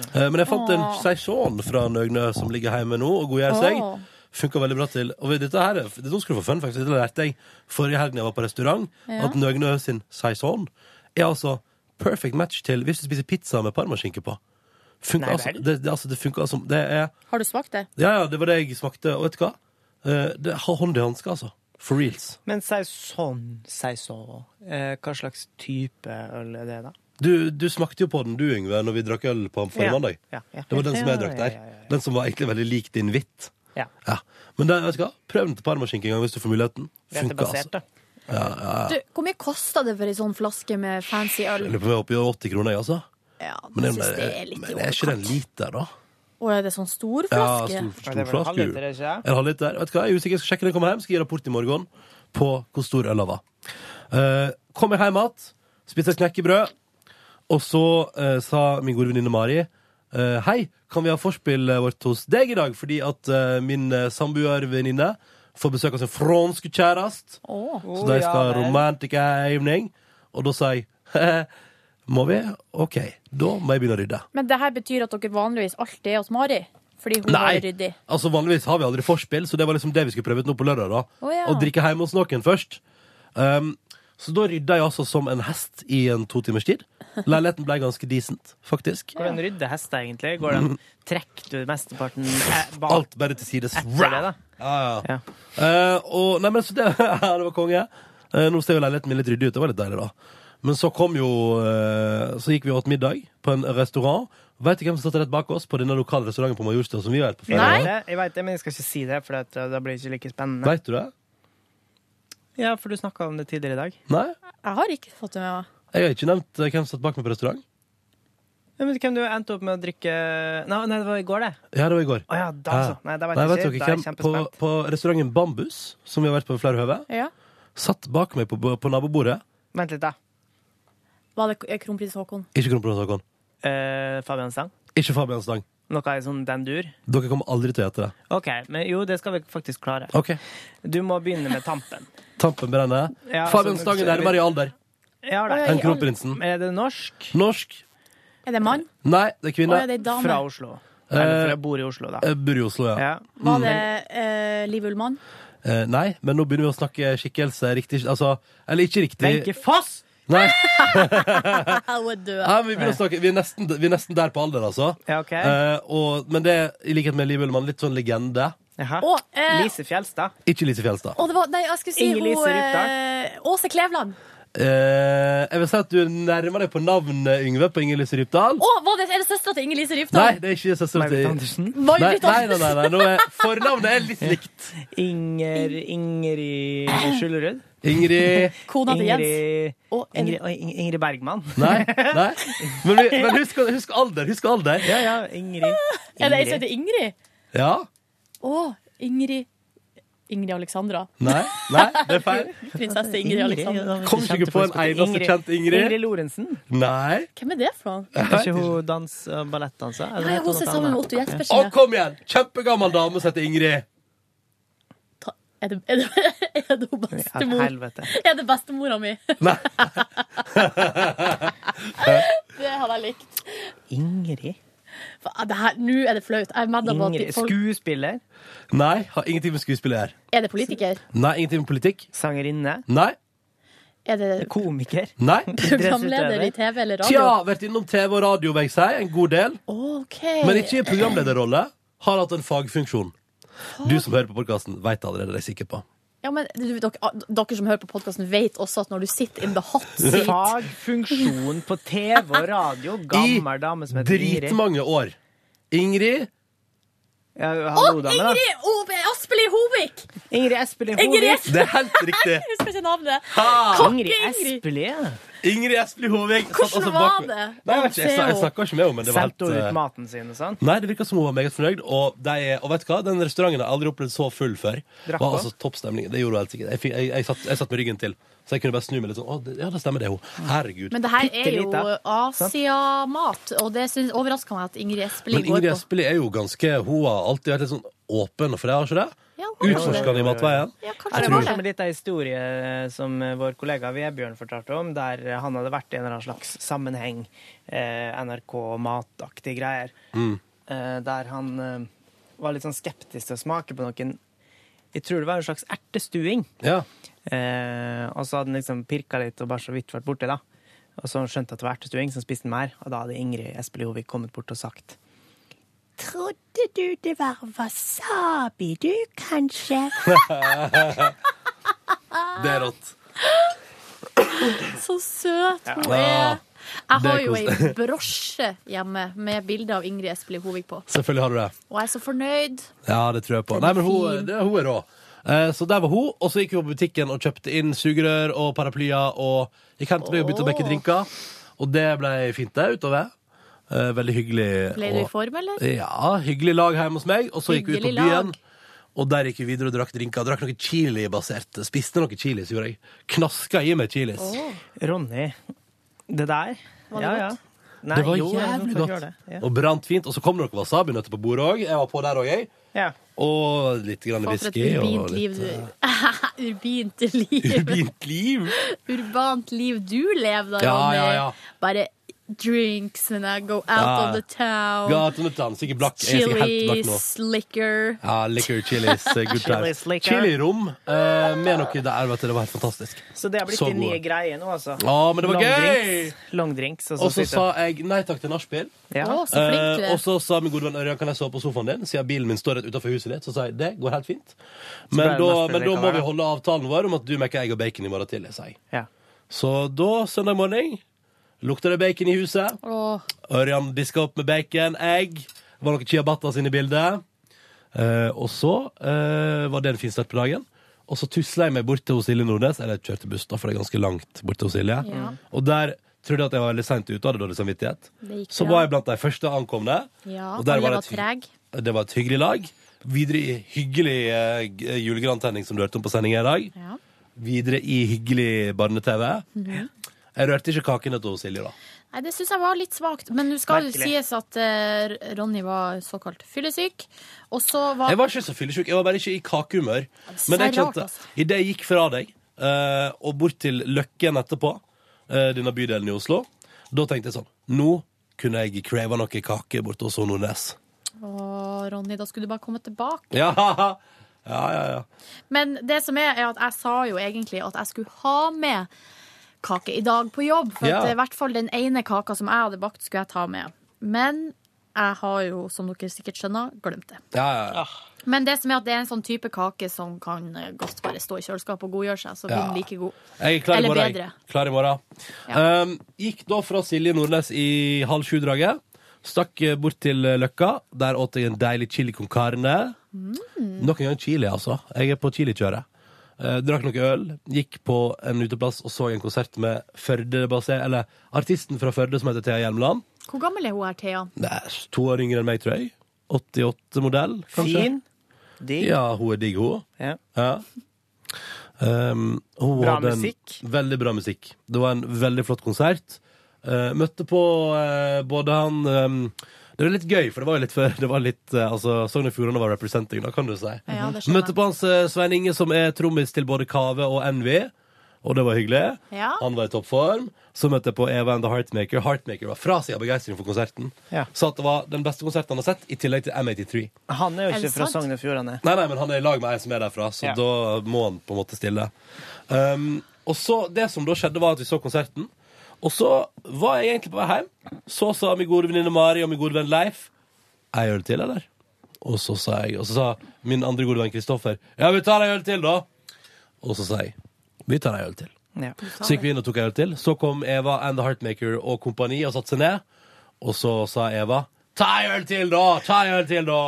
[SPEAKER 2] Eh, Men jeg fant en
[SPEAKER 12] Åh.
[SPEAKER 2] saison fra Nøgnø som ligger hjemme nå og godgjør seg.
[SPEAKER 12] Åh.
[SPEAKER 2] Funka veldig bra til. Og vet du, dette her, er- dette skal du få fun, faktisk. Dette lærte jeg forrige helg da jeg var på restaurant,
[SPEAKER 12] Ja.
[SPEAKER 2] at Nøgnø sin saison er altså perfect match til hvis du spiser pizza med parmaskinke på. Funker,
[SPEAKER 4] Nei
[SPEAKER 2] altså,
[SPEAKER 4] vel.
[SPEAKER 2] det, det, altså, det funker altså Det er
[SPEAKER 4] Har du smakt det?
[SPEAKER 2] ja, ja, det var det jeg smakte. Og vet du hva? Eh, Det har hånd i hanske, altså. For reals.
[SPEAKER 5] Men si sånn, si så. Eh, hva slags type øl er det, da?
[SPEAKER 2] Du, du smakte jo på den, du, Yngve, når vi drakk øl på forrige
[SPEAKER 5] Ja,
[SPEAKER 2] mandag.
[SPEAKER 5] ja, ja.
[SPEAKER 2] Det var den som
[SPEAKER 5] Ja,
[SPEAKER 2] jeg drakk
[SPEAKER 5] ja,
[SPEAKER 2] der.
[SPEAKER 5] ja,
[SPEAKER 2] Den som var egentlig veldig lik din hvitt.
[SPEAKER 5] Ja.
[SPEAKER 2] Men den, vet du hva? prøv den til parmaskinke en gang hvis du får muligheten. Funker,
[SPEAKER 5] Rettebasert, da.
[SPEAKER 2] altså. Ja, ja,
[SPEAKER 4] Du,
[SPEAKER 2] ja.
[SPEAKER 4] hvor mye kosta det for ei sånn flaske med fancy
[SPEAKER 2] altså. Jeg
[SPEAKER 4] øl?
[SPEAKER 2] lurer på om jeg er oppe i 80 kroner, jeg, altså.
[SPEAKER 4] Ja, jeg
[SPEAKER 2] Men, den
[SPEAKER 4] synes det
[SPEAKER 2] der-
[SPEAKER 4] er litt i
[SPEAKER 2] men er ikke den liter, da?
[SPEAKER 4] Og er det sånn stor flaske?
[SPEAKER 2] Ja, stor, stor flaske. jo. En halvliter. Vet du hva, jeg er usikker, jeg skal sjekke når jeg kommer hjem, skal gi rapport i morgen på hvor stor øla var. Eh, kom jeg hjem igjen, spiste et knekkebrød, og så eh, sa min gode venninne Mari eh, Hei, kan vi ha forspillet vårt hos deg i dag? Fordi at eh, min eh, samboervenninne får besøk av sin franske kjæreste.
[SPEAKER 4] Åh.
[SPEAKER 2] Så de skal ha romantic evening. Og da sa jeg Må vi? OK, da må jeg begynne å rydde.
[SPEAKER 4] Men det her betyr at dere vanligvis alltid er hos Mari? Fordi hun
[SPEAKER 2] Nei.
[SPEAKER 4] er ryddig?
[SPEAKER 2] Altså Vanligvis har vi aldri forspill, så det var liksom det vi skulle prøve ut nå på lørdag. da
[SPEAKER 4] Å, ja.
[SPEAKER 2] Å drikke hjemme hos noen først. Um, så da rydda jeg altså som en hest i en to timers tid. Leiligheten ble ganske decent, faktisk.
[SPEAKER 5] Går det en ryddehest, egentlig? Går den, trekker du mesteparten eh, bak?
[SPEAKER 2] Alt bare til sides.
[SPEAKER 5] Etter det, da.
[SPEAKER 2] Ja, ja. Eh, og, nei, men så det, ja, det var konge. Eh, nå ser jo leiligheten min litt ryddig ut. Det var litt deilig, da. Men så kom jo eh, Så gikk vi og åt middag på en restaurant. Vet du hvem som satt rett bak oss på denne lokale restauranten på Majorstua som vi har vært på
[SPEAKER 5] Jeg
[SPEAKER 2] flere
[SPEAKER 5] vet
[SPEAKER 2] ganger?
[SPEAKER 5] det, Jeg vet det, men jeg skal ikke si det, for at, eh, da blir det ikke like spennende.
[SPEAKER 2] Vet du det?
[SPEAKER 5] Ja, for du snakka om det tidligere i dag.
[SPEAKER 2] Nei?
[SPEAKER 4] Jeg har ikke fått det med meg.
[SPEAKER 2] Jeg har ikke nevnt eh, hvem som satt bak meg på restaurant.
[SPEAKER 5] Ja, men hvem du endte opp med å drikke Nei, nei det var i går, det.
[SPEAKER 2] Ja, det var i går.
[SPEAKER 5] Å ja, da altså. Nei, da vet jeg
[SPEAKER 2] vet
[SPEAKER 5] ikke. Da
[SPEAKER 2] dere
[SPEAKER 5] er jeg
[SPEAKER 2] hvem- på, på restauranten Bambus, som vi har vært på i flere høve,
[SPEAKER 4] Ja.
[SPEAKER 2] satt bak meg på, på nabobordet.
[SPEAKER 5] Vent litt, da.
[SPEAKER 4] Var det eh, kronprins Haakon?
[SPEAKER 2] Ikke kronprins Haakon.
[SPEAKER 5] Eh, Fabian Stang?
[SPEAKER 2] Ikke Fabian Stang.
[SPEAKER 5] Noe i sånn den dur?
[SPEAKER 2] Dere kommer aldri til å gjette det.
[SPEAKER 5] OK, men jo, det skal vi faktisk klare.
[SPEAKER 2] Ok.
[SPEAKER 5] Du må begynne med tampen.
[SPEAKER 2] Tampen brenner.
[SPEAKER 5] Ja,
[SPEAKER 2] Fabian
[SPEAKER 5] sånn-
[SPEAKER 2] Stang er nærmere i alder
[SPEAKER 5] Ja, det.
[SPEAKER 2] enn kronprinsen.
[SPEAKER 5] Er det norsk?
[SPEAKER 2] Norsk?
[SPEAKER 4] Er det mann?
[SPEAKER 2] Nei, det er kvinne.
[SPEAKER 4] Å, ja, det er dame.
[SPEAKER 5] Fra Oslo.
[SPEAKER 2] Eh,
[SPEAKER 5] Eller fra jeg bor i Oslo, da.
[SPEAKER 2] Eh, Bor i Oslo, ja.
[SPEAKER 4] Var
[SPEAKER 2] Mm.
[SPEAKER 4] det eh, Liv Ullmann?
[SPEAKER 2] Eh, Nei, men nå begynner vi å snakke skikkelse riktig Altså, eller ikke riktig.
[SPEAKER 5] Wenche Foss!
[SPEAKER 2] Nei,
[SPEAKER 4] Hun er død.
[SPEAKER 2] nei men vi, begynner å snakke, vi, er nesten, vi er nesten der på alder, altså.
[SPEAKER 5] ok.
[SPEAKER 2] Eh, og, men det er i likhet med Liv Ullmann litt sånn legende.
[SPEAKER 4] Å, eh,
[SPEAKER 5] Lise Fjelstad.
[SPEAKER 2] Ikke Lise Fjelstad.
[SPEAKER 4] Å, det var, nei, jeg skulle si
[SPEAKER 5] Inger Lise
[SPEAKER 4] hun
[SPEAKER 5] Rypdal.
[SPEAKER 4] eh, Åse Klevland.
[SPEAKER 2] Eh, jeg vil si at du nærmer deg på navnet, Yngve, på Inger Lise Rypdal.
[SPEAKER 4] Å, var det, er det søstera til Inger Lise
[SPEAKER 2] Nei,
[SPEAKER 4] Rypdal?
[SPEAKER 2] det er ikke søstera til Andersen. Nei, nei,
[SPEAKER 4] May-Britt
[SPEAKER 2] nei, nei, nei. Nå er fornavnet er litt likt.
[SPEAKER 5] Inger Ingrid Skjullerud.
[SPEAKER 2] Ingrid
[SPEAKER 4] Kona til
[SPEAKER 5] Ingrid,
[SPEAKER 4] Jens. Og er det-
[SPEAKER 5] Ingrid, og Ing- Ingrid Bergman.
[SPEAKER 2] Nei. nei. Men, vi, men husk, husk alder. Husk alder.
[SPEAKER 5] Ja, ja, Ingrid.
[SPEAKER 4] Er det ei som heter Ingrid?
[SPEAKER 2] Ja.
[SPEAKER 4] Å, Ingrid Ingrid Alexandra.
[SPEAKER 2] Nei. nei, det er feil.
[SPEAKER 4] Prinsesse Ingrid Alexandra.
[SPEAKER 2] Kom ikke på en eneste kjent Ingrid.
[SPEAKER 5] Ingrid Lorentzen.
[SPEAKER 2] Nei.
[SPEAKER 4] Hvem er det fra?
[SPEAKER 5] Er ikke hun dans ballettdanser?
[SPEAKER 4] Ja, ja, hun ser sammen med Otto
[SPEAKER 2] Å,
[SPEAKER 4] Jespersen. ja.
[SPEAKER 2] kom igjen! Kjempegammel dame som heter Ingrid.
[SPEAKER 4] Ta- Er det, er det, er det hun bestemor?
[SPEAKER 5] Helvete.
[SPEAKER 4] Er det bestemora mi?
[SPEAKER 2] Nei.
[SPEAKER 4] Det hadde jeg likt.
[SPEAKER 5] Ingrid.
[SPEAKER 4] For Det her, Nå er det flaut. Jeg er medd av
[SPEAKER 5] Ingrid.
[SPEAKER 4] at folk
[SPEAKER 5] Skuespiller.
[SPEAKER 2] Nei, har ingenting med skuespill å gjøre.
[SPEAKER 4] Er det politiker?
[SPEAKER 2] Nei, ingenting med politikk.
[SPEAKER 5] Sangerinne.
[SPEAKER 2] Nei.
[SPEAKER 4] Er det
[SPEAKER 5] Komiker.
[SPEAKER 2] Nei.
[SPEAKER 4] programleder i TV eller radio?
[SPEAKER 2] Tja, vært innom TV og radio, vil jeg si. En god del.
[SPEAKER 4] OK.
[SPEAKER 2] Men ikke i programlederrolle. Har hatt en fagfunksjon. Du som hører på podkasten, veit allerede, det er jeg sikker på.
[SPEAKER 4] Ja, men du, dere, dere som hører på podkasten, vet også at når du sitter in the hot seat
[SPEAKER 5] Fagfunksjon på TV og radio.
[SPEAKER 2] I
[SPEAKER 5] Gammel dame som heter Ingrid.
[SPEAKER 2] Dritmange år. Ingrid
[SPEAKER 5] Ja,
[SPEAKER 4] Å,
[SPEAKER 5] hallo, dame, da.
[SPEAKER 4] Ingrid O- Aspelid Hovik!
[SPEAKER 5] Ingrid Espelid
[SPEAKER 4] Ingrid
[SPEAKER 5] Hovig.
[SPEAKER 4] Espelid
[SPEAKER 2] Det er helt riktig.
[SPEAKER 4] Jeg husker ikke navnet.
[SPEAKER 2] Ha!
[SPEAKER 5] Ingrid
[SPEAKER 4] Ingrid.
[SPEAKER 5] Espelid.
[SPEAKER 2] Ingrid Espelid Hovig. satt
[SPEAKER 4] Hvordan
[SPEAKER 2] altså bak
[SPEAKER 4] var
[SPEAKER 2] meg.
[SPEAKER 4] det?
[SPEAKER 2] Nei, jeg, vet ikke, jeg, snak- jeg snakka ikke med henne, men det var helt
[SPEAKER 5] Sendte hun
[SPEAKER 2] eh,
[SPEAKER 5] ut maten sin og sånn?
[SPEAKER 2] Nei, det virka som hun var meget fornøyd. Og, de, og vet du hva? den restauranten har jeg aldri opplevd så full før.
[SPEAKER 5] Drakk
[SPEAKER 2] var
[SPEAKER 5] hun?
[SPEAKER 2] altså toppstemning. Det gjorde hun helt sikkert. Jeg, fikk, jeg, jeg, satt, jeg satt med ryggen til, så jeg kunne bare snu meg litt sånn. Å, det, ja, det stemmer, det er
[SPEAKER 5] Mm.
[SPEAKER 2] hun. Herregud.
[SPEAKER 4] Men det her er jo
[SPEAKER 5] Pittelite,
[SPEAKER 4] Asiamat, og det synes, overrasker meg at Ingrid Espelid
[SPEAKER 2] Men
[SPEAKER 4] går
[SPEAKER 2] Ingrid
[SPEAKER 4] på.
[SPEAKER 2] Espelid er jo ganske Hun har alltid vært litt sånn åpen for det, har hun ikke det?
[SPEAKER 4] Ja, hun har
[SPEAKER 2] Utforskende i matveien.
[SPEAKER 4] Ja,
[SPEAKER 5] Her
[SPEAKER 4] kanskje
[SPEAKER 5] er
[SPEAKER 4] det var
[SPEAKER 5] morsom
[SPEAKER 4] det.
[SPEAKER 5] liten historie eh, som eh, vår kollega Vebjørn fortalte om, der eh, han hadde vært i en eller annen slags sammenheng, eh, NRK-mataktige greier,
[SPEAKER 2] Mm.
[SPEAKER 5] eh, der han eh, var litt sånn skeptisk til å smake på noen Jeg tror det var en slags ertestuing.
[SPEAKER 2] Ja.
[SPEAKER 5] Eh, og så hadde han liksom pirka litt og bare så vidt vært borti, da. Og så skjønte han at det var ertestuing, så spiste han mer. Og da hadde Ingrid Espelid Hovig kommet bort og sagt
[SPEAKER 12] Trodde du det var wasabi, du, kanskje?
[SPEAKER 2] Det er rått.
[SPEAKER 4] Så søt hun
[SPEAKER 2] Ja.
[SPEAKER 4] er. Jeg
[SPEAKER 2] Det
[SPEAKER 4] har
[SPEAKER 2] er
[SPEAKER 4] jo
[SPEAKER 2] kos-
[SPEAKER 4] ei brosje hjemme med bilde av Ingrid Espelid Hovig på,
[SPEAKER 2] Selvfølgelig har du det.
[SPEAKER 4] og jeg er så fornøyd.
[SPEAKER 2] Ja, det tror jeg på.
[SPEAKER 4] Den
[SPEAKER 2] Nei,
[SPEAKER 4] er
[SPEAKER 2] men hun,
[SPEAKER 4] fin.
[SPEAKER 2] det, hun er rå. Eh, Så der var hun, og så gikk hun på butikken og kjøpte inn sugerør og paraplyer. Og gikk hen til meg og begynte å mekke drinker. Og det ble fint, det, utover. Eh, Veldig hyggelig.
[SPEAKER 4] Ble du
[SPEAKER 2] og-
[SPEAKER 4] i form, eller?
[SPEAKER 2] Ja, hyggelig lag hjemme hos meg. Og så gikk vi ut på
[SPEAKER 4] Hyggelig
[SPEAKER 2] byen.
[SPEAKER 4] lag.
[SPEAKER 2] Og der gikk vi videre og drakk drinker. Drakk noe chili-basert. Spiste noe chilis, gjorde jeg. Knaska i meg chilis.
[SPEAKER 5] Ronny, det der
[SPEAKER 4] Var det godt?
[SPEAKER 5] Nei,
[SPEAKER 2] det var
[SPEAKER 5] jo, jeg
[SPEAKER 2] jævlig
[SPEAKER 5] får
[SPEAKER 2] godt.
[SPEAKER 5] gjøre det, ja.
[SPEAKER 2] Og brant fint. Og så kom det noen wasabinøtter på bordet òg. Jeg var på der òg, jeg.
[SPEAKER 5] Ja.
[SPEAKER 2] Og litt grann
[SPEAKER 4] Faen, for et
[SPEAKER 2] whisky. Og
[SPEAKER 4] urbint liv
[SPEAKER 2] litt eh,
[SPEAKER 4] du Urbint liv.
[SPEAKER 2] urbint liv.
[SPEAKER 4] Urbant liv du lever, da,
[SPEAKER 2] Ja,
[SPEAKER 4] Ronny.
[SPEAKER 2] ja, ja.
[SPEAKER 4] Bare drinks and I go out
[SPEAKER 2] Ja.
[SPEAKER 4] of the town.
[SPEAKER 2] Gatenøttene. Sikkert blakk. Jeg er sikkert helt blakk nå.
[SPEAKER 4] Chilis, liquor.
[SPEAKER 2] Ja, liquor, chilis, good times.
[SPEAKER 5] Chilis, liquor.
[SPEAKER 2] Chilirom eh, med noe der, vet du. Det var helt fantastisk.
[SPEAKER 5] Så det har blitt
[SPEAKER 2] Så
[SPEAKER 5] din nye
[SPEAKER 2] gode.
[SPEAKER 5] greie nå, altså.
[SPEAKER 2] Ja, men det var
[SPEAKER 5] Long
[SPEAKER 2] gøy!
[SPEAKER 5] drinks, Long drinks, og så,
[SPEAKER 2] Og så sa jeg nei takk til nachspiel.
[SPEAKER 5] ja.
[SPEAKER 4] Å, så flink du
[SPEAKER 2] Eh,
[SPEAKER 4] er.
[SPEAKER 2] og så sa min gode venn Ørjan kan jeg sove på sofaen din, siden bilen min står rett utenfor huset ditt. Så sa jeg det går helt fint. Men
[SPEAKER 5] det
[SPEAKER 2] da,
[SPEAKER 5] neste
[SPEAKER 2] men
[SPEAKER 5] det
[SPEAKER 2] da
[SPEAKER 5] kan
[SPEAKER 2] må
[SPEAKER 5] være.
[SPEAKER 2] vi holde avtalen vår om at du mekker egg og bacon i morgen tidlig, sa jeg.
[SPEAKER 5] ja.
[SPEAKER 2] Så da, søndag morgen, lukta det bacon i huset.
[SPEAKER 4] Åh,
[SPEAKER 2] Ørjan diska opp med bacon, egg. Det var noen ciabattas inne i bildet. Eh, og så eh, var det en fin start på dagen. Og så tusla jeg meg bort til hos Silje Nordnes. Eller jeg kjørte buss, da, for det er ganske langt bort til hos Silje.
[SPEAKER 4] Ja.
[SPEAKER 2] Og der trodde jeg at jeg var litt seint ute, hadde dårlig samvittighet.
[SPEAKER 4] det gikk
[SPEAKER 2] Så
[SPEAKER 4] bra.
[SPEAKER 2] var jeg blant de første ankomne.
[SPEAKER 4] Ja,
[SPEAKER 2] og der
[SPEAKER 4] alle
[SPEAKER 2] var det
[SPEAKER 4] var
[SPEAKER 2] et hy-
[SPEAKER 4] treg.
[SPEAKER 2] Det var et hyggelig lag. Videre i hyggelig eh, g- julegrantenning som du hørte om på sendingen i dag.
[SPEAKER 4] Ja.
[SPEAKER 2] videre i hyggelig barne-TV.
[SPEAKER 4] Mhm.
[SPEAKER 2] Jeg rørte ikke kakene til Silje, da.
[SPEAKER 4] Nei, det syns jeg var litt svakt. Men nå skal det
[SPEAKER 2] Merkelig.
[SPEAKER 4] sies at eh, Ronny var såkalt fyllesyk. Og så var
[SPEAKER 2] Jeg var ikke så fyllesyk, jeg var bare ikke i kakehumør.
[SPEAKER 4] så
[SPEAKER 2] Men jeg
[SPEAKER 4] rart,
[SPEAKER 2] kjente,
[SPEAKER 4] altså.
[SPEAKER 2] idet jeg gikk fra deg eh, og bort til Løkken etterpå, eh, denne bydelen i Oslo, da tenkte jeg sånn Nå kunne jeg crave noe kake borte hos Nordnes.
[SPEAKER 4] Å, Ronny, da skulle du bare komme tilbake.
[SPEAKER 2] Ja, ja, ja. ja.
[SPEAKER 4] Men det som er, er at jeg sa jo egentlig at jeg skulle ha med kake i dag på jobb. For
[SPEAKER 13] Ja.
[SPEAKER 4] at i hvert fall den ene kaka som jeg hadde bakt, skulle jeg ta med. Men jeg har jo, som dere sikkert skjønner, glemt det.
[SPEAKER 2] ja, ja.
[SPEAKER 4] Men det som er at det er en sånn type kake som kan eh, godt bare stå i kjøleskapet og godgjøre seg, så blir
[SPEAKER 2] Ja.
[SPEAKER 4] den like god.
[SPEAKER 2] Jeg er klar i
[SPEAKER 4] Eller
[SPEAKER 2] morgen.
[SPEAKER 4] bedre.
[SPEAKER 2] jeg. Klar i morgen. Um, gikk da fra Silje Nordnes i halv sju-draget. Stakk eh, bort til eh, Løkka. Der åt jeg en deilig chili con carne.
[SPEAKER 4] Mm.
[SPEAKER 2] Nok en gang chili, altså. Jeg er på chilikjøret. Uh, drakk noe øl, gikk på en uteplass og så en konsert med Førde-basert Eller artisten fra Førde som heter Thea Hjelmeland.
[SPEAKER 4] Hvor gammel er hun her, Thea?
[SPEAKER 2] Det er To år yngre enn meg, tror jeg. 88-modell, kanskje.
[SPEAKER 5] Fin. Digg.
[SPEAKER 2] Ja, hun er digg, hun.
[SPEAKER 5] Ja.
[SPEAKER 2] Um, hun
[SPEAKER 5] Bra
[SPEAKER 2] hadde en
[SPEAKER 5] musikk.
[SPEAKER 2] Veldig bra musikk. Det var en veldig flott konsert. Eh, møtte på eh, både han ehm, Det var litt gøy, for det var jo litt før det var litt, eh, altså, Sogn og Fjordane var representing, da, kan Mm-hmm. du si.
[SPEAKER 14] Ja, det skjønner jeg.
[SPEAKER 2] møtte på hans eh, Svein Inge, som er trommis til både Kave og Envy. Og det var hyggelig.
[SPEAKER 14] Ja.
[SPEAKER 2] Han var i toppform. Så møtte jeg på Eva and The Heartmaker. Heartmaker var fra seg av begeistring for konserten.
[SPEAKER 5] Ja.
[SPEAKER 2] Sa at det var den beste konserten han har sett, i tillegg til M83.
[SPEAKER 5] Han er jo
[SPEAKER 2] Er
[SPEAKER 5] ikke
[SPEAKER 2] det
[SPEAKER 5] fra
[SPEAKER 2] sant?
[SPEAKER 5] Sogn og Fjordane.
[SPEAKER 2] Nei, nei, men han er i lag med ei som er derfra, så
[SPEAKER 5] Ja.
[SPEAKER 2] da må han på en måte stille. Um, og så, Det som da skjedde, var at vi så konserten. Og så var jeg egentlig på vei hjem. Så sa min gode venninne Mari og min gode venn Leif Ei øl til, eller? Og så sa jeg Og så sa min andre gode venn Kristoffer Ja, vi tar ei øl til, da. Og så sa jeg Vi tar ei øl til.
[SPEAKER 5] Ja.
[SPEAKER 2] Så gikk vi inn og tok en øl til. Så kom Eva and The Heartmaker og kompani og satte seg ned. Og så sa Eva Ta en øl til, da! Ta en øl til, da!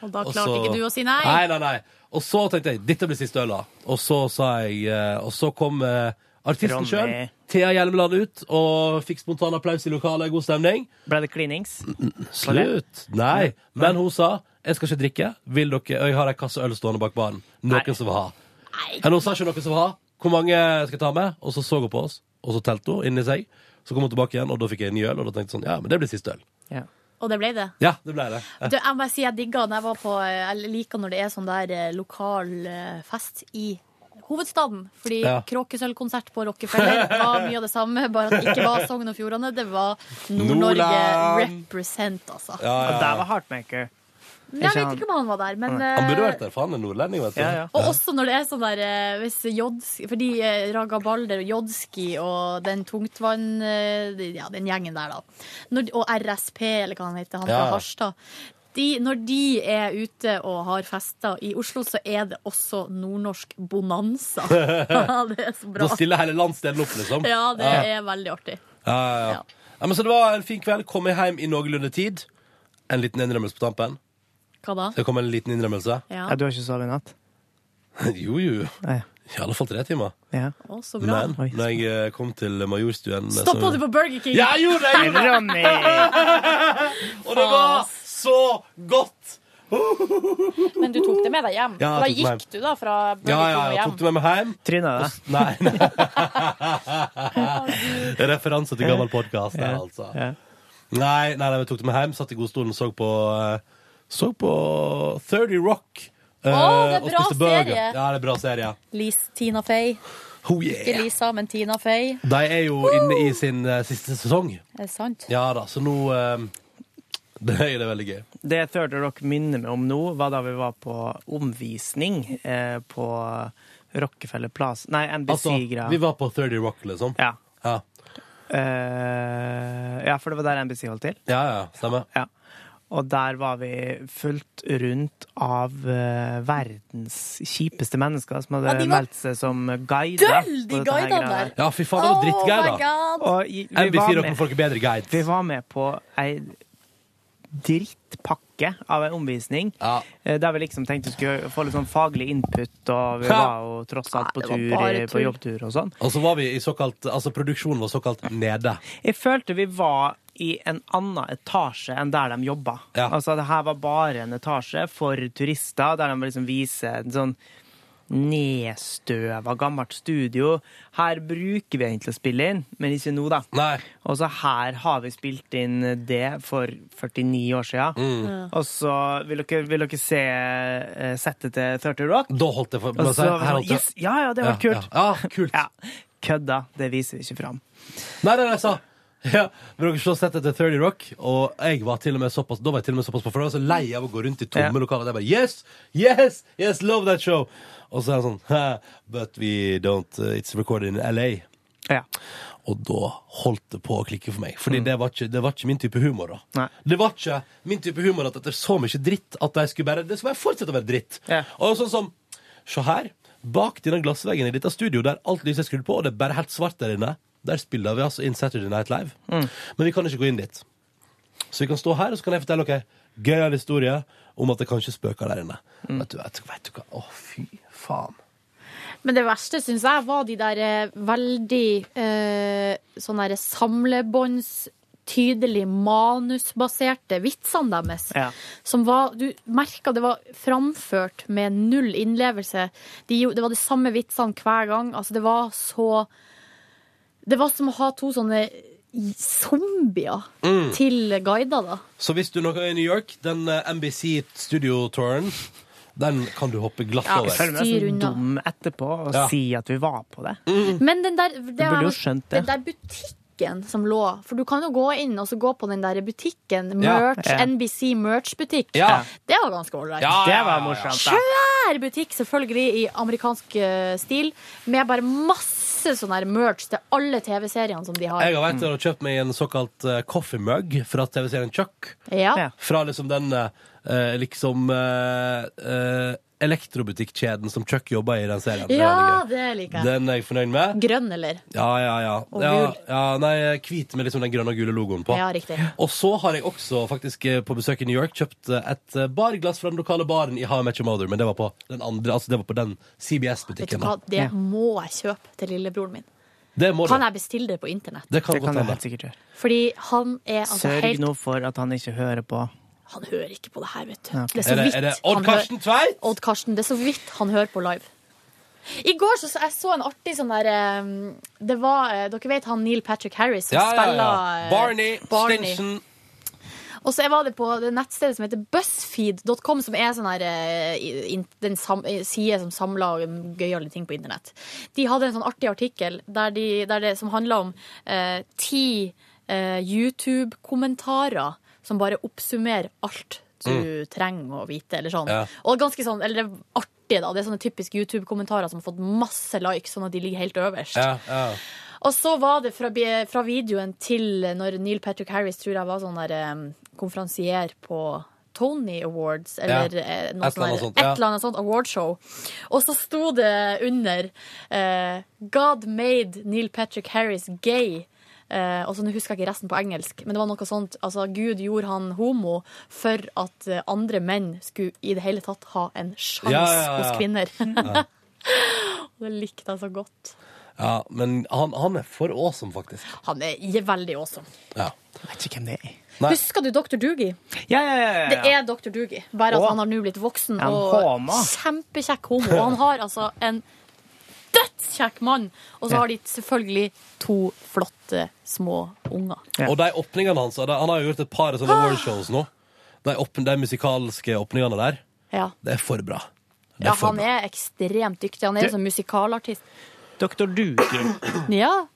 [SPEAKER 4] Og da
[SPEAKER 2] Og
[SPEAKER 4] klarte
[SPEAKER 2] så-
[SPEAKER 4] ikke du å si nei.
[SPEAKER 2] Nei, nei, nei. Og så tenkte jeg dette blir siste øl, da. Og så sa jeg eh, Og så kom eh, artisten
[SPEAKER 5] Ronny.
[SPEAKER 2] sjøl, Thea Hjelmeland, ut og fikk spontan applaus i lokalet. God stemning.
[SPEAKER 5] Ble det klinings? Var det?
[SPEAKER 2] Slutt! Nei. Men hun sa 'Jeg skal ikke drikke. Vil dere Og jeg har ei kasse øl stående bak baren. Noen som vil ha. Men hun sa ikke noen som vil ha. Hvor mange skal jeg ta med? Og så så hun på oss, og så telte hun inni seg. Så kom hun tilbake igjen, og da fikk jeg en ny øl, og da tenkte jeg sånn Ja, men det blir siste øl.
[SPEAKER 4] Og det ble det.
[SPEAKER 2] Ja, det ble det.
[SPEAKER 4] Du, jeg må si jeg digga når jeg var på Jeg liker når det er sånn der eh, lokal eh, fest i hovedstaden. Fordi
[SPEAKER 2] Ja.
[SPEAKER 4] kråkesølvkonsert på Rockefeller var mye av det samme, bare at det ikke var Sogn og Fjordane. Det var Nord-Norge
[SPEAKER 5] Nordland.
[SPEAKER 4] represent, altså.
[SPEAKER 2] Ja, ja,
[SPEAKER 5] Og der var Heartmaker.
[SPEAKER 4] Men Jeg vet ikke om han var der, men
[SPEAKER 2] Han burde
[SPEAKER 4] eh,
[SPEAKER 2] vært der, for han er nordlending, vet du.
[SPEAKER 5] Ja, ja.
[SPEAKER 4] Og også når det er sånn der eh, hvis Jodski, Fordi eh, Raga Balder og Jodski og den tungtvann... eh, de- Ja, den gjengen der, da. Når, de- og RSP, eller hva han heter, han
[SPEAKER 13] Ja,
[SPEAKER 4] fra
[SPEAKER 13] ja.
[SPEAKER 4] Harstad. De, når de er ute og har fester i Oslo, så er det også nordnorsk bonanza. Ja, det er så bra.
[SPEAKER 2] Da stiller hele landsdelen opp, liksom.
[SPEAKER 4] Ja, det
[SPEAKER 2] ja.
[SPEAKER 4] er veldig artig.
[SPEAKER 2] Ja, ja, ja. Ja, men Så det var en fin kveld. Kom jeg hjem i noenlunde tid. En liten innrømmelse på tampen.
[SPEAKER 4] Hva da?
[SPEAKER 2] Så det kom en liten innrømmelse.
[SPEAKER 4] Ja.
[SPEAKER 5] Ja, du har ikke sovet i natt?
[SPEAKER 2] Jo, jo.
[SPEAKER 5] Nei.
[SPEAKER 2] I alle fall tre timer.
[SPEAKER 5] Ja.
[SPEAKER 4] Å, så bra.
[SPEAKER 2] Men når jeg eh, kom til Majorstuen
[SPEAKER 4] Stoppa du på Burger King?
[SPEAKER 2] Ja, jeg gjorde det! jeg gjorde det. Og det var så godt!
[SPEAKER 13] Men du tok det med deg hjem?
[SPEAKER 2] Ja,
[SPEAKER 13] da
[SPEAKER 2] jeg tok det med
[SPEAKER 13] gikk du da fra
[SPEAKER 2] Ja,
[SPEAKER 13] Burger
[SPEAKER 2] ja,
[SPEAKER 13] King og
[SPEAKER 2] ja.
[SPEAKER 13] hjem?
[SPEAKER 2] Tok du med meg hjem?
[SPEAKER 5] Tryna
[SPEAKER 2] det. Nei. nei. Referanse til gammel podkast der, altså. Nei, nei, nei, vi tok det med hjem, satt i godstolen og så på eh, Så på 30 Rock.
[SPEAKER 4] Å,
[SPEAKER 2] eh,
[SPEAKER 4] det er
[SPEAKER 2] og
[SPEAKER 4] bra
[SPEAKER 2] spiste burger.
[SPEAKER 4] serie.
[SPEAKER 2] Ja, det er bra serie.
[SPEAKER 4] Lis, Tina Fey.
[SPEAKER 2] Oh,
[SPEAKER 4] Ikke
[SPEAKER 2] yeah.
[SPEAKER 4] Lisa, men Tina Fey.
[SPEAKER 2] De er jo inne i sin eh, siste sesong.
[SPEAKER 4] Er det sant?
[SPEAKER 2] Ja da, så nå eh, Det er det veldig gøy.
[SPEAKER 5] Det Third Rock minner meg om nå, var da vi var på omvisning eh, på Rockefeller Plaza Nei,
[SPEAKER 2] Altså,
[SPEAKER 5] NBC-greia.
[SPEAKER 2] vi var på 30 Rock, liksom.
[SPEAKER 5] Ja.
[SPEAKER 2] Ja.
[SPEAKER 5] Eh, ja, for det var der NBC holdt til.
[SPEAKER 2] Ja, ja, stemmer.
[SPEAKER 5] Ja. Og der var vi fulgt rundt av eh, verdens kjipeste mennesker som hadde
[SPEAKER 2] Ja, de var
[SPEAKER 5] meldt seg som guider.
[SPEAKER 4] Døll, de
[SPEAKER 5] på dette her
[SPEAKER 4] guidene
[SPEAKER 5] greia
[SPEAKER 4] der. Ja, fy faen, det var Oh drittguider. my God.
[SPEAKER 5] Og i- vi
[SPEAKER 2] NBC
[SPEAKER 5] var
[SPEAKER 2] dere
[SPEAKER 5] med-
[SPEAKER 2] får ikke bedre guide.
[SPEAKER 5] Vi var med på ei drittpakke av en omvisning, eh, der vi liksom tenkte vi skulle få litt sånn faglig input, og vi
[SPEAKER 2] Ja.
[SPEAKER 5] var jo tross alt på
[SPEAKER 2] det var
[SPEAKER 5] tur,
[SPEAKER 2] bare
[SPEAKER 5] i- på
[SPEAKER 2] tull.
[SPEAKER 5] jobbtur og sånn.
[SPEAKER 2] Og så var vi i såkalt Altså, produksjonen var såkalt nede.
[SPEAKER 5] Jeg følte vi var i en annen etasje enn der de jobba. Altså, det her var bare en etasje for turister, der de liksom viser en sånn nedstøva, gammelt studio. Her bruker vi egentlig å spille inn, men ikke nå, da. Og så her har vi spilt inn det for 49 år siden.
[SPEAKER 2] Mm.
[SPEAKER 5] Og så vil dere, vil dere se eh, settet til 30 Rock?
[SPEAKER 2] Da holdt det for
[SPEAKER 5] Og så, sånn,
[SPEAKER 2] her holdt det.
[SPEAKER 5] yes, ja, ja, det var
[SPEAKER 2] Ja,
[SPEAKER 5] kult. Ja. Kødda. Det viser vi ikke fram.
[SPEAKER 2] Nei, nei, nei, jeg sa ja, men dere så sett etter 30 Rock, og jeg var til og med såpass, da var jeg til og med såpass på for da var jeg så lei av å gå rundt i tomme lokaler. Jeg bare Yes! Yes! Yes! Love that show! Og så er det sånn «Ha, But we don't uh, It's recorded in LA. Og da holdt det på å klikke for meg. Fordi det, var ikke, det var ikke min type humor. da Det var ikke min type humor at etter så mye dritt at de skulle bare, det skulle bare fortsette å være dritt. Og sånn som Se her. Bak denne glassveggen i dette studio der alt lyset er skrudd på, og det er bare helt svart der inne, der spiller vi altså inn Saturday Night Live. Men vi kan ikke gå inn dit. Så vi kan stå her, og så kan jeg fortelle dere gøyal historie om at det kanskje spøker der inne. Vet, du, vet, vet du hva? Å, fy faen.
[SPEAKER 4] Men det verste, syns jeg, var de der eh, veldig eh, sånn derre samlebånds tydelig manusbaserte vitsene deres. Som var, du merka det var framført med null innlevelse. De, gjo- det var de samme vitsene hver gang. Altså, det var så Det var som å ha to sånne zombier
[SPEAKER 2] Mm.
[SPEAKER 4] til guider, da.
[SPEAKER 2] Så hvis du nå er i New York, den eh, NBC Studio-touren, den kan du hoppe glatt
[SPEAKER 5] Ja,
[SPEAKER 2] over.
[SPEAKER 5] jeg føler meg så Styr unna. dum etterpå å si at vi var på det.
[SPEAKER 4] Men den der, det
[SPEAKER 5] burde
[SPEAKER 4] er-
[SPEAKER 5] jo skjønt
[SPEAKER 4] Den
[SPEAKER 5] det.
[SPEAKER 4] der butikken som lå For du kan jo gå inn og så gå på den der butikken.
[SPEAKER 5] Ja,
[SPEAKER 4] Merch,
[SPEAKER 5] ja.
[SPEAKER 4] NBC Merch-butikk.
[SPEAKER 5] Ja.
[SPEAKER 4] Det var ganske ålreit.
[SPEAKER 5] Ja, Det var morsomt, da.
[SPEAKER 4] Svær butikk, selvfølgelig, i amerikansk eh, stil, med bare masse sånn her merch til alle TV-seriene som de har.
[SPEAKER 5] Eh,
[SPEAKER 2] Jeg har vært der og kjøpt meg en såkalt eh, coffee mug fra TV-serien Chuck.
[SPEAKER 4] Ja.
[SPEAKER 2] Fra liksom den eh, liksom eh, eh, elektrobutikkjeden som Chuck jobba i i den serien. Det
[SPEAKER 4] Ja,
[SPEAKER 2] var gøy.
[SPEAKER 4] det liker jeg.
[SPEAKER 2] Den er jeg fornøyd med.
[SPEAKER 4] Grønn, eller?
[SPEAKER 2] Ja, ja, ja.
[SPEAKER 4] Og
[SPEAKER 2] ja,
[SPEAKER 4] gul.
[SPEAKER 2] ja nei, hvit med liksom den grønne og gule logoen på.
[SPEAKER 4] Ja, riktig.
[SPEAKER 2] Og så har jeg også faktisk eh, på besøk i New York kjøpt eh, et eh, barglass fra den lokale baren i How I Met Your Mother, men det var på den andre, altså det var på den
[SPEAKER 4] Vet du
[SPEAKER 2] CBS-butikken.
[SPEAKER 4] hva,
[SPEAKER 2] da.
[SPEAKER 4] det må jeg kjøpe til lillebroren min.
[SPEAKER 2] Det må du.
[SPEAKER 4] Kan jeg bestille det på internett?
[SPEAKER 2] Det kan
[SPEAKER 5] Det
[SPEAKER 2] godt
[SPEAKER 5] kan du
[SPEAKER 2] hende.
[SPEAKER 5] helt sikkert gjøre.
[SPEAKER 4] Fordi han er altså
[SPEAKER 5] Sørg
[SPEAKER 4] helt
[SPEAKER 5] nå for at han ikke hører på.
[SPEAKER 4] Han hører ikke på det her, vet du.
[SPEAKER 5] Ja, ok.
[SPEAKER 4] Det er, så
[SPEAKER 5] Er det-
[SPEAKER 4] vidt
[SPEAKER 5] er det
[SPEAKER 4] han
[SPEAKER 5] Odd
[SPEAKER 4] hører-
[SPEAKER 5] Karsten Tveit?
[SPEAKER 4] Odd Karsten, det er så vidt han hører på live. I går så, så jeg så en artig sånn der eh, Det var eh, Dere vet han Neil Patrick Harris som
[SPEAKER 2] Ja, ja,
[SPEAKER 4] spiller
[SPEAKER 2] ja.
[SPEAKER 4] eh,
[SPEAKER 2] Barney,
[SPEAKER 4] Barney.
[SPEAKER 2] Stinson.
[SPEAKER 4] Og så var det på det nettstedet som heter BuzzFeed.com, som er sånn her, eh, in- den sam, eh, side som samler gøyale ting på internett. De hadde en sånn artig artikkel der de, der det, som handla om eh, ti eh, YouTube-kommentarer som bare oppsummerer alt du
[SPEAKER 13] Mm.
[SPEAKER 4] trenger å vite, eller sånn.
[SPEAKER 13] Ja.
[SPEAKER 4] Og ganske sånn, eller det er artig, da. Det er sånne typiske YouTube-kommentarer som har fått masse likes, sånn at de ligger helt øverst. Og så var det fra, fra videoen til når Neil Patrick Harris tror jeg var sånn der um, konferansier på Tony Awards, eller
[SPEAKER 13] Ja.
[SPEAKER 4] eh,
[SPEAKER 13] Et
[SPEAKER 4] noe
[SPEAKER 13] eller
[SPEAKER 4] sånn
[SPEAKER 13] annet
[SPEAKER 4] der-
[SPEAKER 13] sånt,
[SPEAKER 4] et
[SPEAKER 13] ja.
[SPEAKER 4] eller annet sånt awardshow. Og så sto det under eh, God made Neil Patrick Harris gay. Eh, og så Nå husker jeg ikke resten på engelsk, men det var noe sånt. Altså, Gud gjorde han homo for at eh, andre menn skulle i det hele tatt ha en sjanse
[SPEAKER 2] Ja, ja, ja.
[SPEAKER 4] hos kvinner.
[SPEAKER 2] Ja.
[SPEAKER 4] Og det likte jeg så godt.
[SPEAKER 2] Ja, men han, han er for awesome, faktisk.
[SPEAKER 4] Han er j- veldig awesome.
[SPEAKER 2] Ja.
[SPEAKER 5] Vet ikke hvem det er.
[SPEAKER 2] Nei.
[SPEAKER 4] Husker du Dr. Doogie?
[SPEAKER 5] Ja, ja, ja, ja, ja.
[SPEAKER 4] Det er Dr. Doogie, bare at
[SPEAKER 5] Å.
[SPEAKER 4] han har nå blitt voksen
[SPEAKER 5] En
[SPEAKER 4] og
[SPEAKER 5] homo.
[SPEAKER 4] kjempekjekk homo. Og han har altså en dødskjekk mann, og så
[SPEAKER 2] Ja.
[SPEAKER 4] har de selvfølgelig to flotte små unger.
[SPEAKER 2] Og de åpningene hans og de- Han har jo gjort et par sånne awardshows nå. De, åpn- de musikalske åpningene der.
[SPEAKER 4] Ja.
[SPEAKER 2] Det er for bra. Det er
[SPEAKER 4] ja,
[SPEAKER 2] for
[SPEAKER 4] han er ekstremt dyktig. Han er jo sånn musikalartist.
[SPEAKER 5] Dr. Duke.
[SPEAKER 4] Ja.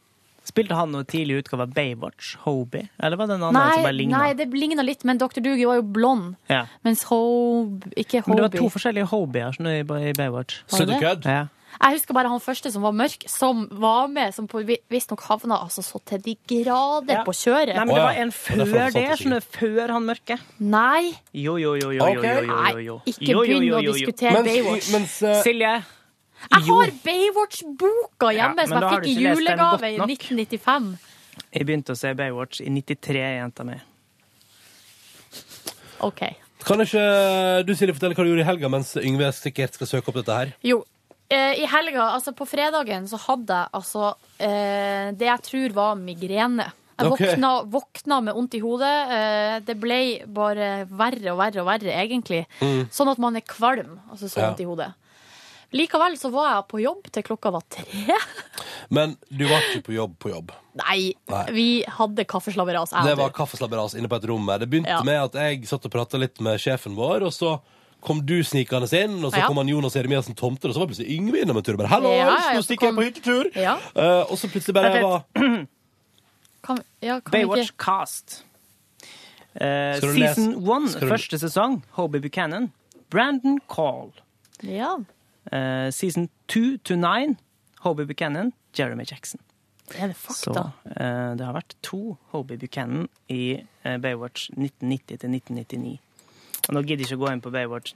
[SPEAKER 5] Spilte han noe tidlig i utgave av Baywatch? Hobie? Eller var det en annen som
[SPEAKER 4] Nei,
[SPEAKER 5] bare ligna?
[SPEAKER 4] nei, det ligna litt, men Dr. Doogie var jo blond.
[SPEAKER 5] Ja.
[SPEAKER 4] Mens Hobe Ikke
[SPEAKER 5] Men det var
[SPEAKER 4] Hobie.
[SPEAKER 5] to forskjellige hobier som er i i Baywatch.
[SPEAKER 4] Var det det? Sødderkødd?
[SPEAKER 5] Ja.
[SPEAKER 4] Jeg husker bare han første som var mørk, som var med, som på- visstnok havna altså, så til de grader på kjøret.
[SPEAKER 5] Nei, men det var en før det, skjønner du. Før han mørke.
[SPEAKER 4] Nei.
[SPEAKER 5] Jo, jo, jo, jo, jo,
[SPEAKER 4] Ok.
[SPEAKER 5] jo, jo, jo, jo.
[SPEAKER 4] Nei, ikke
[SPEAKER 5] Jo, jo,
[SPEAKER 4] begynn
[SPEAKER 5] jo,
[SPEAKER 4] å
[SPEAKER 5] jo, jo.
[SPEAKER 4] diskutere Mens- Baywatch. mens, eh,
[SPEAKER 5] Silje,
[SPEAKER 4] Jeg har Baywatch-boka hjemme
[SPEAKER 5] Ja, men
[SPEAKER 4] som
[SPEAKER 5] da
[SPEAKER 4] jeg
[SPEAKER 5] har
[SPEAKER 4] fikk
[SPEAKER 5] du
[SPEAKER 4] i
[SPEAKER 5] ikke lest den
[SPEAKER 4] julegave i
[SPEAKER 5] godt
[SPEAKER 4] 1995.
[SPEAKER 5] nok. jeg begynte å se Baywatch i 93, jenta mi.
[SPEAKER 4] OK.
[SPEAKER 2] Kan ikke du Silje, fortelle hva du gjorde i helga mens Yngve sikkert skal søke opp dette her?
[SPEAKER 4] Jo. eh, I helga, altså på fredagen, så hadde jeg altså eh, det jeg tror var migrene. Jeg
[SPEAKER 13] Ok.
[SPEAKER 4] våkna, våkna med vondt i hodet. eh, det ble bare verre og verre og verre, egentlig.
[SPEAKER 13] Mm.
[SPEAKER 4] Sånn at man er kvalm, altså så
[SPEAKER 13] Ja.
[SPEAKER 4] vondt i hodet. Likevel så var jeg på jobb til klokka var tre.
[SPEAKER 2] Men du var ikke på jobb på jobb.
[SPEAKER 4] Nei,
[SPEAKER 2] Nei.
[SPEAKER 4] vi hadde altså. kaffeslabberas. jeg og
[SPEAKER 2] Det
[SPEAKER 4] du.
[SPEAKER 2] var kaffeslabberas inne på et rom her. Det begynte
[SPEAKER 4] Ja.
[SPEAKER 2] med at jeg satt og prata litt med sjefen vår, og så kom du snikende inn, og så
[SPEAKER 4] Ja.
[SPEAKER 2] kom han Jonas Jeremiassen Tomter, og så var plutselig Yngve innom en tur. og Bare, Hallo,
[SPEAKER 4] Ja, ja,
[SPEAKER 2] nå
[SPEAKER 4] så
[SPEAKER 2] stikker jeg på hyttetur!
[SPEAKER 4] Ja.
[SPEAKER 2] Eh, og så plutselig bare
[SPEAKER 5] Vent
[SPEAKER 2] var
[SPEAKER 4] Kan, ja, kan vi
[SPEAKER 5] Baywatch
[SPEAKER 4] ikke
[SPEAKER 5] Cast. Eh,
[SPEAKER 2] Skal du
[SPEAKER 5] season
[SPEAKER 2] lese-
[SPEAKER 5] one,
[SPEAKER 2] skal du-
[SPEAKER 5] første sesong, Hobie Buchanan. Brandon Call.
[SPEAKER 4] Ja,
[SPEAKER 5] Eh, season two to nine, Hobie Buchanan, Jeremy Jackson.
[SPEAKER 4] det er
[SPEAKER 5] Så
[SPEAKER 4] fakta.
[SPEAKER 5] eh, det har vært to Hobie Buchanan i eh, Baywatch 1990 til 1999. Og nå gidder jeg ikke å gå inn på Baywatch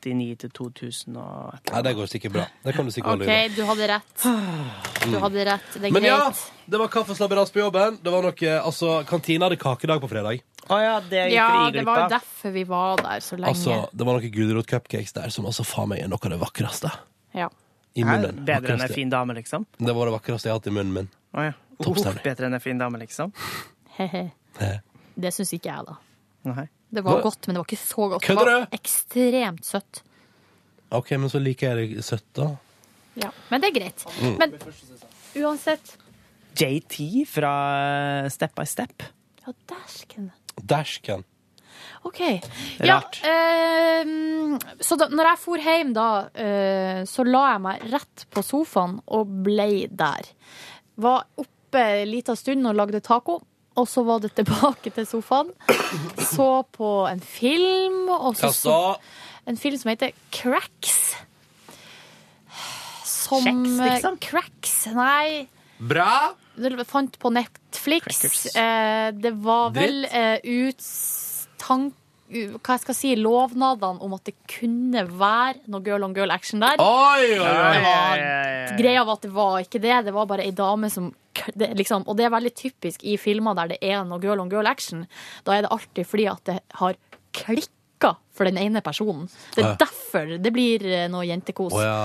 [SPEAKER 5] 99 til 2000 og et
[SPEAKER 2] Nei,
[SPEAKER 5] eller
[SPEAKER 2] det går sikkert bra. Det kan du sikkert holde
[SPEAKER 4] OK,
[SPEAKER 2] i.
[SPEAKER 4] du hadde rett. Du hadde rett. Det er
[SPEAKER 2] Mm. Men ja,
[SPEAKER 4] greit.
[SPEAKER 2] det var kaffeslabberas på jobben. Det var noe, altså, Kantina hadde kakedag på fredag.
[SPEAKER 5] Å ja, det gikk
[SPEAKER 4] Ja,
[SPEAKER 5] vi
[SPEAKER 4] det
[SPEAKER 5] glipp
[SPEAKER 4] var jo
[SPEAKER 5] av.
[SPEAKER 4] derfor vi var der så lenge.
[SPEAKER 2] Altså, det var noen gulrotcupcakes der som altså, faen meg er noe av det vakreste
[SPEAKER 4] ja.
[SPEAKER 2] i
[SPEAKER 5] Hæ?
[SPEAKER 2] munnen.
[SPEAKER 5] Bedre enn ei
[SPEAKER 2] Vakreste.
[SPEAKER 5] fin dame, liksom?
[SPEAKER 2] Det var det vakreste jeg har hatt i munnen min.
[SPEAKER 5] Å ja.
[SPEAKER 2] Topp
[SPEAKER 5] Oh,
[SPEAKER 2] stemning.
[SPEAKER 5] bedre enn ei fin dame, liksom?
[SPEAKER 4] Hehe.
[SPEAKER 2] Hæ?
[SPEAKER 4] Det syns ikke jeg, da.
[SPEAKER 5] Nei.
[SPEAKER 4] Det var
[SPEAKER 2] Hva?
[SPEAKER 4] godt, men det var ikke så godt. Det
[SPEAKER 2] Kødder
[SPEAKER 4] var
[SPEAKER 2] du?
[SPEAKER 4] ekstremt søtt.
[SPEAKER 2] OK, men så liker jeg det søtt, da.
[SPEAKER 4] Ja. Men det er greit.
[SPEAKER 2] Mm.
[SPEAKER 4] Men uansett
[SPEAKER 5] JT fra eh, Step by Step.
[SPEAKER 4] Ja, dæsken.
[SPEAKER 2] Dashcan.
[SPEAKER 4] OK.
[SPEAKER 5] Rart.
[SPEAKER 4] Ja, eh, så da når jeg for hjem, da, eh, så la jeg meg rett på sofaen og blei der. Var oppe en liten stund og lagde taco. Og så var det tilbake til sofaen. Så på en film. Og så,
[SPEAKER 2] Hva sa
[SPEAKER 4] en film som heter Cracks. Som eh,
[SPEAKER 5] Kjeks, liksom?
[SPEAKER 4] Cracks, nei.
[SPEAKER 2] Bra!
[SPEAKER 4] Det fant på Netflix. Eh, det var vel eh, uts- tank- u- hva jeg skal si, lovnadene om at det kunne være noe girl on girl action der.
[SPEAKER 2] Oi, oi, oi.
[SPEAKER 4] Det var-
[SPEAKER 2] Oi, oi, oi.
[SPEAKER 4] Greia var at det var ikke det. Det var bare ei dame som k- det, liksom, Og det er veldig typisk i filmer der det er noe girl on girl action. Da er det alltid fordi at det har klikka for den ene personen. Det
[SPEAKER 2] Ja.
[SPEAKER 4] er derfor det blir eh, noe jentekos.
[SPEAKER 2] Å ja.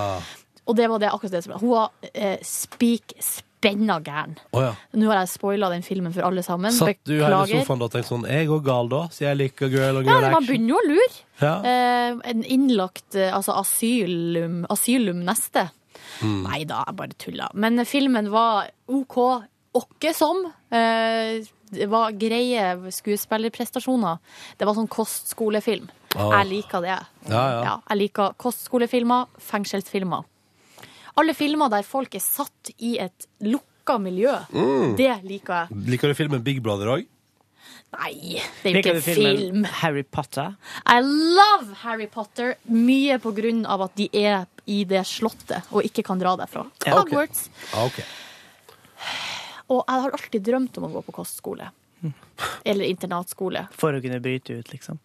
[SPEAKER 4] Og det var det akkurat det som Hun var eh, spik spenna gæren.
[SPEAKER 2] Å ja.
[SPEAKER 4] Nå har jeg spoila den filmen for alle sammen.
[SPEAKER 2] Satt du her i
[SPEAKER 4] Beklager.
[SPEAKER 2] sofaen da og tenkte sånn Jeg går gal, da, så jeg liker girl og
[SPEAKER 4] Ja, men
[SPEAKER 2] girl
[SPEAKER 4] man
[SPEAKER 2] action.
[SPEAKER 4] begynner jo å lure.
[SPEAKER 2] Ja.
[SPEAKER 4] Eh, en innlagt eh, altså asylum, asylum neste.
[SPEAKER 2] Mm.
[SPEAKER 4] Nei da, jeg bare tulla. Men filmen var OK åkke som. Eh, det var greie skuespillerprestasjoner. Det var sånn kostskolefilm.
[SPEAKER 2] Åh.
[SPEAKER 4] Jeg liker det.
[SPEAKER 2] Ja, ja.
[SPEAKER 4] jeg liker kostskolefilmer, fengselsfilmer. Alle filmer der folk er satt i et lukka miljø,
[SPEAKER 2] Mm.
[SPEAKER 4] det liker jeg.
[SPEAKER 2] Liker du filmen Big Brother òg?
[SPEAKER 4] Nei, det er jo ikke
[SPEAKER 5] Liker
[SPEAKER 4] en
[SPEAKER 5] du filmen
[SPEAKER 4] film.
[SPEAKER 5] Harry Potter.
[SPEAKER 4] I love Harry Potter mye på grunn av at de er i det slottet og ikke kan dra derfra.
[SPEAKER 2] Ja, ok.
[SPEAKER 4] Hogwarts.
[SPEAKER 2] Ah, OK.
[SPEAKER 4] Og jeg har alltid drømt om å gå på kostskole. Eller internatskole.
[SPEAKER 5] For å kunne bryte ut, liksom.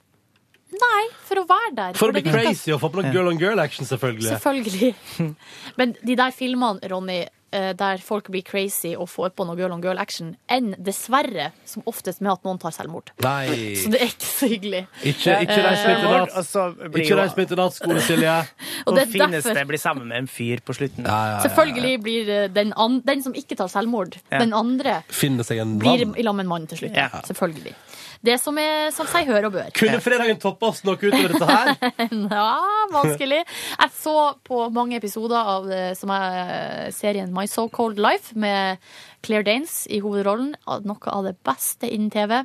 [SPEAKER 4] Nei, for å være der.
[SPEAKER 2] For å bli
[SPEAKER 4] det virker-
[SPEAKER 2] crazy og få på noe girl on girl action, selvfølgelig.
[SPEAKER 4] Selvfølgelig. Men de der filmene, Ronny, eh, der folk blir crazy og får på noe girl on girl action, enn dessverre som oftest med at noen tar selvmord.
[SPEAKER 2] Nei.
[SPEAKER 4] Så det er ikke så hyggelig.
[SPEAKER 2] Ikke, ikke reis på
[SPEAKER 4] Eh,
[SPEAKER 2] internat.
[SPEAKER 5] Og så blir
[SPEAKER 2] Ikke
[SPEAKER 5] jo-
[SPEAKER 2] reis på internatskole, Silje.
[SPEAKER 4] Og
[SPEAKER 5] Og
[SPEAKER 4] det er
[SPEAKER 5] fineste
[SPEAKER 4] derfor-
[SPEAKER 5] blir sammen med en fyr på slutten.
[SPEAKER 4] Selvfølgelig blir eh, den, an den som ikke tar selvmord,
[SPEAKER 5] Ja.
[SPEAKER 4] den andre
[SPEAKER 2] Finne seg en
[SPEAKER 4] blir
[SPEAKER 2] mann.
[SPEAKER 4] i lag med en mann til slutt.
[SPEAKER 2] Ja.
[SPEAKER 4] Selvfølgelig. Det som er som seg hør og bør.
[SPEAKER 2] Kunne fredagen toppa oss noe utover dette her?
[SPEAKER 4] ja, vanskelig. Jeg så på mange episoder av eh, som er serien My So Cold Life med Claire Danes i hovedrollen. Av- Noe av det beste innen TV.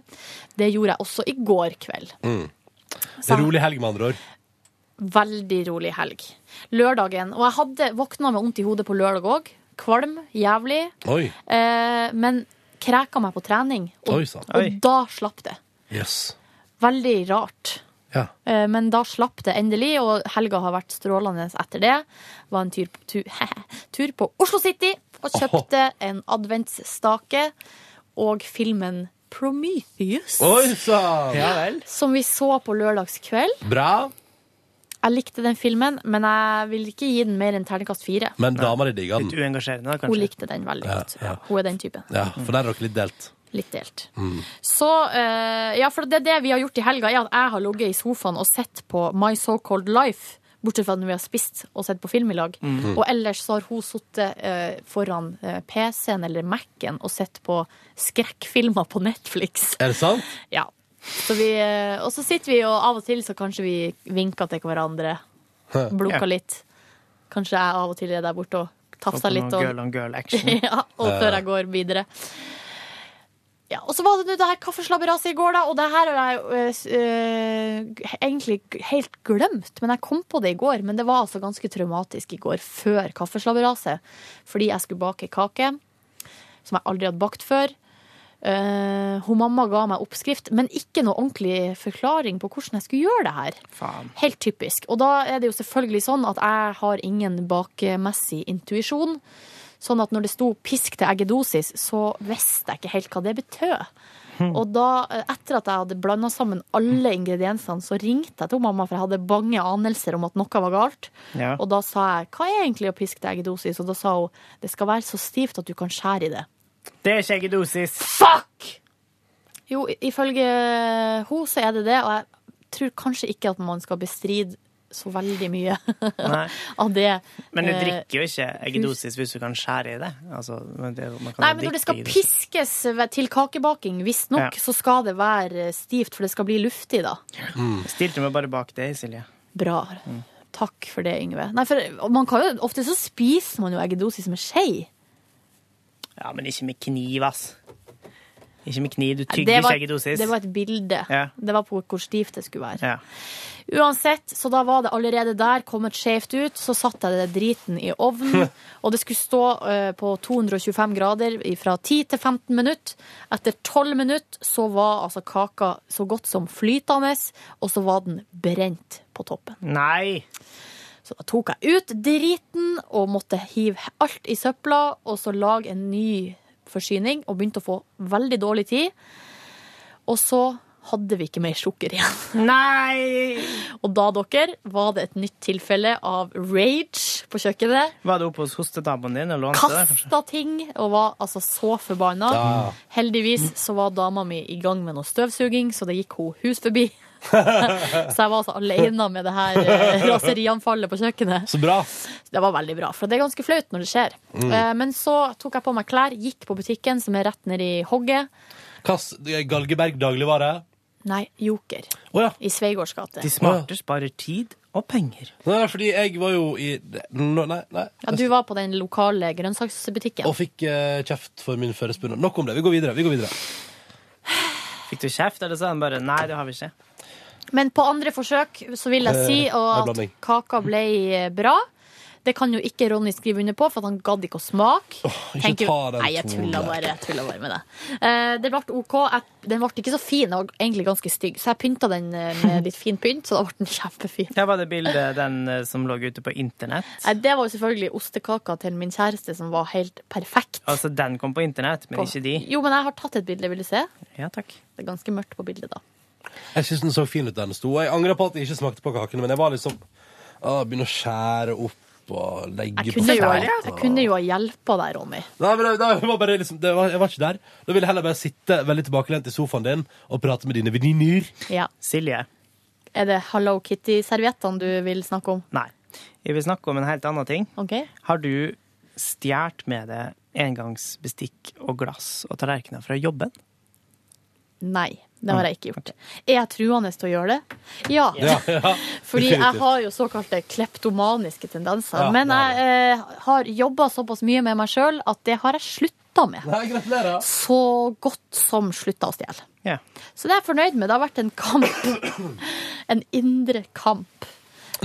[SPEAKER 4] Det gjorde jeg også i går kveld.
[SPEAKER 2] Mm. Det er rolig helg, med andre ord.
[SPEAKER 4] Veldig rolig helg. Lørdagen. Og jeg hadde våkna med vondt i hodet på lørdag òg. Kvalm. Jævlig.
[SPEAKER 2] Oi.
[SPEAKER 4] Eh, men kreka meg på trening, og,
[SPEAKER 2] Oi, sann.
[SPEAKER 4] og
[SPEAKER 2] Oi.
[SPEAKER 4] da slapp det.
[SPEAKER 2] Jøss.
[SPEAKER 4] Veldig rart.
[SPEAKER 2] Ja.
[SPEAKER 4] Eh, Men da slapp det endelig, og helga har vært strålende etter det. Var en tur på, tu, tur på Oslo City og kjøpte en adventsstake og filmen Prometheus.
[SPEAKER 2] Oi sann! Ja vel.
[SPEAKER 4] Som vi så på lørdagskveld.
[SPEAKER 2] Bra.
[SPEAKER 4] Jeg likte den filmen, men jeg vil ikke gi den mer enn terningkast fire.
[SPEAKER 2] Men dama di digga den.
[SPEAKER 5] Litt uengasjerende, da,
[SPEAKER 4] Hun likte den veldig
[SPEAKER 2] Ja,
[SPEAKER 4] godt.
[SPEAKER 2] ja.
[SPEAKER 4] Hun er den typen.
[SPEAKER 2] Ja, for der er dere litt delt.
[SPEAKER 4] Litt delt.
[SPEAKER 2] Mm.
[SPEAKER 4] Så, eh, ja, for det, er det vi har gjort i helga, er at jeg har ligget i sofaen og sett på My So-Called Life. Bortsett fra når vi har spist og sett på film i lag.
[SPEAKER 13] Mhm.
[SPEAKER 4] Og ellers så har hun sittet eh, foran eh, PC-en eller Mac-en og sett på skrekkfilmer på Netflix.
[SPEAKER 2] Er det sant?
[SPEAKER 4] Ja. Så vi, eh, og så sitter vi, og av og til så kanskje vi vinker til hverandre. Blunker litt. Kanskje jeg av og til er der borte og tafser litt.
[SPEAKER 5] Og
[SPEAKER 4] Og,
[SPEAKER 5] girl on girl action.
[SPEAKER 4] ja, og før jeg går videre. Ja, og så var det nå det her kaffeslabberaset i går, da. Og det her har jeg øh, s- øh, egentlig g- helt glemt. Men jeg kom på det i går. Men det var altså ganske traumatisk i går, før kaffeslabberaset. Fordi jeg skulle bake kake som jeg aldri hadde bakt før. Eh, hun mamma ga meg oppskrift, men ikke noe ordentlig forklaring på hvordan jeg skulle gjøre det her. Sånn. Helt typisk. Og da er det jo selvfølgelig sånn at jeg har ingen bakemessig intuisjon. Sånn at når det sto 'pisk til eggedosis', så visste jeg ikke helt hva det betød. Og da, eh, etter at jeg hadde blanda sammen alle ingrediensene, så ringte jeg til mamma, for jeg hadde bange anelser om at noe var galt.
[SPEAKER 14] Ja.
[SPEAKER 4] Og da sa jeg 'hva er egentlig å piske til eggedosis', og da sa hun 'det skal være så stivt at du kan skjære i det'.
[SPEAKER 5] Det er ikke eggedosis.
[SPEAKER 4] Fuck! Jo, i- ifølge hun så er det det, og jeg tror kanskje ikke at man skal bestride så veldig mye
[SPEAKER 5] Nei.
[SPEAKER 4] av det.
[SPEAKER 5] Men du
[SPEAKER 4] Eh,
[SPEAKER 5] drikker jo ikke eggedosis hvis du kan skjære i det. Altså, men det man kan
[SPEAKER 4] Nei,
[SPEAKER 5] jo
[SPEAKER 4] men når det
[SPEAKER 5] drikke
[SPEAKER 4] skal
[SPEAKER 5] eggedosis.
[SPEAKER 4] piskes ved- til kakebaking, visstnok,
[SPEAKER 5] Ja.
[SPEAKER 4] så skal det være stivt, for det skal bli luftig da.
[SPEAKER 5] Stilte meg bare bak det, Silje.
[SPEAKER 4] Bra.
[SPEAKER 5] Mm.
[SPEAKER 4] Takk for det, Yngve. Nei, for man kan jo, ofte så spiser man jo eggedosis med skje.
[SPEAKER 5] Ja, men ikke med kniv, ass. Ikke med kniv. Du tygger
[SPEAKER 4] Det var,
[SPEAKER 5] ikke eggedosis.
[SPEAKER 4] det var et bilde.
[SPEAKER 5] Ja.
[SPEAKER 4] Det var på hvor stivt det skulle være.
[SPEAKER 5] Ja.
[SPEAKER 4] Uansett, så da var det allerede der kommet skjevt ut. Så satte jeg det driten i ovnen, og det skulle stå eh, på 225 grader fra 10 til 15 minutter. Etter 12 minutter så var altså kaka så godt som flytende, og så var den brent på toppen.
[SPEAKER 5] Nei!
[SPEAKER 4] Så da tok jeg ut driten og måtte hive alt i søpla, og så lage en ny forsyning, og begynte å få veldig dårlig tid. Og så hadde vi ikke mer sukker igjen.
[SPEAKER 5] Nei!
[SPEAKER 4] Og da, dere, var det et nytt tilfelle av rage på kjøkkenet.
[SPEAKER 5] Var det oppe hos hostedamen din og lånte det? kanskje?
[SPEAKER 4] Kasta ting og var altså så forbanna.
[SPEAKER 5] Ja.
[SPEAKER 4] Heldigvis så var dama mi i gang med noe støvsuging, så det gikk hun hus forbi. så jeg var altså aleine med det her eh, raserianfallet på kjøkkenet.
[SPEAKER 2] Så bra.
[SPEAKER 4] Det var veldig bra, for det er ganske flaut når det skjer.
[SPEAKER 2] Mm.
[SPEAKER 4] Eh, Men så tok jeg på meg klær, gikk på butikken som er rett nedi hogget.
[SPEAKER 2] Kast, eh, Galgeberg dagligvare.
[SPEAKER 4] Nei, Joker. I Sveigårds gate.
[SPEAKER 2] De smarte
[SPEAKER 5] sparer tid og penger.
[SPEAKER 2] Nei, fordi jeg var jo i Nå- Nei, nei.
[SPEAKER 4] Ja, du var på den lokale grønnsaksbutikken.
[SPEAKER 2] Og fikk eh, kjeft for min førespurner. Nok om det. Vi går videre. vi går videre
[SPEAKER 5] Fikk du kjeft, eller sa han bare 'nei, det har vi ikke'?
[SPEAKER 4] Men på andre forsøk så vil jeg si
[SPEAKER 5] Eh,
[SPEAKER 4] og
[SPEAKER 5] en blanding.
[SPEAKER 4] at kaka ble bra. Det kan jo ikke Ronny skrive under på, for at han gadd ikke å smake.
[SPEAKER 2] ikke
[SPEAKER 4] Tenker-
[SPEAKER 2] ta den
[SPEAKER 4] Nei, jeg
[SPEAKER 2] tonen
[SPEAKER 4] tulla
[SPEAKER 2] der.
[SPEAKER 4] bare, jeg tulla bare med det. Eh, det ble OK. Jeg, den ble ikke så fin, den var egentlig ganske stygg. Så jeg pynta den eh, med litt fin pynt, så da ble den kjempefin.
[SPEAKER 5] Der var det bildet den eh, som lå ute på internett.
[SPEAKER 4] Nei, det var jo selvfølgelig ostekaka til min kjæreste som var helt perfekt.
[SPEAKER 5] Altså, den kom på internett, men
[SPEAKER 4] på-
[SPEAKER 5] ikke de.
[SPEAKER 4] Jo, men jeg har tatt et bilde, vil du se?
[SPEAKER 5] Ja, takk.
[SPEAKER 4] Det er ganske mørkt på bildet, da.
[SPEAKER 2] Jeg syns den så fin ut der den sto. Jeg angrer på at jeg ikke smakte på kakene, men jeg var liksom å, Begynne å skjære opp og legge
[SPEAKER 4] Jeg kunne jo,
[SPEAKER 2] fat,
[SPEAKER 4] jeg
[SPEAKER 2] og-
[SPEAKER 4] kunne jo ha hjelpa deg, Ronny.
[SPEAKER 2] Nei, men det, det var bare liksom, det var, Jeg var ikke der. Da ville jeg heller bare sitte veldig tilbakelent i sofaen din og prate med dine venninner.
[SPEAKER 4] Ja.
[SPEAKER 5] Silje.
[SPEAKER 4] Er det Hello Kitty-serviettene du vil snakke om?
[SPEAKER 5] Nei. Jeg vil snakke om en helt annen ting.
[SPEAKER 4] Ok.
[SPEAKER 5] Har du stjålet med deg engangsbestikk og glass og tallerkener fra jobben?
[SPEAKER 4] Nei, det har jeg ikke gjort. Er jeg truende til å gjøre det? Ja. Fordi jeg har jo såkalte kleptomaniske tendenser.
[SPEAKER 5] Ja,
[SPEAKER 4] men jeg eh, har jobba såpass mye med meg sjøl at det har jeg slutta med.
[SPEAKER 2] Nei, gratulerer.
[SPEAKER 4] Så godt som slutta å stjele.
[SPEAKER 5] Ja.
[SPEAKER 4] Så det er jeg fornøyd med. Det har vært en kamp. En indre kamp.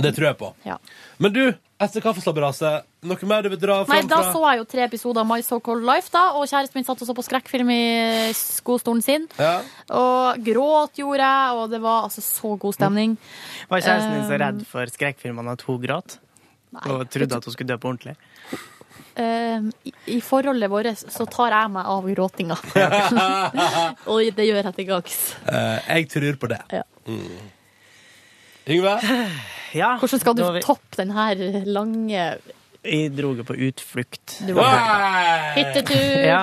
[SPEAKER 2] Det tror jeg på.
[SPEAKER 4] Ja.
[SPEAKER 2] Men du, etter kaffeslabberaset, noe mer du vil dra
[SPEAKER 4] Nei,
[SPEAKER 2] fram
[SPEAKER 4] da
[SPEAKER 2] fra?
[SPEAKER 4] så jeg jo tre episoder av My So Called Life, da, og kjæresten min satt og så på skrekkfilm i skostolen sin.
[SPEAKER 2] Ja.
[SPEAKER 4] Og gråt gjorde jeg, og det var altså så god stemning.
[SPEAKER 5] Var kjæresten din så
[SPEAKER 4] Eh,
[SPEAKER 5] redd for skrekkfilmene at hun gråt? Og trodde at hun skulle dø på ordentlig?
[SPEAKER 4] Eh, i, I forholdet vårt så tar jeg meg av gråtinga. og det gjør jeg til gangs.
[SPEAKER 2] Eh, jeg tror på det.
[SPEAKER 4] Ja.
[SPEAKER 2] Mm. Yngve?
[SPEAKER 4] Hvordan skal du
[SPEAKER 5] nå har vi- Eh,
[SPEAKER 4] toppe den her lange
[SPEAKER 5] Jeg dro jo på utflukt.
[SPEAKER 4] Du var på utflukt. Hyttetur.
[SPEAKER 5] Ja.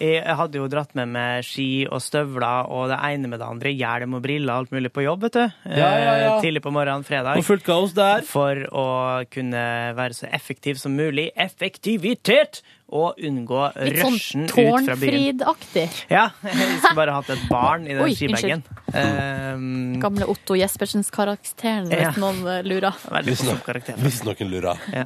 [SPEAKER 5] Jeg hadde jo dratt med meg ski og støvler og det ene med det andre. Hjelm og briller og alt mulig på jobb, vet du.
[SPEAKER 2] Ja, ja, ja.
[SPEAKER 5] Eh, Tidlig på morgenen fredag.
[SPEAKER 2] Og fullt kaos der.
[SPEAKER 5] For å kunne være så effektiv som mulig. Effektivitet! og unngå
[SPEAKER 9] Litt sånn
[SPEAKER 5] rushen ut fra byen.
[SPEAKER 9] Tårnfrid-aktig.
[SPEAKER 5] Ja, jeg skulle bare hatt et barn i den
[SPEAKER 9] Oi,
[SPEAKER 5] skibagen. Eh,
[SPEAKER 9] Gamle Otto Jespersens-karakteren,
[SPEAKER 5] Ja.
[SPEAKER 9] hvis noen eh, lurer.
[SPEAKER 5] veldig
[SPEAKER 2] Hvis, no
[SPEAKER 5] morsom karakter.
[SPEAKER 2] hvis noen lurer.
[SPEAKER 5] Ja.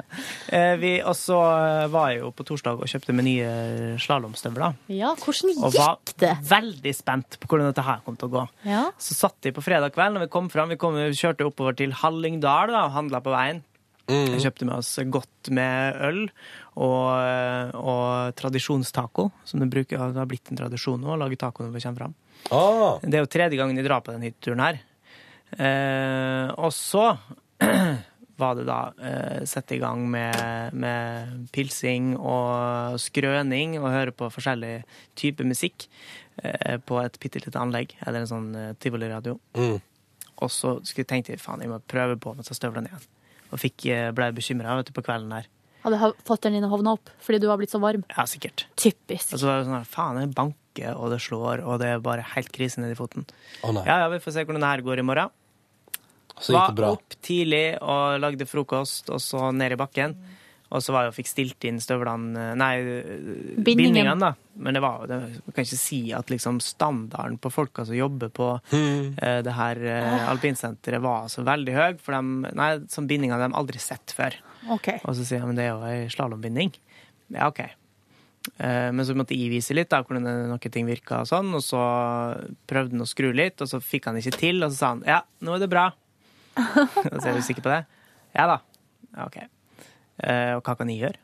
[SPEAKER 5] Eh, vi også eh, var jeg jo på torsdag og kjøpte meg nye slalåmstøvler.
[SPEAKER 9] Ja, hvordan
[SPEAKER 5] Og var
[SPEAKER 9] gikk det?
[SPEAKER 5] veldig spent på hvordan dette her kom til å gå.
[SPEAKER 9] Ja.
[SPEAKER 5] Så satt de på fredag kveld når vi kom fram. Vi, kom, vi kjørte oppover til Hallingdal da, og handla på veien. Jeg kjøpte med oss godt med øl og, og tradisjonstaco, som det, bruker, det har blitt en tradisjon nå, å lage taco når vi kommer fram.
[SPEAKER 2] Ah,
[SPEAKER 5] Det er jo tredje gangen jeg drar på denne hytteturen her. Eh, og så var det da eh, sette i gang med, med pilsing og skrøning og høre på forskjellig type musikk eh, på et bitte lite anlegg, eller en sånn eh, tivoliradio.
[SPEAKER 2] mm.
[SPEAKER 5] Og så skulle jeg tenkte jeg faen, jeg må prøve på med å ta støvlene igjen. Og fikk, eh, ble bekymra på kvelden der.
[SPEAKER 9] Hadde ha- fatteren din havna opp fordi du var blitt så varm?
[SPEAKER 5] Ja, sikkert.
[SPEAKER 9] Typisk.
[SPEAKER 5] Og så var det sånn her, faen, det banker, og det slår, og det er bare helt krise nedi foten. ja, ja, vi får se hvordan det her går i morgen.
[SPEAKER 2] Så gikk det bra.
[SPEAKER 5] Var opp tidlig og lagde frokost, og så ned i bakken. Og så var jeg og fikk stilt inn støvlene Nei, bindingene,
[SPEAKER 9] Bindingen.
[SPEAKER 5] da. Men det var jo det, Man kan ikke si at liksom standarden på folka som jobber på eh, det her
[SPEAKER 9] Ah.
[SPEAKER 5] eh, alpinsenteret, var så veldig høy. For de, nei, sånn bindinger de har aldri sett før.
[SPEAKER 13] OK.
[SPEAKER 5] Og så sier jeg, men det er jo ei slalåmbinding. Ja, OK. Eh, Men så måtte jeg vise litt da, hvordan det- noen ting virka, og sånn, og så prøvde han å skru litt, og så fikk han ikke til, og så sa han ja, nå er det bra. Og så er du sikker på det? Ja da. Ja, OK. Eh, Og hva kan jeg gjøre?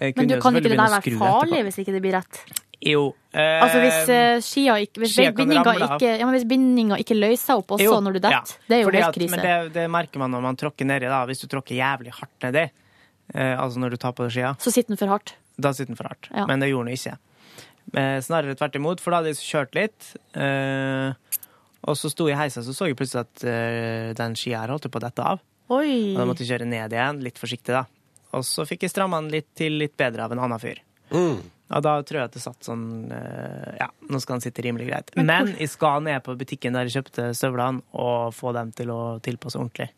[SPEAKER 5] Jeg
[SPEAKER 9] Men
[SPEAKER 5] kunne
[SPEAKER 9] du
[SPEAKER 5] jo
[SPEAKER 9] kan ikke
[SPEAKER 5] selvfølgelig
[SPEAKER 9] det der
[SPEAKER 5] begynne å
[SPEAKER 9] være
[SPEAKER 5] skru etterpå.
[SPEAKER 9] farlig hvis ikke det blir rett?
[SPEAKER 5] Jo. eh,
[SPEAKER 9] Altså hvis eh, skia ikke Hvis,
[SPEAKER 5] skia kan
[SPEAKER 9] bindinga,
[SPEAKER 5] ramle av.
[SPEAKER 9] ikke, ja, men hvis bindinga ikke løser seg opp også
[SPEAKER 5] Jo,
[SPEAKER 9] når du detter,
[SPEAKER 5] ja.
[SPEAKER 9] det er jo
[SPEAKER 5] Fordi
[SPEAKER 9] helt
[SPEAKER 5] at-
[SPEAKER 9] krise.
[SPEAKER 5] Men det, det merker man når man tråkker nedi, da. Hvis du tråkker jævlig hardt nedi, eh, altså når du tar på deg skia.
[SPEAKER 9] Så sitter den for hardt.
[SPEAKER 5] Da sitter den for hardt.
[SPEAKER 9] Ja.
[SPEAKER 5] Men det gjorde den ikke. Eh, Snarere tvert imot, for da hadde jeg kjørt litt. eh, Og så sto jeg i heisa, så så jeg plutselig at eh, den skia her holdt på å dette av.
[SPEAKER 9] Oi.
[SPEAKER 5] Og da måtte jeg kjøre ned igjen, litt forsiktig, da. Og så fikk jeg stramma den litt til litt bedre av en annen fyr. Og da tror jeg at det satt sånn eh, Ja, nå skal den sitte rimelig greit.
[SPEAKER 9] Men hvor-
[SPEAKER 5] Men jeg skal ned på butikken der jeg kjøpte støvlene, og få dem til å tilpasse ordentlig.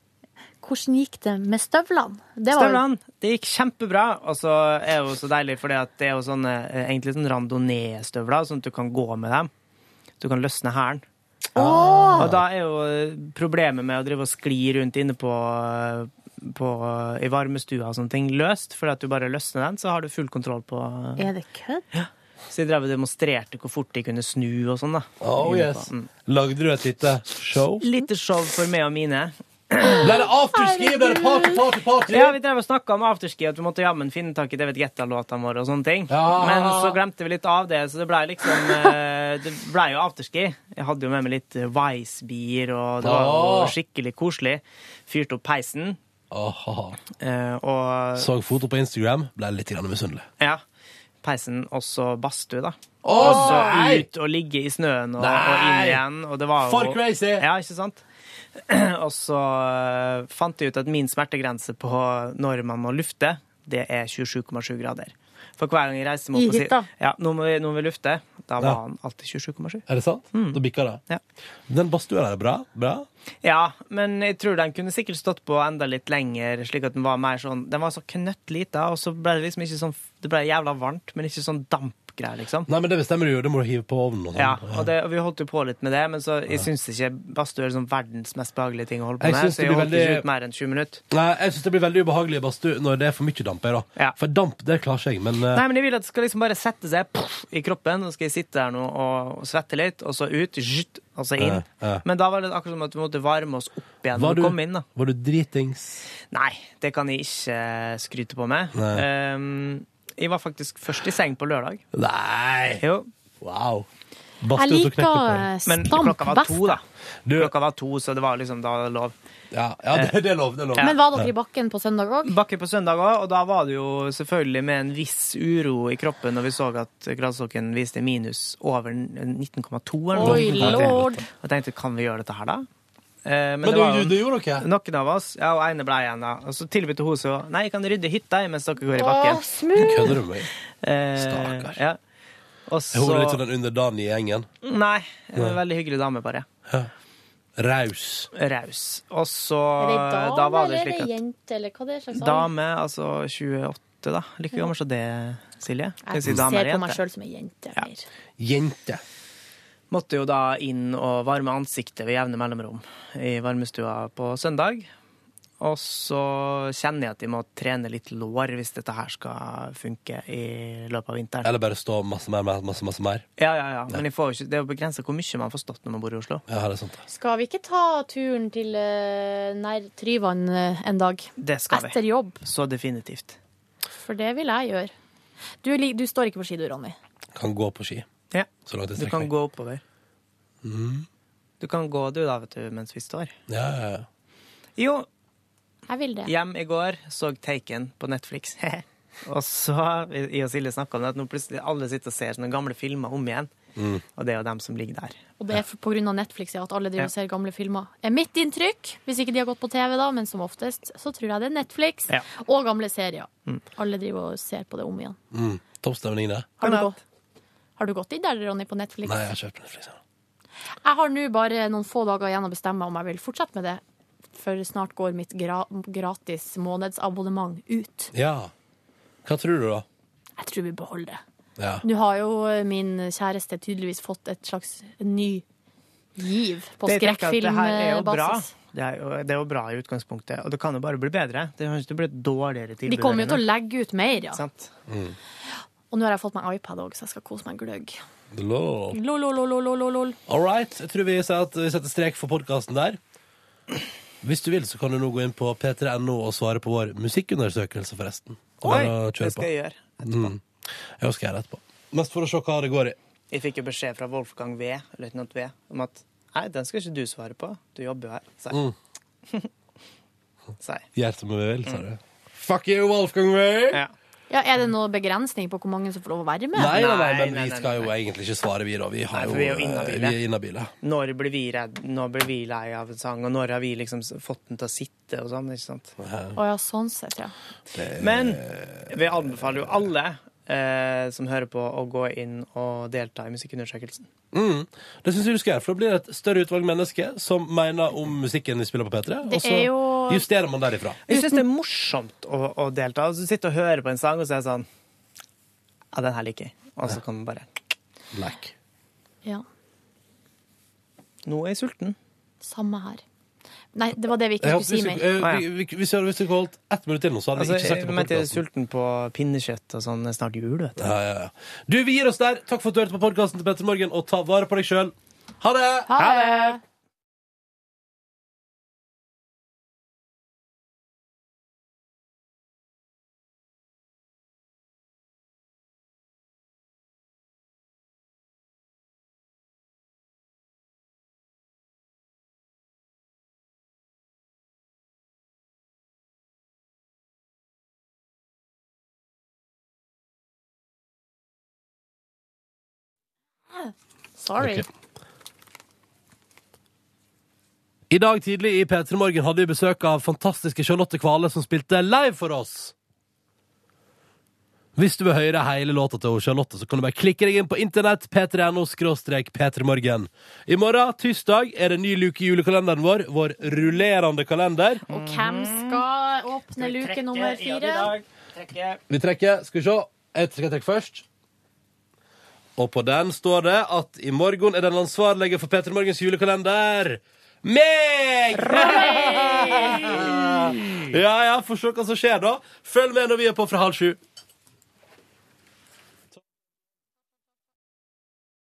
[SPEAKER 9] Hvordan gikk det med støvlene? Det var jo-
[SPEAKER 5] Støvlene, det gikk kjempebra. Og så er det jo så deilig, for det er jo sånne, eh, egentlig sånne randonee-støvler, sånn at du kan gå med dem. Du kan løsne hælen. Og da er jo eh, problemet med å drive og skli rundt inne på, eh, på eh, i varmestua og sånne ting løst, for at du bare løsner den, så har du full kontroll på eh.
[SPEAKER 9] Er det kødd?
[SPEAKER 5] Så de drev og demonstrerte hvor fort de kunne snu og sånn, da.
[SPEAKER 2] Oh,
[SPEAKER 5] Inne på-
[SPEAKER 2] yes. Lagde du et lite show?
[SPEAKER 5] Lite show for meg og mine.
[SPEAKER 2] Ble det afterski? Ble det party, party, party?
[SPEAKER 5] Ja, vi drev og snakka om afterski, at vi måtte jammen finne tak i David Getta-låtene våre og sånne ting. Men så glemte vi litt av det, så det blei liksom eh, Det blei jo afterski. Jeg hadde jo med meg litt Wise-bier, og det var
[SPEAKER 2] Åh.
[SPEAKER 5] jo skikkelig koselig. Fyrte opp peisen,
[SPEAKER 2] Aha.
[SPEAKER 5] eh, og
[SPEAKER 2] Så foto på Instagram, ble litt grann misunnelig.
[SPEAKER 5] Ja. Peisen og så badstue, da.
[SPEAKER 2] Åh,
[SPEAKER 5] og så
[SPEAKER 2] nei!
[SPEAKER 5] ut og ligge i snøen og,
[SPEAKER 2] Nei!
[SPEAKER 5] og inn igjen. Og det var jo
[SPEAKER 2] For crazy!
[SPEAKER 5] Ja, ikke sant? og så eh, fant jeg ut at min smertegrense på når man må lufte, det er 27,7 grader. For hver gang jeg reiser meg
[SPEAKER 2] I
[SPEAKER 5] opp og
[SPEAKER 2] hytta?
[SPEAKER 5] sier ja, nå må, vi, nå må vi lufte, da var
[SPEAKER 2] Ja.
[SPEAKER 5] han alltid 27,7.
[SPEAKER 2] Er det sant?
[SPEAKER 5] Mm.
[SPEAKER 2] Da bikka det. Den badstua der er bra. bra.
[SPEAKER 5] Ja, men jeg tror den kunne sikkert stått på enda litt lenger, slik at den var mer sånn Den var så knøttlita, og så ble det liksom ikke sånn Det ble jævla varmt, men ikke sånn dampgreier, liksom.
[SPEAKER 2] Nei, men det bestemmer du jo. Det må du hive på ovnen. og sånn.
[SPEAKER 5] Ja, og, det, og vi holdt jo på litt med det, men så jeg syns ikke badstue er sånn verdens mest behagelige ting å holde på
[SPEAKER 2] Jeg
[SPEAKER 5] med,
[SPEAKER 2] synes
[SPEAKER 5] så
[SPEAKER 2] det
[SPEAKER 5] jeg
[SPEAKER 2] blir
[SPEAKER 5] holdt
[SPEAKER 2] veldig-
[SPEAKER 5] ikke ut mer enn 20 minutter.
[SPEAKER 2] Nei, jeg syns det blir veldig ubehagelig i badstue når det er for mye damp. Jeg, da. For damp, det klarer ikke jeg, men, eh,
[SPEAKER 5] Nei, men jeg vil at det skal liksom bare sette seg puff, i kroppen, og skal jeg sitte her nå og, og svette litt, og så ut, zhytt, og så inn.
[SPEAKER 2] Ja, ja.
[SPEAKER 5] Men da var det akkurat som at vi måtte varme oss opp
[SPEAKER 2] var,
[SPEAKER 5] igjen når
[SPEAKER 2] du,
[SPEAKER 5] vi kom inn, da.
[SPEAKER 2] var du dritings?
[SPEAKER 5] Nei, det kan jeg ikke skryte på meg.
[SPEAKER 2] Nei.
[SPEAKER 5] Ehm, jeg var faktisk først i seng på lørdag.
[SPEAKER 2] Nei!
[SPEAKER 5] Jo.
[SPEAKER 2] Wow.
[SPEAKER 9] Jeg liker eh,
[SPEAKER 5] Men
[SPEAKER 9] stamp
[SPEAKER 5] klokka var
[SPEAKER 9] best.
[SPEAKER 5] to, da. Klokka var to, så det var liksom da var det lov.
[SPEAKER 2] Ja, det, er lov.
[SPEAKER 9] Men var dere i bakken på søndag òg?
[SPEAKER 5] Bakke på søndag òg, og da var det jo selvfølgelig med en viss uro i kroppen når vi så at Gransokken viste minus over 19,2 eller noe.
[SPEAKER 9] Oi, lord.
[SPEAKER 5] Og tenkte kan vi gjøre dette her, da? Eh,
[SPEAKER 2] Men det
[SPEAKER 5] var jo
[SPEAKER 2] gjorde- det gjorde dere.
[SPEAKER 5] Noen av oss. Ja, og ene ble igjen, da. Og så tilbød hun så Nei, jeg kan rydde hytta jeg, mens dere går i bakken.
[SPEAKER 2] Åh, smooth. Kødder du med meg?
[SPEAKER 5] Eh,
[SPEAKER 2] Stakkar.
[SPEAKER 5] Ja. Og så
[SPEAKER 2] Hun var litt sånn den underdanige gjengen.
[SPEAKER 5] Nei. En
[SPEAKER 2] Nei.
[SPEAKER 5] veldig hyggelig dame, bare.
[SPEAKER 2] Raus.
[SPEAKER 5] Raus. Og så
[SPEAKER 4] Er det dame
[SPEAKER 5] Da var det
[SPEAKER 4] eller
[SPEAKER 5] slik
[SPEAKER 4] er det
[SPEAKER 5] at
[SPEAKER 4] jente, eller hva det er slags alder?
[SPEAKER 5] Dame, altså 28, da. Like gammel som det Silje? Skal
[SPEAKER 4] Jeg
[SPEAKER 5] si dame
[SPEAKER 4] ser
[SPEAKER 5] eller
[SPEAKER 4] på meg
[SPEAKER 5] jente?
[SPEAKER 4] sjøl som ei jente. mer.
[SPEAKER 2] Jente.
[SPEAKER 5] Måtte jo da inn og varme ansiktet ved jevne mellomrom i varmestua på søndag. Og så kjenner jeg at de må trene litt lår hvis dette her skal funke i løpet av vinteren.
[SPEAKER 2] Eller bare stå masse mer, masse, masse, masse mer.
[SPEAKER 5] Ja, ja, ja. Men jeg får jo ikke, det er jo begrensa hvor mye man får stått når man bor i Oslo.
[SPEAKER 2] Ja, det er sant.
[SPEAKER 4] Skal vi ikke ta turen til eh, nær Tryvann eh, en dag?
[SPEAKER 5] Det skal vi.
[SPEAKER 4] Etter jobb.
[SPEAKER 5] Så definitivt.
[SPEAKER 4] For det vil jeg gjøre. Du, li- du står ikke på ski du, Ronny.
[SPEAKER 2] Kan gå på ski.
[SPEAKER 5] Ja.
[SPEAKER 2] Så langt jeg
[SPEAKER 5] Du
[SPEAKER 2] strekker
[SPEAKER 5] kan
[SPEAKER 2] meg.
[SPEAKER 5] gå oppover.
[SPEAKER 2] Mm.
[SPEAKER 5] Du kan gå du, da, vet du, mens vi står.
[SPEAKER 2] Ja, ja, ja.
[SPEAKER 5] Jo,
[SPEAKER 4] Jeg vil det.
[SPEAKER 5] hjem i går, så Taken på Netflix. og så, jeg og Silje snakka om det, at nå plutselig alle sitter og ser sånne gamle filmer om igjen.
[SPEAKER 2] Mm.
[SPEAKER 5] Og det er jo dem som ligger der.
[SPEAKER 4] Og det er for- på grunn av Netflix ja, at alle driver og
[SPEAKER 5] Ja.
[SPEAKER 4] ser gamle filmer. Er mitt inntrykk, hvis ikke de har gått på TV, da, men som oftest, så tror jeg det er Netflix
[SPEAKER 2] Ja.
[SPEAKER 4] og gamle serier.
[SPEAKER 2] Mm.
[SPEAKER 4] Alle driver og ser på det om igjen.
[SPEAKER 2] Mm. Toppstemning, det.
[SPEAKER 4] Har du, gått, har du gått inn der, Ronny, på Netflix?
[SPEAKER 2] Nei, jeg har kjøpt Netflix. ja.
[SPEAKER 4] Jeg har nå bare noen få dager igjen å bestemme om jeg vil fortsette med det. For snart går mitt gra gratis månedsabonnement ut.
[SPEAKER 2] Ja. Hva tror du, da?
[SPEAKER 4] Jeg tror vi beholder det.
[SPEAKER 2] Ja.
[SPEAKER 4] Nå har jo eh, min kjæreste tydeligvis fått et slags ny giv på
[SPEAKER 5] Det tenker jeg at det her er jo bra.
[SPEAKER 4] skrekkfilmbasis.
[SPEAKER 5] Det er, jo, det er jo bra i utgangspunktet, og det kan jo bare bli bedre. Det kan jo ikke bli et dårligere tilbud.
[SPEAKER 4] De kommer jo til å
[SPEAKER 5] eller
[SPEAKER 4] legge ut mer,
[SPEAKER 5] noe.
[SPEAKER 4] ja.
[SPEAKER 5] Sant?
[SPEAKER 4] Og nå har jeg fått meg iPad òg, så jeg skal kose meg en gløgg.
[SPEAKER 2] Lol.
[SPEAKER 4] Lol, lol, lol, lol, lol, lol.
[SPEAKER 2] All right. Jeg tror vi sier at vi setter strek for podkasten der. Hvis du vil, så kan du nå gå inn på p3.no og svare på vår musikkundersøkelse, forresten.
[SPEAKER 5] Oi,
[SPEAKER 2] Bare å kjøre
[SPEAKER 5] det skal
[SPEAKER 2] på.
[SPEAKER 5] jeg gjøre.
[SPEAKER 2] Mm. Jeg skal gjøre det etterpå. Mest for å se hva det går i.
[SPEAKER 5] Jeg fikk jo beskjed fra Wolfgang V, løytnant V, om at nei, den skal ikke du svare på, du jobber jo her. Sa jeg.
[SPEAKER 2] Mm.
[SPEAKER 5] Sa jeg.
[SPEAKER 2] Gjør som vi vil,
[SPEAKER 5] Mm.
[SPEAKER 2] sa du. Fuck you, Wolfgang Way!
[SPEAKER 4] Ja, Er det noen begrensning på hvor mange som får lov å være med?
[SPEAKER 2] Nei, nei, nei, men
[SPEAKER 5] nei,
[SPEAKER 2] vi
[SPEAKER 5] nei,
[SPEAKER 2] skal jo egentlig ikke svare, vi, da. Vi, har
[SPEAKER 5] Nei, for
[SPEAKER 2] jo,
[SPEAKER 5] vi er jo
[SPEAKER 2] eh,
[SPEAKER 5] innhabile.
[SPEAKER 2] vi er inhabile.
[SPEAKER 5] Når blir vi redd, når blir vi lei av en sang, og når har vi liksom fått den til å sitte og sånn, ikke sant?
[SPEAKER 4] Å ja, sånn sett, ja.
[SPEAKER 5] Men vi anbefaler jo alle eh, som hører på, å gå inn og delta i musikkundersøkelsen.
[SPEAKER 2] Mm. Det syns jeg du skal gjøre, for da blir det et større utvalg mennesker som mener om musikken vi spiller på P3,
[SPEAKER 5] Det
[SPEAKER 2] og så
[SPEAKER 5] er jo-
[SPEAKER 2] justerer man derifra.
[SPEAKER 5] Jeg syns det er morsomt å, å delta. Altså, du sitter og hører på en sang, og så er det sånn Ja, den her liker jeg. Og så kan man bare
[SPEAKER 2] Like.
[SPEAKER 4] ja.
[SPEAKER 5] Nå er jeg sulten.
[SPEAKER 4] Samme her. Nei, det var det vi ikke
[SPEAKER 2] Jeg håper
[SPEAKER 4] skulle si
[SPEAKER 2] hvis,
[SPEAKER 4] mer.
[SPEAKER 2] vi- eh, vi- vi- hvis, vi- hvis vi holdt ett minutt til nå, så hadde
[SPEAKER 5] Altså,
[SPEAKER 2] vi ikke sagt
[SPEAKER 5] jeg
[SPEAKER 2] det på
[SPEAKER 5] mente jeg er
[SPEAKER 2] podkasten.
[SPEAKER 5] sulten på pinnekjøtt og sånn. Det er snart jul, vet du.
[SPEAKER 2] Ja, ja, ja. Du, vi gir oss der. Takk for at du hørte på podkasten til Petter Morgen, og ta vare på deg sjøl. Ha det!
[SPEAKER 4] Ha det! Sorry.
[SPEAKER 2] Ok. I dag tidlig i P3 Morgen hadde vi besøk av fantastiske Charlotte Kvale, som spilte live for oss. Hvis du vil høre hele låta til Charlotte, så kan du bare klikke deg inn på internett. p3.no p3morgen I morgen, tirsdag, er det en ny luke i julekalenderen vår. Vår rullerende kalender.
[SPEAKER 4] Hvem skal åpne luke nummer fire?
[SPEAKER 2] Vi trekker. Skal vi se. Jeg skal trekke først. Og på den står det at i morgen er den ansvarlige for P3 Morgens julekalender meg! ja, ja, får se hva som skjer da. Følg med når vi er på fra halv sju.